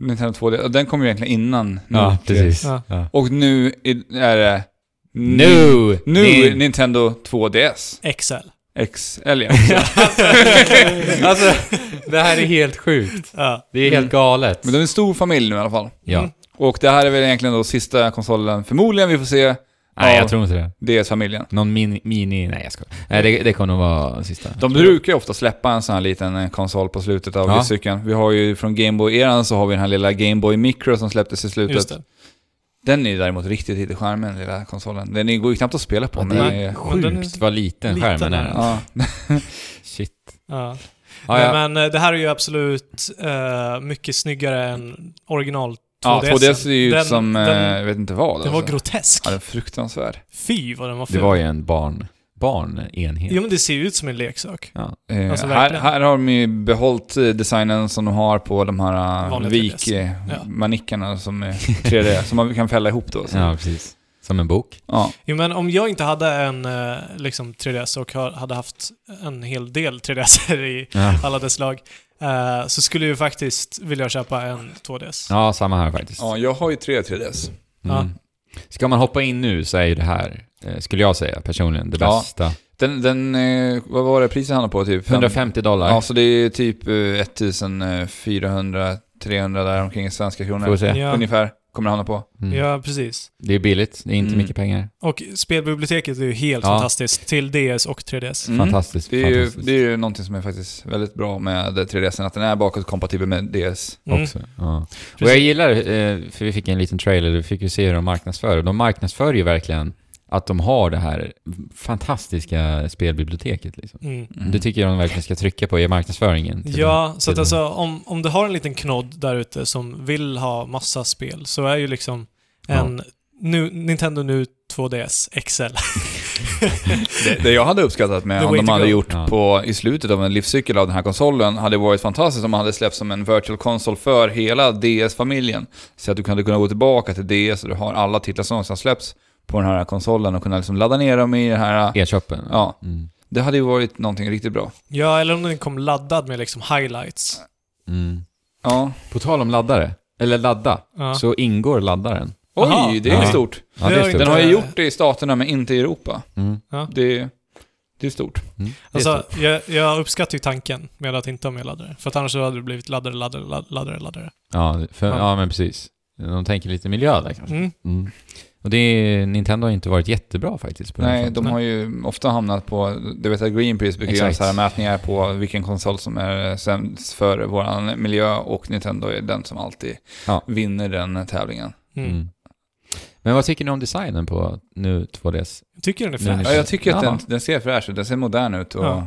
Speaker 1: Nintendo 2D. Och Den kom ju egentligen innan. nu.
Speaker 2: Ja, precis.
Speaker 3: Ja.
Speaker 2: Ja.
Speaker 1: Och nu är är det...
Speaker 2: Nu!
Speaker 1: Nu
Speaker 2: Ni-
Speaker 1: Nintendo 2DS.
Speaker 3: XL.
Speaker 1: XL ja.
Speaker 2: alltså, det här är helt sjukt.
Speaker 3: Ja.
Speaker 2: Det är helt galet.
Speaker 1: Men de är en stor familj nu i alla fall.
Speaker 2: Ja.
Speaker 3: Mm.
Speaker 1: Och det här är väl egentligen då sista konsolen, förmodligen, vi får se
Speaker 2: Nej,
Speaker 1: Ja.
Speaker 2: jag tror inte det.
Speaker 1: DS-familjen.
Speaker 2: Någon mini... mini nej, jag skojar. Nej, det, det kommer nog vara den sista.
Speaker 1: De brukar ju ofta släppa en sån här liten eh, konsol på slutet av
Speaker 2: Ja.
Speaker 1: livscykeln. Vi har ju från Gameboy-eran så har vi den här lilla Gameboy Micro som släpptes i slutet.
Speaker 3: Just det.
Speaker 1: Den är ju däremot riktigt lite skärmen, den lilla konsolen. Den går ju knappt att spela på.
Speaker 2: Ja,
Speaker 1: men
Speaker 2: det
Speaker 1: den
Speaker 2: är
Speaker 1: är-
Speaker 3: men den är-
Speaker 2: sjukt vad liten
Speaker 3: liten
Speaker 2: skärmen
Speaker 3: är
Speaker 2: är.
Speaker 3: den.
Speaker 1: Ja.
Speaker 2: Shit.
Speaker 3: Ja.
Speaker 2: Ja, ja.
Speaker 3: Men, men eh, det här är ju absolut eh, mycket snyggare än original 2DS.
Speaker 1: Ja, 2DS är ju
Speaker 3: den,
Speaker 1: ut som, eh,
Speaker 3: den,
Speaker 1: jag vet inte vad. alltså.
Speaker 3: den var grotesk.
Speaker 1: Ja, den är fruktansvärd.
Speaker 3: Fy vad den var ful.
Speaker 2: Det var ju en barn... barnenhet.
Speaker 3: Jo men det ser ju ut som en leksak.
Speaker 2: Ja.
Speaker 1: Eh,
Speaker 3: Alltså,
Speaker 1: här,
Speaker 3: verkligen.
Speaker 1: här har de ju behållit eh, designen som de har på de här
Speaker 3: Vanliga 3DS. Ja.
Speaker 1: vik-manickarna som är 3D, som man kan fälla ihop då. Så.
Speaker 2: ja, precis. Som en bok.
Speaker 1: Ja.
Speaker 3: Jo men om jag inte hade en eh, liksom 3DS och har- hade haft en hel del 3DS i
Speaker 2: Ja.
Speaker 3: alla dess lag eh, så skulle jag ju faktiskt vilja köpa en 2DS.
Speaker 2: Ja, samma här faktiskt.
Speaker 1: ja, jag har ju tre 3DS.
Speaker 2: Mm. Ska man hoppa in nu så är ju det här, eh, skulle jag säga personligen, det
Speaker 1: Ja.
Speaker 2: bästa.
Speaker 1: Den, den eh, vad var det priset handlade på? Typ fem-
Speaker 2: 150 dollar.
Speaker 1: Ja, så det är typ eh, 1400, 300 där omkring i svenska
Speaker 2: Får vi
Speaker 1: kronor.
Speaker 2: se.
Speaker 3: Ja,
Speaker 1: Ungefär kommer det hamna på.
Speaker 2: Mm.
Speaker 3: ja, precis.
Speaker 2: Det är billigt, det är inte
Speaker 1: Mm.
Speaker 2: mycket pengar.
Speaker 3: Och spelbiblioteket är ju helt
Speaker 2: Ja.
Speaker 3: fantastiskt till DS och 3DS.
Speaker 1: Mm.
Speaker 2: Fantastiskt.
Speaker 1: Det är, ju,
Speaker 2: fantastiskt.
Speaker 1: det är ju någonting som är faktiskt väldigt bra med 3DSen, att den är bakåtkompatibel med DS.
Speaker 3: Mm.
Speaker 2: Också. Ja. Och
Speaker 3: Precis.
Speaker 2: jag gillar, eh, för vi fick en liten trailer, vi fick ju se hur de marknadsför. De marknadsför ju verkligen att de har det här fantastiska spelbiblioteket. Liksom.
Speaker 3: Mm.
Speaker 2: Det tycker jag de verkligen ska trycka på i marknadsföringen. till
Speaker 3: Ja, så att
Speaker 2: till-
Speaker 3: alltså om, om du har en liten knodd där ute som vill ha massa spel så är ju liksom en nu, Nintendo Nu 2DS XL.
Speaker 1: Det, det jag hade uppskattat med
Speaker 3: The
Speaker 1: om
Speaker 3: way
Speaker 1: de
Speaker 3: to
Speaker 1: hade
Speaker 3: go.
Speaker 1: gjort
Speaker 2: Ja.
Speaker 1: på, i slutet av en livscykel av den här konsolen hade varit fantastiskt om man hade släppt som en virtual console för hela DS-familjen. Så att du kunde kunna gå tillbaka till DS och du har alla titlar som någonsin har släppts på den här konsolen och kunna liksom ladda ner dem i det här...
Speaker 2: E-shoppen.
Speaker 1: Ja,
Speaker 2: Mm.
Speaker 1: det hade ju varit någonting riktigt bra.
Speaker 3: ja, eller om den kom laddad med liksom highlights.
Speaker 2: Mm.
Speaker 1: Ja.
Speaker 2: På tal om laddare, eller ladda,
Speaker 3: Ja.
Speaker 2: så ingår laddaren.
Speaker 1: Oj,
Speaker 3: Aha.
Speaker 1: det är
Speaker 2: Ja.
Speaker 1: stort.
Speaker 2: Ja,
Speaker 3: Det
Speaker 2: det
Speaker 3: har
Speaker 2: är
Speaker 3: inte-
Speaker 2: stort.
Speaker 1: Den har ju gjort det i staterna men inte i Europa.
Speaker 2: Mm.
Speaker 1: Det, det är stort.
Speaker 2: Det är
Speaker 3: Alltså, jag, jag uppskattar ju tanken med att inte ha med laddare. För att annars så hade det blivit laddare, laddare, ladd- laddare, laddare.
Speaker 2: Ja, för,
Speaker 3: Ja.
Speaker 2: ja. men precis. De tänker lite miljö där kanske.
Speaker 3: Mm.
Speaker 2: Mm. Och det är, Nintendo har inte varit jättebra faktiskt på
Speaker 3: Typ,
Speaker 2: den
Speaker 1: Nej,
Speaker 2: fronten.
Speaker 1: de har ju ofta hamnat på, du vet att Greenpeace brukar göra
Speaker 2: Exakt.
Speaker 1: så här mätningar på vilken konsol som är sämst för vår miljö och Nintendo är den som alltid
Speaker 2: Ja.
Speaker 1: vinner den tävlingen.
Speaker 3: Mm.
Speaker 2: Mm. Men vad tycker ni om designen på nu 2DS?
Speaker 3: Jag tycker den är
Speaker 2: Nu är
Speaker 3: fräsch.
Speaker 1: Ja, jag tycker att
Speaker 2: Ja.
Speaker 1: den, den ser fräsch ut, den ser modern ut och
Speaker 3: Ja.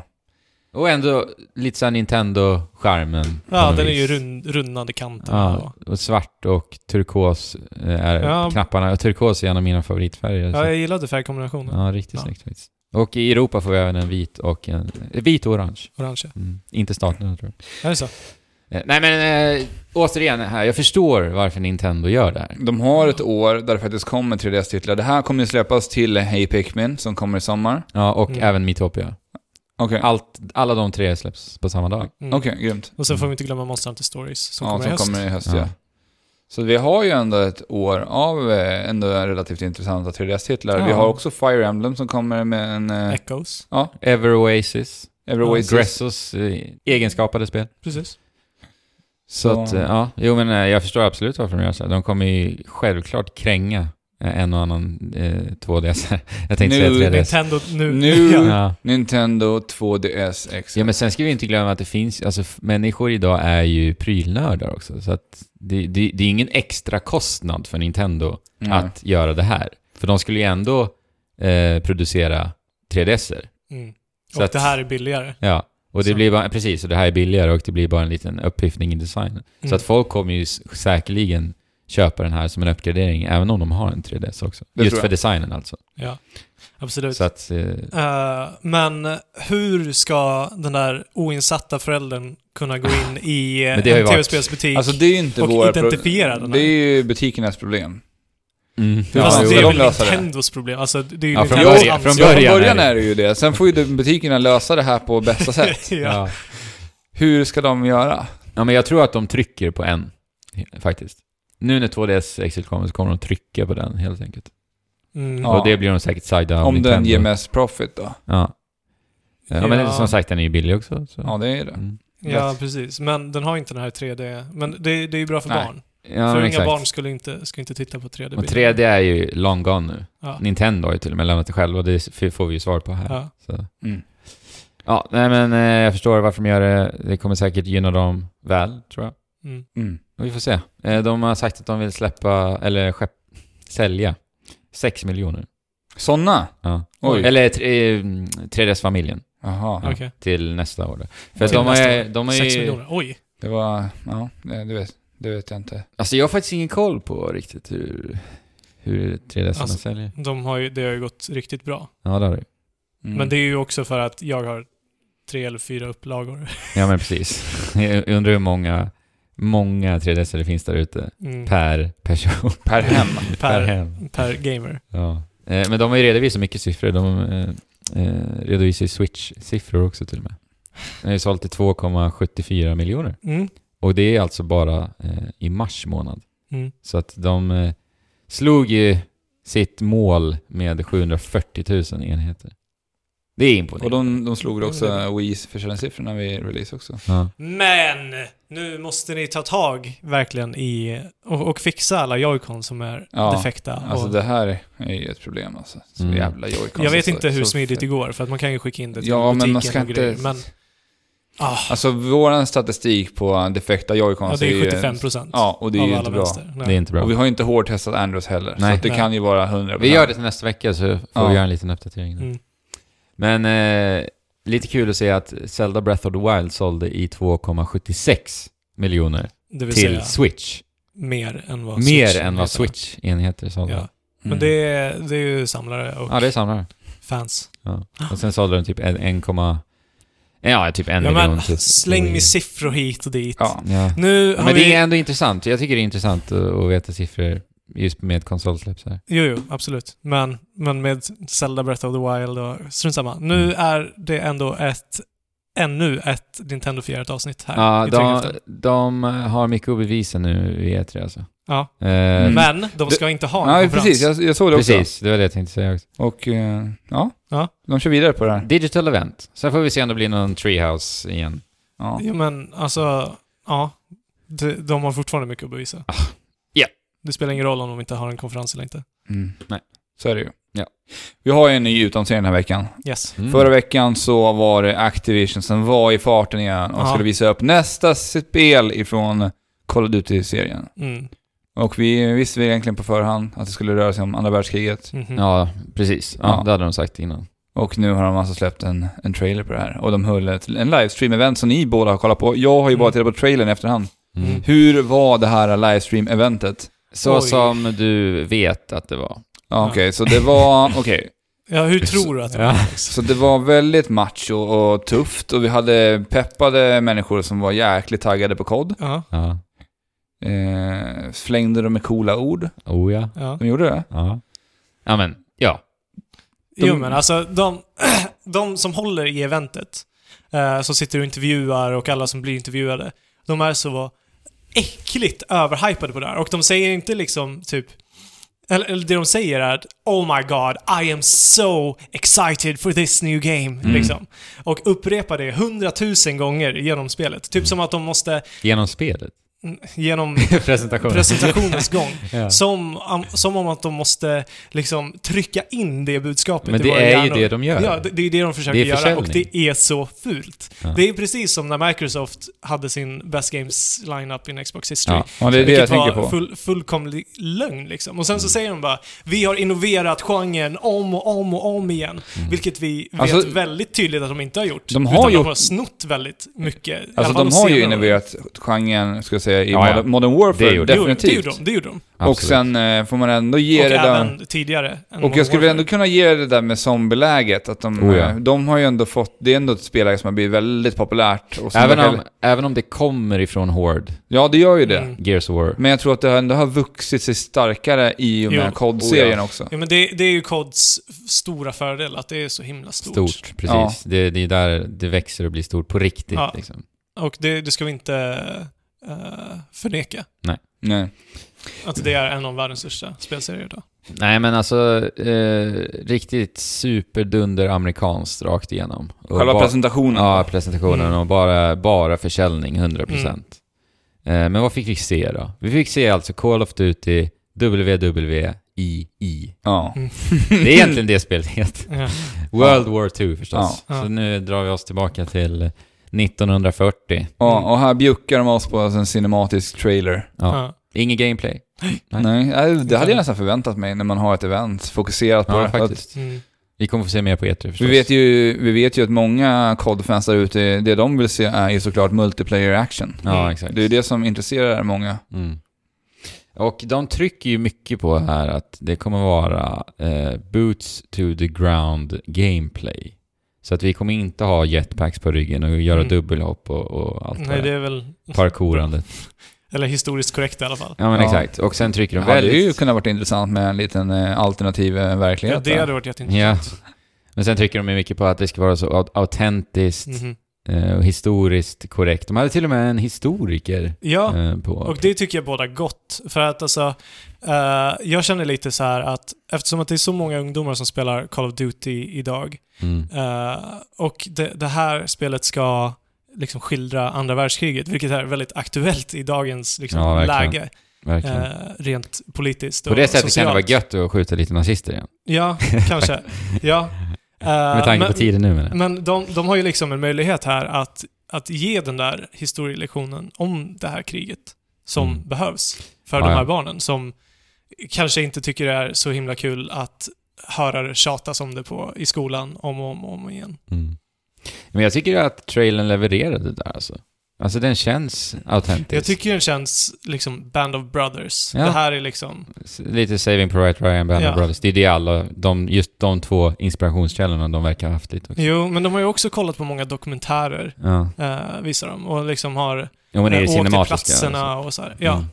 Speaker 2: Och ändå lite såhär Nintendo-skärmen. på
Speaker 3: Ja,
Speaker 2: något
Speaker 3: den är ju
Speaker 2: vis.
Speaker 3: rund, rundande kanterna.
Speaker 2: Ja, och svart och turkos eh, är
Speaker 3: Ja.
Speaker 2: knapparna. Och turkos är en av mina favoritfärger. så-
Speaker 3: ja, jag gillade färgkombinationen.
Speaker 2: ja riktigt
Speaker 3: Ja.
Speaker 2: snyggt faktiskt. Och i Europa får vi även en vit och en... eh, Vit och orange.
Speaker 3: Orangea.
Speaker 2: Mm. Inte starten, tror jag.
Speaker 3: Är det så?
Speaker 2: Eh, Nej men eh, återigen här, jag förstår varför Nintendo gör det här.
Speaker 1: de har ett år där det faktiskt kommer 3DS-titlar. Det här kommer ju släppas till Hey Pikmin som kommer i sommar.
Speaker 2: Ja, och
Speaker 3: Mm.
Speaker 2: även Miitopia.
Speaker 1: Okej,
Speaker 2: Allt, alla de tre släpps på samma dag.
Speaker 3: Mm.
Speaker 1: Okej, grymt.
Speaker 3: Och sen får vi inte glömma Monster Hunter Stories som
Speaker 1: ja,
Speaker 3: kommer i
Speaker 1: som
Speaker 3: höst.
Speaker 1: kommer i höst ja.
Speaker 2: Ja.
Speaker 1: Så vi har ju ändå ett år av eh, ändå relativt intressanta 3DS-titlar. Vi
Speaker 2: Ja.
Speaker 1: har också Fire Emblem som kommer med en... eh,
Speaker 3: Echoes.
Speaker 1: Ja,
Speaker 2: Ever Oasis,
Speaker 1: Ever Oasis.
Speaker 2: Gressos eh, egenskapade spel.
Speaker 3: Precis.
Speaker 2: Så att, eh, ja, jo men eh, jag förstår absolut varför de gör så här. De kommer ju självklart kränga eh, en och annan eh, 2DS. Jag tänkte
Speaker 1: Nu-
Speaker 2: säga 3DS.
Speaker 3: Nintendo nu.
Speaker 1: Nu-
Speaker 3: ja.
Speaker 2: Ja.
Speaker 1: Nintendo 2DS X.
Speaker 2: ja, men sen ska vi inte glömma att det finns, alltså f- människor idag är ju prylnördar också. Så att det, det, det är ingen extra kostnad för Nintendo
Speaker 1: Nej.
Speaker 2: att göra det här. För de skulle ju ändå eh, producera 3DSer.
Speaker 3: Mm.
Speaker 2: Så
Speaker 3: Och
Speaker 2: att-
Speaker 3: det här är billigare.
Speaker 2: Ja. Och det
Speaker 3: Så.
Speaker 2: blir bara, precis, och det här är billigare och det blir bara en liten upphiftning i designen.
Speaker 3: Mm.
Speaker 2: Så att folk kommer ju s- säkerligen köpa den här som en uppgradering, även om de har en 3DS också.
Speaker 1: Det tror
Speaker 2: Just
Speaker 1: jag.
Speaker 2: för designen alltså.
Speaker 3: Ja, absolut.
Speaker 2: Så att, eh,
Speaker 3: Eh, men hur ska den där oinsatta föräldern kunna gå in i eh,
Speaker 2: Men
Speaker 3: en
Speaker 2: det har ju varit-
Speaker 3: tv-spelsbutik?
Speaker 1: Alltså det är Alltså, ju inte
Speaker 3: och
Speaker 1: vår... pro-
Speaker 3: identifiera den här.
Speaker 1: Det är ju butikernas problem.
Speaker 2: Mm.
Speaker 1: Ja,
Speaker 3: Fast
Speaker 1: jo,
Speaker 3: Alltså, det är
Speaker 1: de
Speaker 3: väl
Speaker 1: löser det.
Speaker 3: Nintendos problem? Alltså, det är ju
Speaker 2: Ja, från
Speaker 3: Nintendos
Speaker 2: början- från
Speaker 1: Ja,
Speaker 3: ansvar.
Speaker 1: från början
Speaker 2: början är
Speaker 1: är det ju det. Sen får ju de- butikerna lösa det här på bästa sätt.
Speaker 3: ja.
Speaker 2: Ja.
Speaker 1: Hur ska de göra?
Speaker 2: ja, men jag tror att de trycker på en, faktiskt. Nu när 2DS Exit kommer så kommer de trycka på den helt enkelt.
Speaker 3: Mm.
Speaker 1: Ja.
Speaker 2: Och det blir de säkert sajda av
Speaker 1: Om den
Speaker 2: Nintendo.
Speaker 1: ger mest profit då?
Speaker 2: Ja. Ja,
Speaker 3: Ja.
Speaker 2: men som sagt den är ju billig också. Så.
Speaker 1: Ja, det är det.
Speaker 2: Mm.
Speaker 3: ja,
Speaker 1: Lätt.
Speaker 3: precis. Men den har inte den här 3D. Men det, det är ju bra för
Speaker 1: Nej.
Speaker 3: barn.
Speaker 2: Ja,
Speaker 3: för
Speaker 2: men
Speaker 3: inga
Speaker 2: exakt.
Speaker 3: barn skulle inte, skulle inte titta på 3D.
Speaker 2: Och 3D är ju long gone nu.
Speaker 3: Ja.
Speaker 2: Nintendo har ju till och med lämnat det själv och det f- får vi ju svar på här. Ja,
Speaker 3: Ja.
Speaker 2: så.
Speaker 1: Mm.
Speaker 2: ja nej men eh, jag förstår varför de gör det. Det kommer säkert gynna dem väl, tror jag.
Speaker 3: Mm.
Speaker 1: Mm.
Speaker 2: Och Vi får se. Eh, De har sagt att de vill släppa, eller skepp, sälja, 6 miljoner.
Speaker 1: Sådana?
Speaker 2: Ja.
Speaker 1: Oj.
Speaker 2: Eller tre- eh, 3DS-familjen
Speaker 1: Jaha.
Speaker 2: Ja.
Speaker 3: Okej.
Speaker 2: till nästa år. då. För att
Speaker 3: Till
Speaker 2: de
Speaker 3: nästa
Speaker 2: har,
Speaker 3: år.
Speaker 2: de har
Speaker 3: Sex
Speaker 2: ju...
Speaker 3: miljoner. Oj.
Speaker 1: Det var... Ja, det det vet, det vet jag inte.
Speaker 2: Alltså jag har faktiskt ingen koll på riktigt hur, hur 3DS
Speaker 3: Alltså-
Speaker 2: säljer.
Speaker 3: De har ju, det har ju gått riktigt bra.
Speaker 2: Ja, det har du.
Speaker 1: Mm.
Speaker 3: Men det är ju också för att jag har tre eller fyra upplagor.
Speaker 2: Ja, men precis. Jag undrar hur många, många 3DS det finns där ute
Speaker 3: Mm.
Speaker 2: per person.
Speaker 1: Per hem.
Speaker 3: Per-
Speaker 2: hem.
Speaker 3: per gamer.
Speaker 2: Ja. Eh, Men de har ju redovisat mycket siffror. De eh, eh, redovisar ju Switch-siffror också till och med. Den har ju sålt till 2,74 miljoner.
Speaker 3: Mm.
Speaker 2: Och det är alltså bara eh, i mars månad.
Speaker 3: Mm.
Speaker 2: Så att de eh, slog ju sitt mål med 740 000 enheter. Det är
Speaker 1: Och
Speaker 2: imponerande.
Speaker 1: de, de slog också Wii's försäljningssiffrorna vid release också.
Speaker 2: Ja.
Speaker 3: Men! Nu måste ni ta tag verkligen i och, och fixa alla joycon som är
Speaker 1: Ja,
Speaker 3: defekta.
Speaker 1: Alltså
Speaker 3: och,
Speaker 1: det här är ju ett problem alltså. Så
Speaker 2: Mm.
Speaker 1: jävla joycons.
Speaker 3: jag vet
Speaker 1: alltså.
Speaker 3: inte hur
Speaker 1: Så-
Speaker 3: smidigt det går för att man kan ju skicka in det till
Speaker 1: Ja, men
Speaker 3: butiken
Speaker 1: man ska
Speaker 3: och grejer.
Speaker 1: inte...
Speaker 3: Men ah,
Speaker 1: Alltså våran statistik på defekta joycons
Speaker 3: ja, det är
Speaker 1: ju-
Speaker 3: 75 procent
Speaker 1: Ja, och det är ju inte bra.
Speaker 2: Det är inte bra.
Speaker 1: Och vi har ju inte hårdtestat Andros heller. Så
Speaker 2: Nej.
Speaker 1: att det
Speaker 3: Nej.
Speaker 1: kan ju vara 100
Speaker 2: Vi gör det till nästa vecka så får
Speaker 1: Ja.
Speaker 2: vi göra en liten uppdatering. där.
Speaker 3: Mm.
Speaker 2: Men eh, lite kul att se att Zelda Breath of the Wild sålde i 2,76 miljoner
Speaker 3: Det vill
Speaker 2: till
Speaker 3: säga
Speaker 2: Switch.
Speaker 3: mer än vad
Speaker 2: Mer
Speaker 3: Switch
Speaker 2: än vad
Speaker 3: heter.
Speaker 2: Switch-enheter sålde.
Speaker 3: Ja.
Speaker 2: Ja.
Speaker 3: Men det är, det är ju samlare och
Speaker 2: det är samma.
Speaker 3: fans.
Speaker 2: Och sen sålde de typ en- 1, ja, typ en
Speaker 3: Ja,
Speaker 2: miljon.
Speaker 3: men
Speaker 2: till- Mm.
Speaker 3: släng med siffror hit och dit.
Speaker 1: Ja.
Speaker 2: Ja.
Speaker 3: Nu har
Speaker 2: Men
Speaker 3: vi...
Speaker 2: det är ändå intressant. Jag tycker det är intressant att att veta siffror just med konsolsläpp så här.
Speaker 3: Jo, jo, absolut. Men, men med Zelda Breath of the Wild och strunt samma. Nu
Speaker 2: Mm.
Speaker 3: är det ändå ett, ännu ett Nintendo 4 avsnitt här
Speaker 2: Ja,
Speaker 3: i
Speaker 2: de,
Speaker 3: Tryggheten.
Speaker 2: de eh, har mycket att bevisa nu i E3 alltså.
Speaker 3: Ja.
Speaker 2: Eh,
Speaker 1: Mm.
Speaker 3: Men de ska inte ha en
Speaker 1: Nej,
Speaker 3: konferens.
Speaker 1: precis. Jag, jag såg det också.
Speaker 2: Precis, det var det jag tänkte säga också.
Speaker 1: Och eh, ja,
Speaker 3: Ja.
Speaker 1: de kör vidare på det här.
Speaker 2: Digital event. Sen får vi se om det blir någon treehouse igen.
Speaker 1: Ja.
Speaker 3: Jo, men alltså, ja. De, de har fortfarande mycket att bevisa.
Speaker 2: ja.
Speaker 3: Det spelar ingen roll om de inte har en konferens eller inte.
Speaker 1: Mm.
Speaker 2: Nej.
Speaker 1: Så är det ju.
Speaker 2: Ja.
Speaker 1: Vi har ju en ny utomserie den här veckan.
Speaker 3: Yes.
Speaker 2: Mm.
Speaker 1: Förra veckan så var det Activision som var i farten igen och
Speaker 3: Ja.
Speaker 1: skulle visa upp nästa spel ifrån Call of Duty-serien.
Speaker 3: Mm.
Speaker 1: Och vi visste väl egentligen på förhand att det skulle röra sig om andra världskriget.
Speaker 3: Mhm.
Speaker 2: Ja, precis. Ja,
Speaker 1: Ja.
Speaker 2: Det hade de sagt innan.
Speaker 1: Och nu har de alltså släppt en, en trailer på det här. Och de höll ett, en livestream-event som ni båda har kollat på. Jag har ju bara
Speaker 3: Mm.
Speaker 1: tittat på trailern i efterhand.
Speaker 3: Mm.
Speaker 1: Hur var det här livestream-eventet?
Speaker 2: Så
Speaker 3: Oj.
Speaker 2: som du vet att det var.
Speaker 1: Ja, Okej, så det var... Okej.
Speaker 3: Ja, hur tror du att det var?
Speaker 1: Så det var väldigt macho och tufft och vi hade peppade människor som var jäkligt taggade på kod.
Speaker 3: Ja.
Speaker 2: Ja.
Speaker 1: Eh, slängde dem med coola ord.
Speaker 2: Oh ja.
Speaker 3: ja.
Speaker 1: De gjorde det.
Speaker 2: Ja. Ja, men ja.
Speaker 1: De-
Speaker 3: Jo men alltså de, de som håller i eventet, eh, som sitter och intervjuar och alla som blir intervjuade, de är så äckligt överhypade på det här. Och de säger inte liksom typ... Eller, eller det de säger är att Oh my god, I am so excited for this new game. Liksom. Och upprepar det hundratusen gånger genom spelet. Typ som att de måste,
Speaker 2: Genom spelet.
Speaker 3: mm, genom
Speaker 2: Presentationen.
Speaker 3: presentationens gång,
Speaker 2: Ja.
Speaker 3: som, am- som om att de måste liksom trycka in det budskapet
Speaker 2: Men
Speaker 3: i
Speaker 2: det
Speaker 3: våra
Speaker 2: är ju
Speaker 3: hjärnor.
Speaker 2: det de gör.
Speaker 3: Ja, det, det är det de försöker
Speaker 2: Det är
Speaker 3: göra och
Speaker 2: försäljning.
Speaker 3: det är så fult.
Speaker 2: Ja.
Speaker 3: Det är precis som när Microsoft hade sin Best Games lineup in Xbox history.
Speaker 2: Ja.
Speaker 1: Ja, det är det jag
Speaker 3: Vilket
Speaker 1: tänker
Speaker 3: var
Speaker 1: på. Mm.
Speaker 3: full, fullkomlig lögn liksom. Och sen så säger de bara Vi har innoverat genren om och om och om igen. Vilket vi vet
Speaker 1: Mm. Alltså,
Speaker 3: väldigt tydligt att de inte har gjort.
Speaker 1: de har
Speaker 3: utan
Speaker 1: gjort-
Speaker 3: de har snott väldigt mycket. i alla
Speaker 1: Alltså
Speaker 3: fall
Speaker 1: de har ju
Speaker 3: senare åren.
Speaker 1: innoverat genren, ska jag säga, det i
Speaker 2: Ja, ja.
Speaker 1: Modern- Modern Warfare,
Speaker 2: Det gjorde
Speaker 3: Det gjorde-
Speaker 1: definitivt.
Speaker 3: Det gjorde de. Det gjorde de.
Speaker 1: Och sen eh, får man ändå ge
Speaker 3: och
Speaker 1: det där...
Speaker 3: även tidigare. än
Speaker 1: Och
Speaker 3: Modern
Speaker 1: jag skulle ändå
Speaker 3: Warfare.
Speaker 1: kunna ge det där med zombieläget. Att de,
Speaker 2: Oh, ja.
Speaker 1: eh, de har ju ändå fått... Det är ändå ett spelläge som har blivit väldigt populärt. Och som
Speaker 2: även,
Speaker 1: verkar-
Speaker 2: om, även om det kommer ifrån Horde,
Speaker 1: Ja, det gör ju det.
Speaker 3: Mm.
Speaker 2: Gears of War.
Speaker 1: Men jag tror att det ändå har vuxit sig starkare i och
Speaker 3: Jo.
Speaker 1: med
Speaker 2: Oh
Speaker 1: COD-serien också.
Speaker 3: Ja, men det, det är ju Cods stora fördel, att det är så himla stort.
Speaker 2: Stort, precis.
Speaker 1: Ja.
Speaker 2: Det, det är där det växer och blir stort på riktigt.
Speaker 3: Ja.
Speaker 2: Liksom.
Speaker 3: Och det, det ska vi inte eh, förneka.
Speaker 1: Nej.
Speaker 3: Att det är en av världens största spelserier idag.
Speaker 2: Nej men alltså, eh, riktigt superdunder amerikanskt rakt igenom. Och
Speaker 1: Själva
Speaker 2: bara-
Speaker 1: presentationen.
Speaker 2: Ja, presentationen
Speaker 3: Mm.
Speaker 2: och bara, bara försäljning, 100%.
Speaker 1: Mm.
Speaker 2: Eh, men vad fick vi se då? Vi fick se alltså Call of Duty WWII.
Speaker 1: Ja.
Speaker 3: Mm.
Speaker 2: Det är egentligen det spelet heter.
Speaker 3: Ja.
Speaker 2: World War 2 förstås.
Speaker 3: Ja.
Speaker 2: Så nu drar vi oss tillbaka till 1940.
Speaker 1: Ja, och här bjuckar de oss på en cinematisk trailer.
Speaker 2: Ja.
Speaker 3: Ja.
Speaker 2: Ingen gameplay. Nej.
Speaker 1: Nej. Nej, det hade jag nästan förväntat mig när man har ett event fokuserat på
Speaker 2: Ja,
Speaker 1: det. Att-
Speaker 2: faktiskt.
Speaker 3: Mm.
Speaker 2: Vi kommer få se mer på E E3 förstås.
Speaker 1: Vi vet, ju, vi vet ju att många COD-fans där ute, det de vill se är ju såklart multiplayer action.
Speaker 2: Ja, exakt.
Speaker 1: Det är ju det som intresserar många.
Speaker 2: Mm. Och de trycker ju mycket på här att det kommer vara eh, boots to the ground gameplay. Så att vi kommer inte ha jetpacks på ryggen och göra
Speaker 3: Mm.
Speaker 2: dubbelhopp och, och allt
Speaker 3: Nej,
Speaker 2: det
Speaker 3: det
Speaker 2: där.
Speaker 3: är väl...
Speaker 2: Parkourandet.
Speaker 3: Eller historiskt korrekt i alla fall.
Speaker 2: Ja men
Speaker 1: Ja.
Speaker 2: exakt. Och sen trycker
Speaker 1: Det
Speaker 2: de
Speaker 1: hade ju
Speaker 2: väldigt...
Speaker 1: kunnat varit intressant med en liten eh, alternativ eh,
Speaker 3: Ja,
Speaker 1: verklighet.
Speaker 3: det
Speaker 1: där.
Speaker 3: hade varit
Speaker 2: Ja.
Speaker 3: jätteintressant.
Speaker 2: Men sen trycker de ju mycket på att det ska vara så aut- autentiskt
Speaker 3: Mhm.
Speaker 2: eh, och historiskt korrekt. De hade till och med en historiker
Speaker 3: Ja,
Speaker 2: eh, på.
Speaker 3: Och det tycker jag båda gott. För att alltså, eh, jag känner lite så här att eftersom att det är så många ungdomar som spelar Call of Duty idag
Speaker 2: Mm.
Speaker 3: eh, och det, det här spelet ska liksom skildra andra världskriget, vilket är väldigt aktuellt i dagens liksom,
Speaker 2: Ja, verkligen.
Speaker 3: läge,
Speaker 2: Verkligen.
Speaker 3: eh, rent politiskt och
Speaker 2: på det sättet kan
Speaker 3: socialt.
Speaker 2: det vara gött att skjuta lite nazister igen.
Speaker 3: Ja, kanske. ja. Eh,
Speaker 2: Med tanke på
Speaker 3: men-
Speaker 2: tiden nu menar jag.
Speaker 3: men de, de har ju liksom en möjlighet här att, att ge den där historielektionen om det här kriget som
Speaker 2: Mm.
Speaker 3: behövs för
Speaker 2: Ja,
Speaker 3: de här
Speaker 2: ja.
Speaker 3: barnen som kanske inte tycker det är så himla kul att höra det tjatas om det på, i skolan om och om, och om igen.
Speaker 2: Mm. Men jag tycker att trailern levererade där alltså. Alltså den känns autentisk.
Speaker 3: Jag tycker den känns liksom Band of Brothers.
Speaker 2: Ja.
Speaker 3: Det här är liksom...
Speaker 2: S- Lite Saving Private Ryan, Band
Speaker 3: Ja.
Speaker 2: of Brothers. Det är det alla, de, just de två inspirationskällorna de verkar ha haft lite
Speaker 1: Liksom.
Speaker 2: också.
Speaker 3: Jo, men de har ju också kollat på många dokumentärer,
Speaker 2: Ja.
Speaker 3: eh, visar de, och liksom har
Speaker 2: Jo men det är det
Speaker 3: eh, åkt till
Speaker 2: cinematiska. alltså.
Speaker 3: platserna
Speaker 1: alltså.
Speaker 3: och så här. Ja.
Speaker 2: Mm.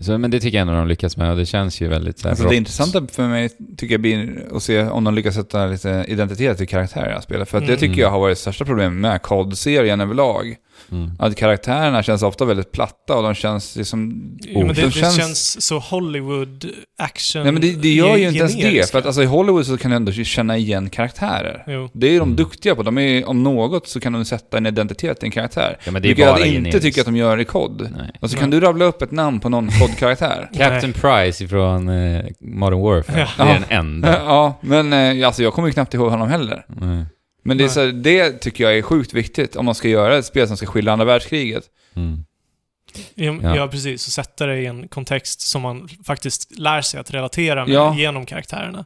Speaker 2: Så, men det tycker jag ändå de lyckas med och det känns ju väldigt så här,
Speaker 1: Alltså,
Speaker 2: rått.
Speaker 1: det intressanta för mig tycker jag blir att se om de lyckas sätta lite identitet i karaktärer jag spelar. För att det
Speaker 3: Mm.
Speaker 1: tycker jag har varit det största problemet med COD-serien överlag.
Speaker 2: Mm.
Speaker 1: Att karaktärerna känns ofta väldigt platta och de känns liksom...
Speaker 3: Jo, men det,
Speaker 1: de
Speaker 3: det känns... så Hollywood action
Speaker 1: Nej men det, det gör ju inte ens det.
Speaker 3: generiskt.
Speaker 1: För att alltså, i Hollywood så kan du ändå känna igen karaktärer.
Speaker 3: Jo.
Speaker 1: Det är de
Speaker 2: Mm.
Speaker 1: duktiga på. De är, om något så kan de sätta en identitet i en karaktär.
Speaker 2: Ja, men det är
Speaker 1: Vilket
Speaker 2: bara
Speaker 1: jag inte
Speaker 2: generiskt.
Speaker 1: tycker att de gör i kod.
Speaker 2: Nej.
Speaker 1: Och så
Speaker 3: Nej.
Speaker 1: kan du rabbla upp ett namn på någon kod-karaktär.
Speaker 2: Captain Price ifrån eh, Modern Warfare.
Speaker 3: Ja.
Speaker 2: Det är
Speaker 1: Ja.
Speaker 2: den enda.
Speaker 1: ja, men eh, alltså, jag kommer ju knappt ihåg honom heller.
Speaker 2: Mm.
Speaker 1: Men det, är
Speaker 3: Nej.
Speaker 1: så här, det tycker jag är sjukt viktigt om man ska göra ett spel som ska skilja andra världskriget.
Speaker 2: Mm.
Speaker 3: Ja,
Speaker 2: Ja.
Speaker 3: ja. precis. Och sätta det i en kontext som man faktiskt lär sig att relatera med
Speaker 1: Ja.
Speaker 3: genom karaktärerna.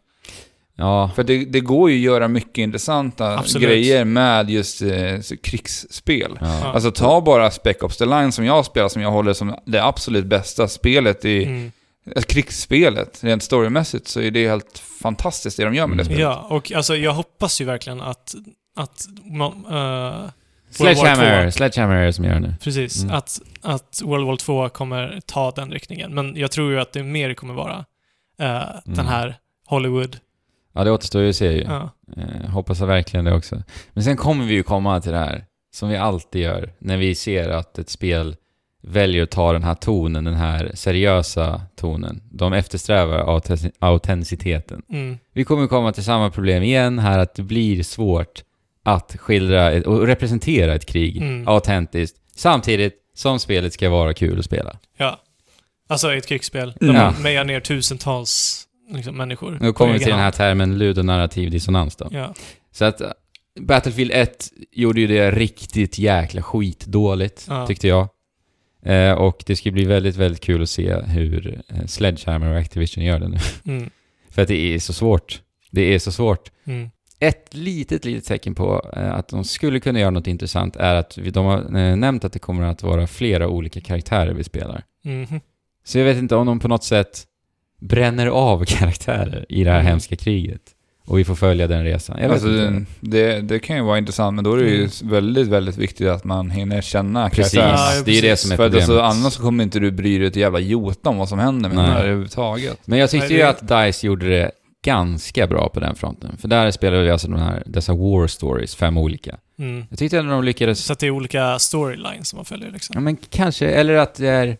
Speaker 2: Ja.
Speaker 1: För det, det går ju att göra mycket intressanta
Speaker 3: Absolut.
Speaker 1: grejer med just eh, så- krigsspel.
Speaker 2: ja.
Speaker 3: Ja.
Speaker 1: Alltså ta bara Spec Ops The Line som jag spelar, som jag håller som det absolut bästa spelet i
Speaker 3: Mm.
Speaker 1: eh, krigsspelet. Rent storymässigt så är det helt fantastiskt det de gör med det
Speaker 2: Mm.
Speaker 1: spelet.
Speaker 3: Ja, och alltså, jag hoppas ju verkligen att, att man, eh, World War
Speaker 2: Sledgehammer,
Speaker 3: II.
Speaker 2: Sledgehammer är det som gör det nu.
Speaker 3: precis,
Speaker 2: Mm.
Speaker 3: att, att World War 2 kommer ta den riktningen. Men jag tror ju att det mer kommer vara eh, den här Hollywood.
Speaker 2: Ja, Mm. det återstår ju att se ju.
Speaker 3: Ja.
Speaker 2: Eh, hoppas jag verkligen det också. Men sen kommer vi ju komma till det här, som vi alltid gör, när vi ser att ett spel väljer att ta den här tonen, den här seriösa tonen. De eftersträvar auten- autenticiteten.
Speaker 3: Mm.
Speaker 2: Vi kommer komma till samma problem igen här, att det blir svårt att skildra ett, och representera ett krig
Speaker 3: Mm.
Speaker 2: autentiskt, samtidigt som spelet ska vara kul att spela.
Speaker 3: Ja. Alltså i ett krigsspel.
Speaker 1: Mm.
Speaker 3: De
Speaker 2: Ja.
Speaker 3: mejar ner tusentals liksom, människor.
Speaker 2: Nu
Speaker 3: på
Speaker 2: kommer vi
Speaker 3: egen
Speaker 2: till den här
Speaker 3: hand.
Speaker 2: termen ludonarrativ dissonans då.
Speaker 3: Ja.
Speaker 2: Så att äh, Battlefield 1 gjorde ju det riktigt jäkla skitdåligt,
Speaker 3: Ja.
Speaker 2: tyckte jag. Eh, och det ska bli väldigt, väldigt kul att se hur eh, Sledgehammer och Activision gör det nu.
Speaker 3: Mm.
Speaker 2: För att det är så svårt. Det är så svårt.
Speaker 3: Mm.
Speaker 2: Ett litet, litet tecken på eh, att de skulle kunna göra något intressant är att vi, de har eh, nämnt att det kommer att vara flera olika karaktärer vi spelar.
Speaker 3: Mhm.
Speaker 2: Så jag vet inte om de på något sätt bränner av karaktärer i det här
Speaker 3: Mm.
Speaker 2: hemska kriget. Och vi får följa den resan. Jag vet
Speaker 1: Alltså,
Speaker 2: inte.
Speaker 1: det, det kan ju vara intressant, men då är det ju
Speaker 3: Mm.
Speaker 1: väldigt, väldigt viktigt att man hinner känna
Speaker 2: Precis,
Speaker 1: karaktärerna.
Speaker 3: Ja,
Speaker 2: det är ju det
Speaker 3: precis.
Speaker 2: som är
Speaker 1: För att
Speaker 2: problemet.
Speaker 1: alltså, annars så kommer inte du bry dig ett jävla jota om vad som händer med
Speaker 2: Nej.
Speaker 1: den här överhuvudtaget.
Speaker 2: Men jag tyckte
Speaker 3: Nej,
Speaker 2: ju
Speaker 3: det-
Speaker 2: att DICE gjorde det ganska bra på den fronten. För där spelade vi alltså de här, dessa war stories, fem olika.
Speaker 3: Mm.
Speaker 2: Jag tyckte ändå de lyckades
Speaker 3: Så att det är olika storylines som man följer liksom.
Speaker 2: Ja, men kanske. Eller att det är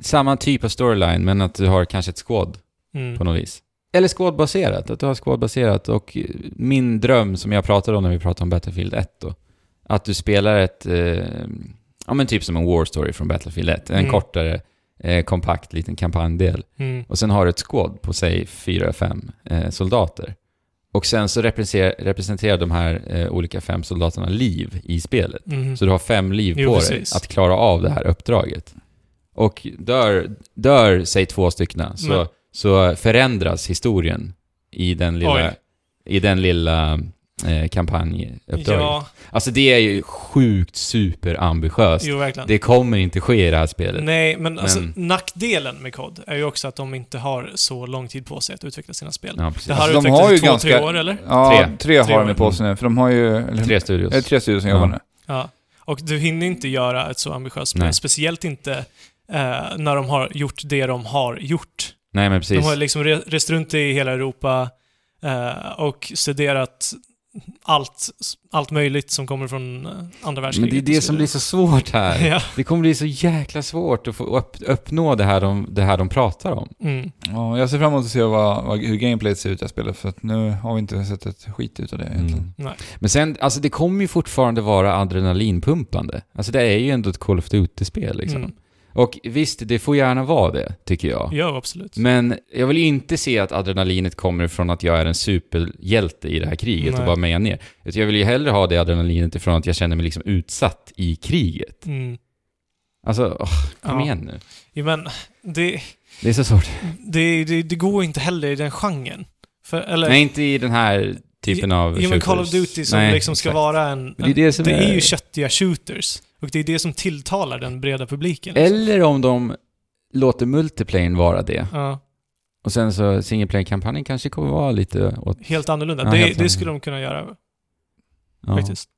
Speaker 2: samma typ av storyline, men att du har kanske ett squad
Speaker 3: Mm.
Speaker 2: på något vis. Eller squadbaserat. Att du har squadbaserat. Och eh, min dröm som jag pratade om när vi pratade om Battlefield 1 då. Att du spelar ett... Eh, ja, men typ som en war story från Battlefield 1. En
Speaker 3: Mm.
Speaker 2: kortare, eh, kompakt liten kampanjdel.
Speaker 3: Mm.
Speaker 2: Och sen har du ett squad på, säg, fyra, fem eh, soldater. Och sen så representerar, representerar de här eh, olika fem soldaterna liv i spelet.
Speaker 3: Mhm.
Speaker 2: Så du har fem liv
Speaker 3: Jo,
Speaker 2: på
Speaker 3: precis.
Speaker 2: dig att klara av det här uppdraget. Och dör, dör säg två stycken, så,
Speaker 3: Men-
Speaker 2: så förändras historien i den lilla,
Speaker 3: Oj.
Speaker 2: i den lilla eh, kampanjuppdraget.
Speaker 3: Ja,
Speaker 2: Alltså det är ju sjukt superambitiöst.
Speaker 3: jo verkligen.
Speaker 2: Det kommer inte ske i det här spelet.
Speaker 3: Nej, men, alltså,
Speaker 2: Men-
Speaker 3: nackdelen med COD är ju också att de inte har så lång tid på sig att utveckla sina spel.
Speaker 2: Ja, precis.
Speaker 3: Det här
Speaker 1: Alltså,
Speaker 3: har
Speaker 1: de
Speaker 3: utvecklats
Speaker 1: har ju
Speaker 3: i två,
Speaker 1: ganska-
Speaker 3: tre år eller?
Speaker 1: Ja, tre,
Speaker 2: Tre.
Speaker 3: Tre
Speaker 1: har de ju
Speaker 3: år.
Speaker 1: på sig nu, för de har ju... Eller,
Speaker 2: Tre studios.
Speaker 1: är det tre studior som
Speaker 2: Ja.
Speaker 1: jobbar nu?
Speaker 3: Ja. Och du hinner inte göra ett så ambitiöst spel.
Speaker 2: Nej.
Speaker 3: Speciellt inte eh, när de har gjort det de har gjort.
Speaker 2: Nej men
Speaker 3: De
Speaker 2: precis.
Speaker 3: har liksom re- rest runt i hela Europa eh, och studerat allt, allt möjligt som kommer från eh, andra
Speaker 2: Men
Speaker 3: världskriget.
Speaker 2: det är det som blir så svårt här.
Speaker 3: Ja.
Speaker 2: Det kommer bli så jäkla svårt att få upp, uppnå det här, de, det här de pratar om.
Speaker 3: Mm.
Speaker 1: Ja, jag ser fram emot att se vad, vad, hur gameplayet ser ut i det här spelet, för att nu har vi inte sett ett skit ut av det egentligen.
Speaker 2: Mm.
Speaker 3: Nej.
Speaker 2: Men sen, alltså det kommer ju fortfarande vara adrenalinpumpande. Alltså det är ju ändå ett Call of Duty-spel liksom.
Speaker 3: Mm.
Speaker 2: Och visst, det får gärna vara det, tycker jag.
Speaker 3: Ja, absolut.
Speaker 2: Men jag vill ju inte se att adrenalinet kommer från att jag är en superhjälte i det här kriget och
Speaker 3: Nej.
Speaker 2: bara mejar ner. Utan Jag vill ju hellre ha det adrenalinet ifrån att jag känner mig liksom utsatt i kriget.
Speaker 3: Mm.
Speaker 2: Alltså, åh, kom
Speaker 3: Ja.
Speaker 2: igen nu.
Speaker 3: Ja, men det,
Speaker 2: Det är så svårt.
Speaker 3: det, det, det går inte heller i den genren. För, eller,
Speaker 2: Nej, inte i den här typen av
Speaker 3: jo, men Call of
Speaker 2: shooters.
Speaker 3: Duty som
Speaker 2: Nej,
Speaker 3: liksom ska
Speaker 2: exakt.
Speaker 3: vara en...
Speaker 2: Men det är det som är-
Speaker 3: ju köttiga shooters. Och det är det som tilltalar den breda publiken. liksom.
Speaker 2: Eller om de låter multiplayen vara det.
Speaker 3: Ja,
Speaker 2: Och sen så single player kampanjen kanske kommer vara lite åt...
Speaker 3: helt annorlunda.
Speaker 2: Ja,
Speaker 3: det,
Speaker 2: helt
Speaker 3: det
Speaker 2: annorlunda.
Speaker 3: skulle de kunna göra
Speaker 2: Ja.
Speaker 3: faktiskt.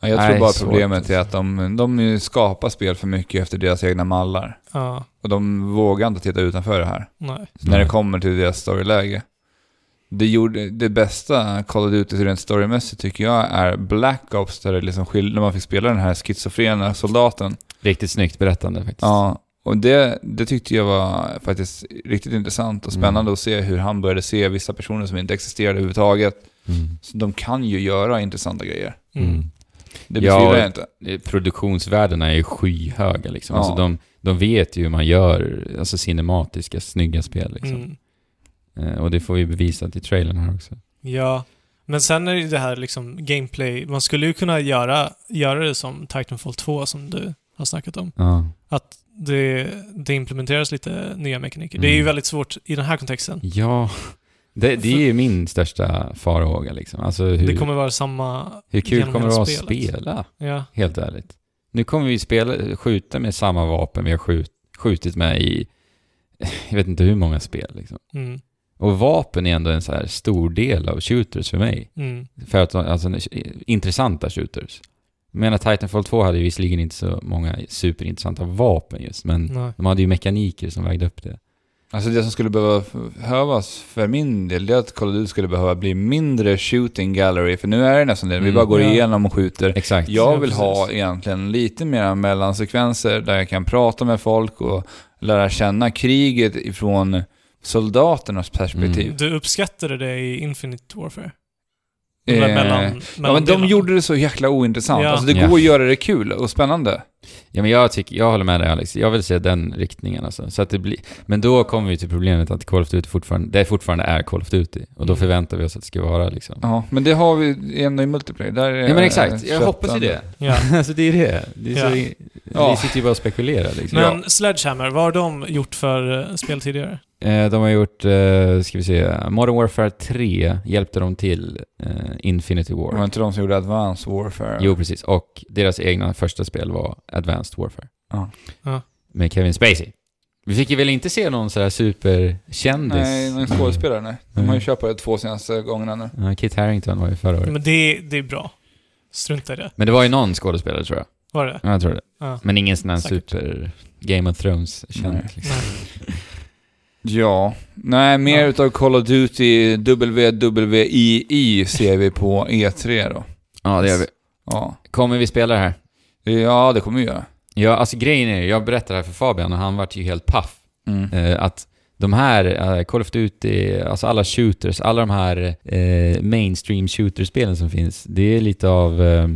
Speaker 1: Ja, jag tror
Speaker 2: Nej,
Speaker 1: bara
Speaker 2: svårt
Speaker 1: problemet
Speaker 2: alltså.
Speaker 1: är att de, de ju skapar spel för mycket efter deras egna mallar.
Speaker 3: Ja,
Speaker 1: Och de vågar inte titta utanför det här.
Speaker 3: nej.
Speaker 1: Så
Speaker 2: Mm.
Speaker 1: När det kommer till deras storyläge. Det, gjorde, det bästa Call of Duty rent storymässigt tycker jag är Black Ops, där det liksom skil- när man fick spela den här schizofrena soldaten.
Speaker 2: Riktigt snyggt berättande faktiskt.
Speaker 1: Ja, och det, det tyckte jag var faktiskt riktigt intressant och spännande
Speaker 2: Mm.
Speaker 1: att se hur han började se vissa personer som inte existerade överhuvudtaget.
Speaker 2: Mm.
Speaker 1: Så de kan ju göra intressanta grejer.
Speaker 3: Mm.
Speaker 2: Mm.
Speaker 1: Det
Speaker 2: Ja,
Speaker 1: betvivlar
Speaker 2: och-
Speaker 1: jag inte.
Speaker 2: Eh, Produktionsvärdena är ju skyhöga liksom.
Speaker 1: Ja.
Speaker 2: Alltså de, de vet ju hur man gör alltså, cinematiska, snygga spel liksom.
Speaker 3: Mm.
Speaker 2: Eh, Och det får vi bevisat i trailern här också.
Speaker 3: Ja. Men sen är det ju det här liksom gameplay. Man skulle ju kunna göra, göra det som Titanfall 2 som du har snackat om.
Speaker 2: Ja,
Speaker 3: Det, det implementeras lite nya mekaniker. Det är ju
Speaker 2: Mm.
Speaker 3: väldigt svårt i den här kontexten.
Speaker 2: ja. Det, det är ju min största farhåga liksom. Alltså hur,
Speaker 3: Det kommer vara samma...
Speaker 2: hur kul
Speaker 3: genom
Speaker 2: kommer det
Speaker 3: hela
Speaker 2: vara att
Speaker 3: spelet.
Speaker 2: spela?
Speaker 3: Ja.
Speaker 2: Helt ärligt. Nu kommer vi spela, skjuta med samma vapen vi har skjut, skjutit med i, jag vet inte hur många spel liksom.
Speaker 3: Mm.
Speaker 2: Och vapen är ändå en så här stor del av shooters för mig.
Speaker 3: Mm.
Speaker 2: För att, alltså, intressanta shooters. Men att Titanfall 2 hade ju visserligen inte så många superintressanta vapen just, men
Speaker 3: Nej.
Speaker 2: de hade ju mekaniker som vägde upp det.
Speaker 1: Alltså det som skulle behöva- behövas för min del, det är att Call of Duty skulle behöva bli mindre shooting gallery, för nu är det nästan det. Vi
Speaker 2: Mm.
Speaker 1: bara går
Speaker 3: Ja.
Speaker 1: igenom och skjuter.
Speaker 2: Exakt.
Speaker 1: Jag
Speaker 3: Ja,
Speaker 1: vill ha
Speaker 3: precis.
Speaker 1: egentligen lite mer mellansekvenser där jag kan prata med folk och lära känna kriget ifrån soldaternas perspektiv.
Speaker 2: Mm.
Speaker 3: Du uppskattade det i Infinite Warfare?
Speaker 1: Eh,
Speaker 3: Mellan, mellan
Speaker 1: ja, men de
Speaker 3: delarna.
Speaker 1: gjorde det så jäkla ointressant.
Speaker 3: Ja.
Speaker 1: Alltså det
Speaker 2: Ja.
Speaker 1: går att göra det kul och spännande.
Speaker 2: Ja, men jag, tycker, jag håller med dig Alex, jag vill se den riktningen alltså. Så att det blir, men då kommer vi till problemet att Call of Duty fortfarande, det fortfarande är Call of Duty. Och då
Speaker 3: Mm.
Speaker 2: förväntar vi oss att det ska vara liksom.
Speaker 1: Ja, men det har vi ändå i multiplayer. Där är
Speaker 2: Ja men exakt, jag
Speaker 1: svettande.
Speaker 2: hoppas ju det.
Speaker 3: Ja.
Speaker 2: Eh, alltså det är det. Det, är så,
Speaker 1: Ja.
Speaker 2: vi sitter ju bara och spekulerar liksom.
Speaker 3: Men Sledgehammer, vad har de gjort för eh, spel tidigare?
Speaker 2: Eh, de har gjort, eh, ska vi se, Modern Warfare 3 hjälpte de till eh, Infinity War.
Speaker 1: Det var inte de som gjorde Advanced Warfare?
Speaker 2: Jo, precis. Och deras egna första spel var Advanced Warfare.
Speaker 1: Ja.
Speaker 3: Ja.
Speaker 2: Med Kevin Spacey. Vi fick ju väl inte se någon sådär superkändis?
Speaker 1: Nej, någon skådespelare nej. De har
Speaker 2: Mm.
Speaker 1: ju köpt de två senaste gångerna nu.
Speaker 2: Ja, Kit Harington var ju förra året.
Speaker 3: Men det, det är bra. Strunta i det.
Speaker 2: Men det var ju någon skådespelare tror jag.
Speaker 3: Var det
Speaker 2: Ja, Jag tror det.
Speaker 3: Ja.
Speaker 2: Men ingen sån här
Speaker 3: Säkert.
Speaker 2: super Game of Thrones-känd.
Speaker 1: Nej.
Speaker 2: Liksom.
Speaker 3: Nej.
Speaker 1: Ja. Nej, mer
Speaker 3: Ja.
Speaker 1: utav Call of Duty WWII ser vi på E3 då.
Speaker 2: Ja, det gör vi.
Speaker 1: Ja,
Speaker 2: Kommer vi spela det här?
Speaker 1: ja det kommer vi göra.
Speaker 2: Ja, alltså grejen är ju, jag berättade det här för Fabian och han vart ju helt paff.
Speaker 1: Mm.
Speaker 2: Eh, att de här, eh, Call of Duty, alltså alla shooters, alla de här eh, mainstream shooterspelen som finns, det är lite av eh,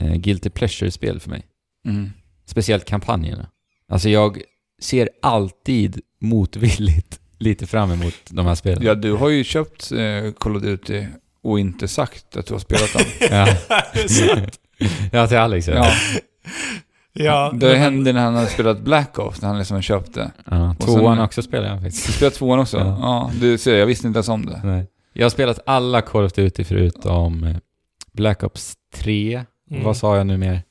Speaker 2: eh, guilty pleasure-spel för mig.
Speaker 1: Mm.
Speaker 2: Speciellt kampanjerna. Alltså jag ser alltid motvilligt lite fram emot de här spelen.
Speaker 1: Ja, du har ju köpt eh, Call of Duty och inte sagt att du har spelat dem.
Speaker 2: Ja.
Speaker 3: Det är sant.
Speaker 2: ja, till Alex ja.
Speaker 1: ja.
Speaker 2: ja.
Speaker 3: Ja,
Speaker 1: Det
Speaker 3: men-
Speaker 1: hände när han hade spelat Black Ops, när han liksom köpte. Och sen-
Speaker 2: tvåan också spelar jag
Speaker 1: Du
Speaker 2: faktiskt.
Speaker 1: spelade tvåan också?
Speaker 2: Ja.
Speaker 1: Ja. du ser, jag visste inte ens om det.
Speaker 2: Nej. Jag har spelat alla Call of Duty förutom eh, Black Ops 3.
Speaker 3: Mm.
Speaker 2: Vad sa jag nu mer?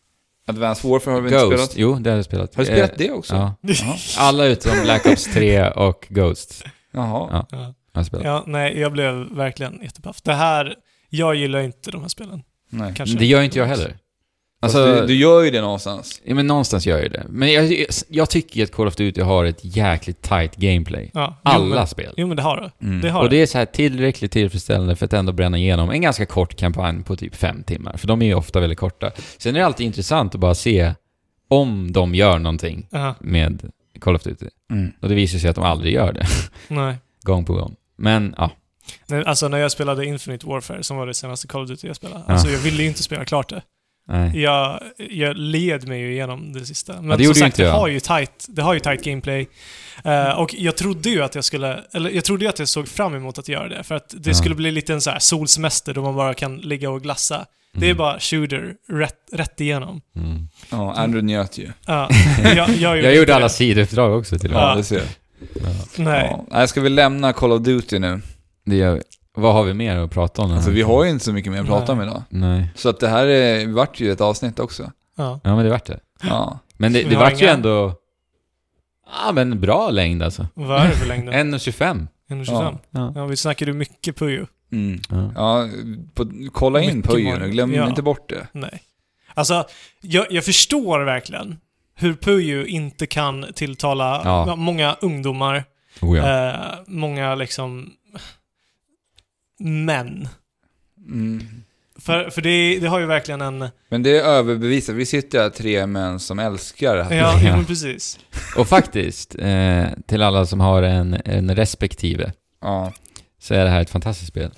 Speaker 1: Advanced Warfare har vi inte
Speaker 2: Ghost.
Speaker 1: spelat.
Speaker 2: Jo, det har jag spelat.
Speaker 1: Har du
Speaker 2: Eh,
Speaker 1: spelat det också?
Speaker 2: Ja.
Speaker 1: Jaha.
Speaker 2: Alla utom Black Ops 3 och Ghost
Speaker 1: Jaha.
Speaker 2: Ja.
Speaker 3: Ja.
Speaker 2: har jag spelat.
Speaker 3: ja, nej, jag blev verkligen jättepaff. Det här, jag gillar inte de här spelen.
Speaker 1: Nej. Alltså- Fast
Speaker 3: Kanske.
Speaker 2: Det gör inte jag heller. Alltså,
Speaker 1: du, du gör ju det någonstans.
Speaker 2: Ja, men någonstans gör ju det. Men jag, jag tycker ju att Call of Duty har ett jäkligt tight gameplay.
Speaker 3: Ja, Jo,
Speaker 2: Alla
Speaker 3: men,
Speaker 2: spel.
Speaker 3: jo, men det har du.
Speaker 1: Mm.
Speaker 3: Det har
Speaker 2: Och
Speaker 3: du.
Speaker 2: det är så här tillräckligt tillfredsställande för att ändå bränna igenom en ganska kort kampanj på typ fem timmar. För de är ju ofta väldigt korta. Sen är det alltid intressant att bara se om de gör någonting
Speaker 3: Ja,
Speaker 2: med Call of Duty.
Speaker 1: Mm.
Speaker 2: Och det visar sig att de aldrig gör det,
Speaker 3: nej.
Speaker 2: gång på gång. Men ja,
Speaker 3: Nej, Alltså när jag spelade Infinite Warfare, som var det senaste Call of Duty jag spelade,
Speaker 2: Ja.
Speaker 3: alltså jag ville ju inte spela klart det.
Speaker 2: nej.
Speaker 3: Jag, jag led mig ju igenom det sista. Men
Speaker 2: Ja, det
Speaker 3: som
Speaker 2: gjorde ju
Speaker 3: sagt,
Speaker 2: inte
Speaker 3: det
Speaker 2: jag.
Speaker 3: har, ju tight, det har ju tight gameplay. Eh, och jag trodde ju att jag skulle, eller jag trodde ju att jag såg fram emot att göra det, för att det
Speaker 2: Ja.
Speaker 3: skulle bli lite en så här solsemester då man bara kan ligga och glassa. Det är
Speaker 2: Mm.
Speaker 3: bara shooter rätt, rätt igenom.
Speaker 2: Mm.
Speaker 1: Ja, Andrew njöt ju.
Speaker 3: Ja, jag, jag,
Speaker 2: Jag gjorde
Speaker 3: inte
Speaker 2: alla
Speaker 3: det.
Speaker 2: sidouppdrag också till och med.
Speaker 1: Ja,
Speaker 3: Ja.
Speaker 1: det ser jag.
Speaker 3: Nej.
Speaker 1: Ja. Nej, ska vi lämna Call of Duty nu?
Speaker 2: Det gör vi. Vad har vi mer att prata om?
Speaker 1: Alltså vi har ju inte så mycket mer att prata om
Speaker 3: Nej.
Speaker 1: idag.
Speaker 2: Nej.
Speaker 1: Så att det här är, vart ju ett avsnitt också.
Speaker 3: Ja.
Speaker 2: Ja, men det vart det.
Speaker 1: Ja.
Speaker 2: Men det,
Speaker 3: Vi
Speaker 2: det
Speaker 3: har
Speaker 2: vart ju
Speaker 3: inga-
Speaker 2: ändå... Ja, men bra längd alltså.
Speaker 3: Vad är det för längd?
Speaker 2: 1,25.
Speaker 3: 125?
Speaker 2: Ja.
Speaker 3: Ja, vi snackade ju mycket Puyo.
Speaker 1: Mm.
Speaker 2: Ja.
Speaker 1: Ja, på, kolla in
Speaker 3: Mycket
Speaker 1: Puyo
Speaker 3: Mario.
Speaker 1: nu. Glöm
Speaker 3: Ja.
Speaker 1: inte bort det.
Speaker 3: Nej. Alltså, jag, jag förstår verkligen hur Puyo inte kan tilltala
Speaker 2: Ja.
Speaker 3: många ungdomar,
Speaker 2: Oh, ja.
Speaker 3: eh, många liksom män.
Speaker 1: Mm.
Speaker 3: För, för det, det har ju verkligen en...
Speaker 1: Men det är överbevisat. Vi sitter här tre män som älskar det här.
Speaker 3: Ja, ja. men precis.
Speaker 2: Och faktiskt, eh, till alla som har en, en respektive,
Speaker 1: Ja.
Speaker 2: så är det här ett fantastiskt spel.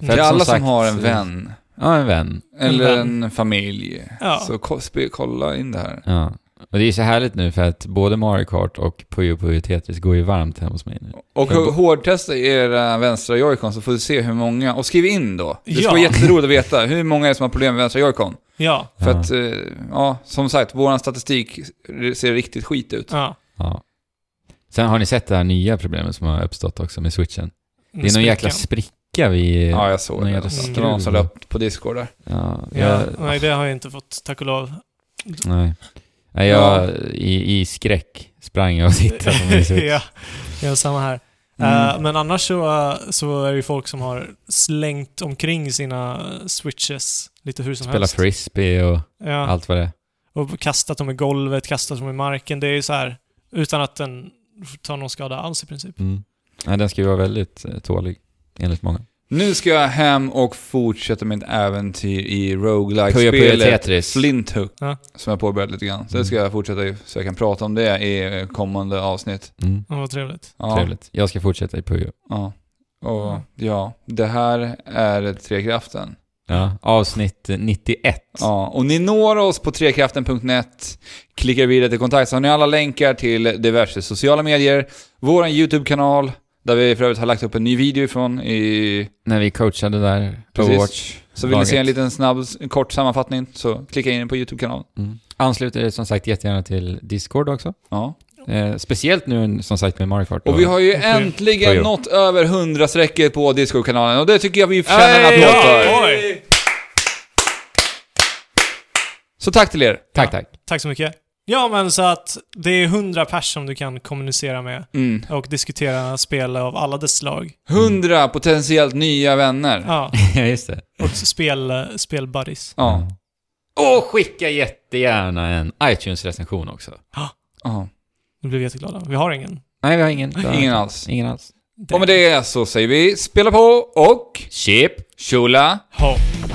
Speaker 2: För
Speaker 1: Till
Speaker 2: att som
Speaker 1: alla
Speaker 2: sagt-
Speaker 1: som har en vän,
Speaker 2: Ja, en vän.
Speaker 1: eller
Speaker 3: vän.
Speaker 1: en familj,
Speaker 3: Mm. Ja.
Speaker 1: så ko- spe- kolla in det här.
Speaker 2: Ja. Och det är så härligt nu för att både Mario Kart och Puyo Puyo Tetris går ju varmt hemma hos mig nu.
Speaker 1: Och
Speaker 2: Men bo-
Speaker 1: hårdtesta era vänstra joycon så får du se hur många, och skriv in då. Det skulle
Speaker 3: Ja.
Speaker 1: vara jätteroligt att veta hur många är det som har problem med vänstra joycon.
Speaker 3: Ja.
Speaker 1: För
Speaker 2: Ja.
Speaker 1: att, eh, ja, som sagt, våran statistik ser riktigt skit ut.
Speaker 3: ja.
Speaker 2: Ja. Sen har ni sett det här nya problemet som har uppstått också med switchen. Det är någon
Speaker 3: Spiken.
Speaker 2: jäkla spricka vi...
Speaker 1: Ja, jag såg
Speaker 2: någon
Speaker 1: det.
Speaker 2: jävla
Speaker 1: Det var någon som
Speaker 2: skruv.
Speaker 1: la upp på Discord där.
Speaker 2: Ja,
Speaker 3: Ja,
Speaker 2: jag,
Speaker 3: nej, det har jag inte fått, tack och lov.
Speaker 2: Nej. Nej, jag i, i skräck sprang jag och tittade på min switch.
Speaker 3: ja, ja, samma här.
Speaker 1: Mm.
Speaker 3: Eh, men annars så, så är det ju folk som har slängt omkring sina switches lite hur som
Speaker 2: Spela
Speaker 3: helst.
Speaker 2: frisbee och
Speaker 3: Ja,
Speaker 2: allt vad det är.
Speaker 3: och kastat dem i golvet, kastat dem i marken. Det är ju så här utan att den tar någon skada alls i princip.
Speaker 2: Mm. Nej, den ska ju vara väldigt eh, tålig, enligt många.
Speaker 1: Nu ska jag hem och fortsätta mitt äventyr i
Speaker 2: Puyo Puyo
Speaker 1: roguelike-spelet
Speaker 2: Tetris.
Speaker 1: Flinthook,
Speaker 3: Ja.
Speaker 1: som jag påbörjat lite grann. Så det ska
Speaker 2: Mm.
Speaker 1: jag fortsätta i, så jag kan prata om det i eh, kommande avsnitt.
Speaker 2: Mm.
Speaker 3: Ja, vad trevligt.
Speaker 1: Ja.
Speaker 2: Trevligt. Jag ska fortsätta i Puyo.
Speaker 1: Ja. Och
Speaker 3: Mm.
Speaker 1: ja, det här är Trekraften.
Speaker 2: Ja. Avsnitt eh, 91.
Speaker 1: Ja, och ni når oss på trekraften.net. Klickar vidare till kontakt så har ni alla länkar till diverse sociala medier. Vår YouTube-kanal, där vi för övrigt har lagt upp en ny video ifrån i...
Speaker 2: När vi coachade där på
Speaker 1: Precis.
Speaker 2: Watch.
Speaker 1: Så vill ni se en
Speaker 2: Laget.
Speaker 1: liten snabb, en kort sammanfattning så klicka in på YouTube-kanalen.
Speaker 2: Mm. Ansluter er som sagt jättegärna till Discord också.
Speaker 1: Ja.
Speaker 2: Eh, speciellt nu som sagt med Mario Kart.
Speaker 1: Och vi har ju
Speaker 3: Okej.
Speaker 1: äntligen
Speaker 2: Oj, jo.
Speaker 1: nått över 100-strecket på Discord-kanalen och det tycker jag vi förtjänar en
Speaker 2: Hej!
Speaker 1: applåd för.
Speaker 3: Oj!
Speaker 1: Så tack till er.
Speaker 2: Tack, tack.
Speaker 3: Tack så mycket. Ja, men så att det är 100 pers som du kan kommunicera med
Speaker 1: Mm.
Speaker 3: och diskutera spel av alla dess slag.
Speaker 1: 100 potentiellt nya vänner.
Speaker 3: Ja,
Speaker 2: Ja, just det.
Speaker 3: och spel, spelbuddies.
Speaker 1: Ja.
Speaker 2: Mm. Och skicka jättegärna en iTunes-recension också.
Speaker 1: ja.
Speaker 3: Nu blev vi jätteglada. Vi har ingen.
Speaker 2: Nej, vi har ingen.
Speaker 1: Ingen alls.
Speaker 2: Ingen alls.
Speaker 1: Och med det så säger vi spela på och
Speaker 2: Chip.
Speaker 1: tjola!
Speaker 3: Hopp.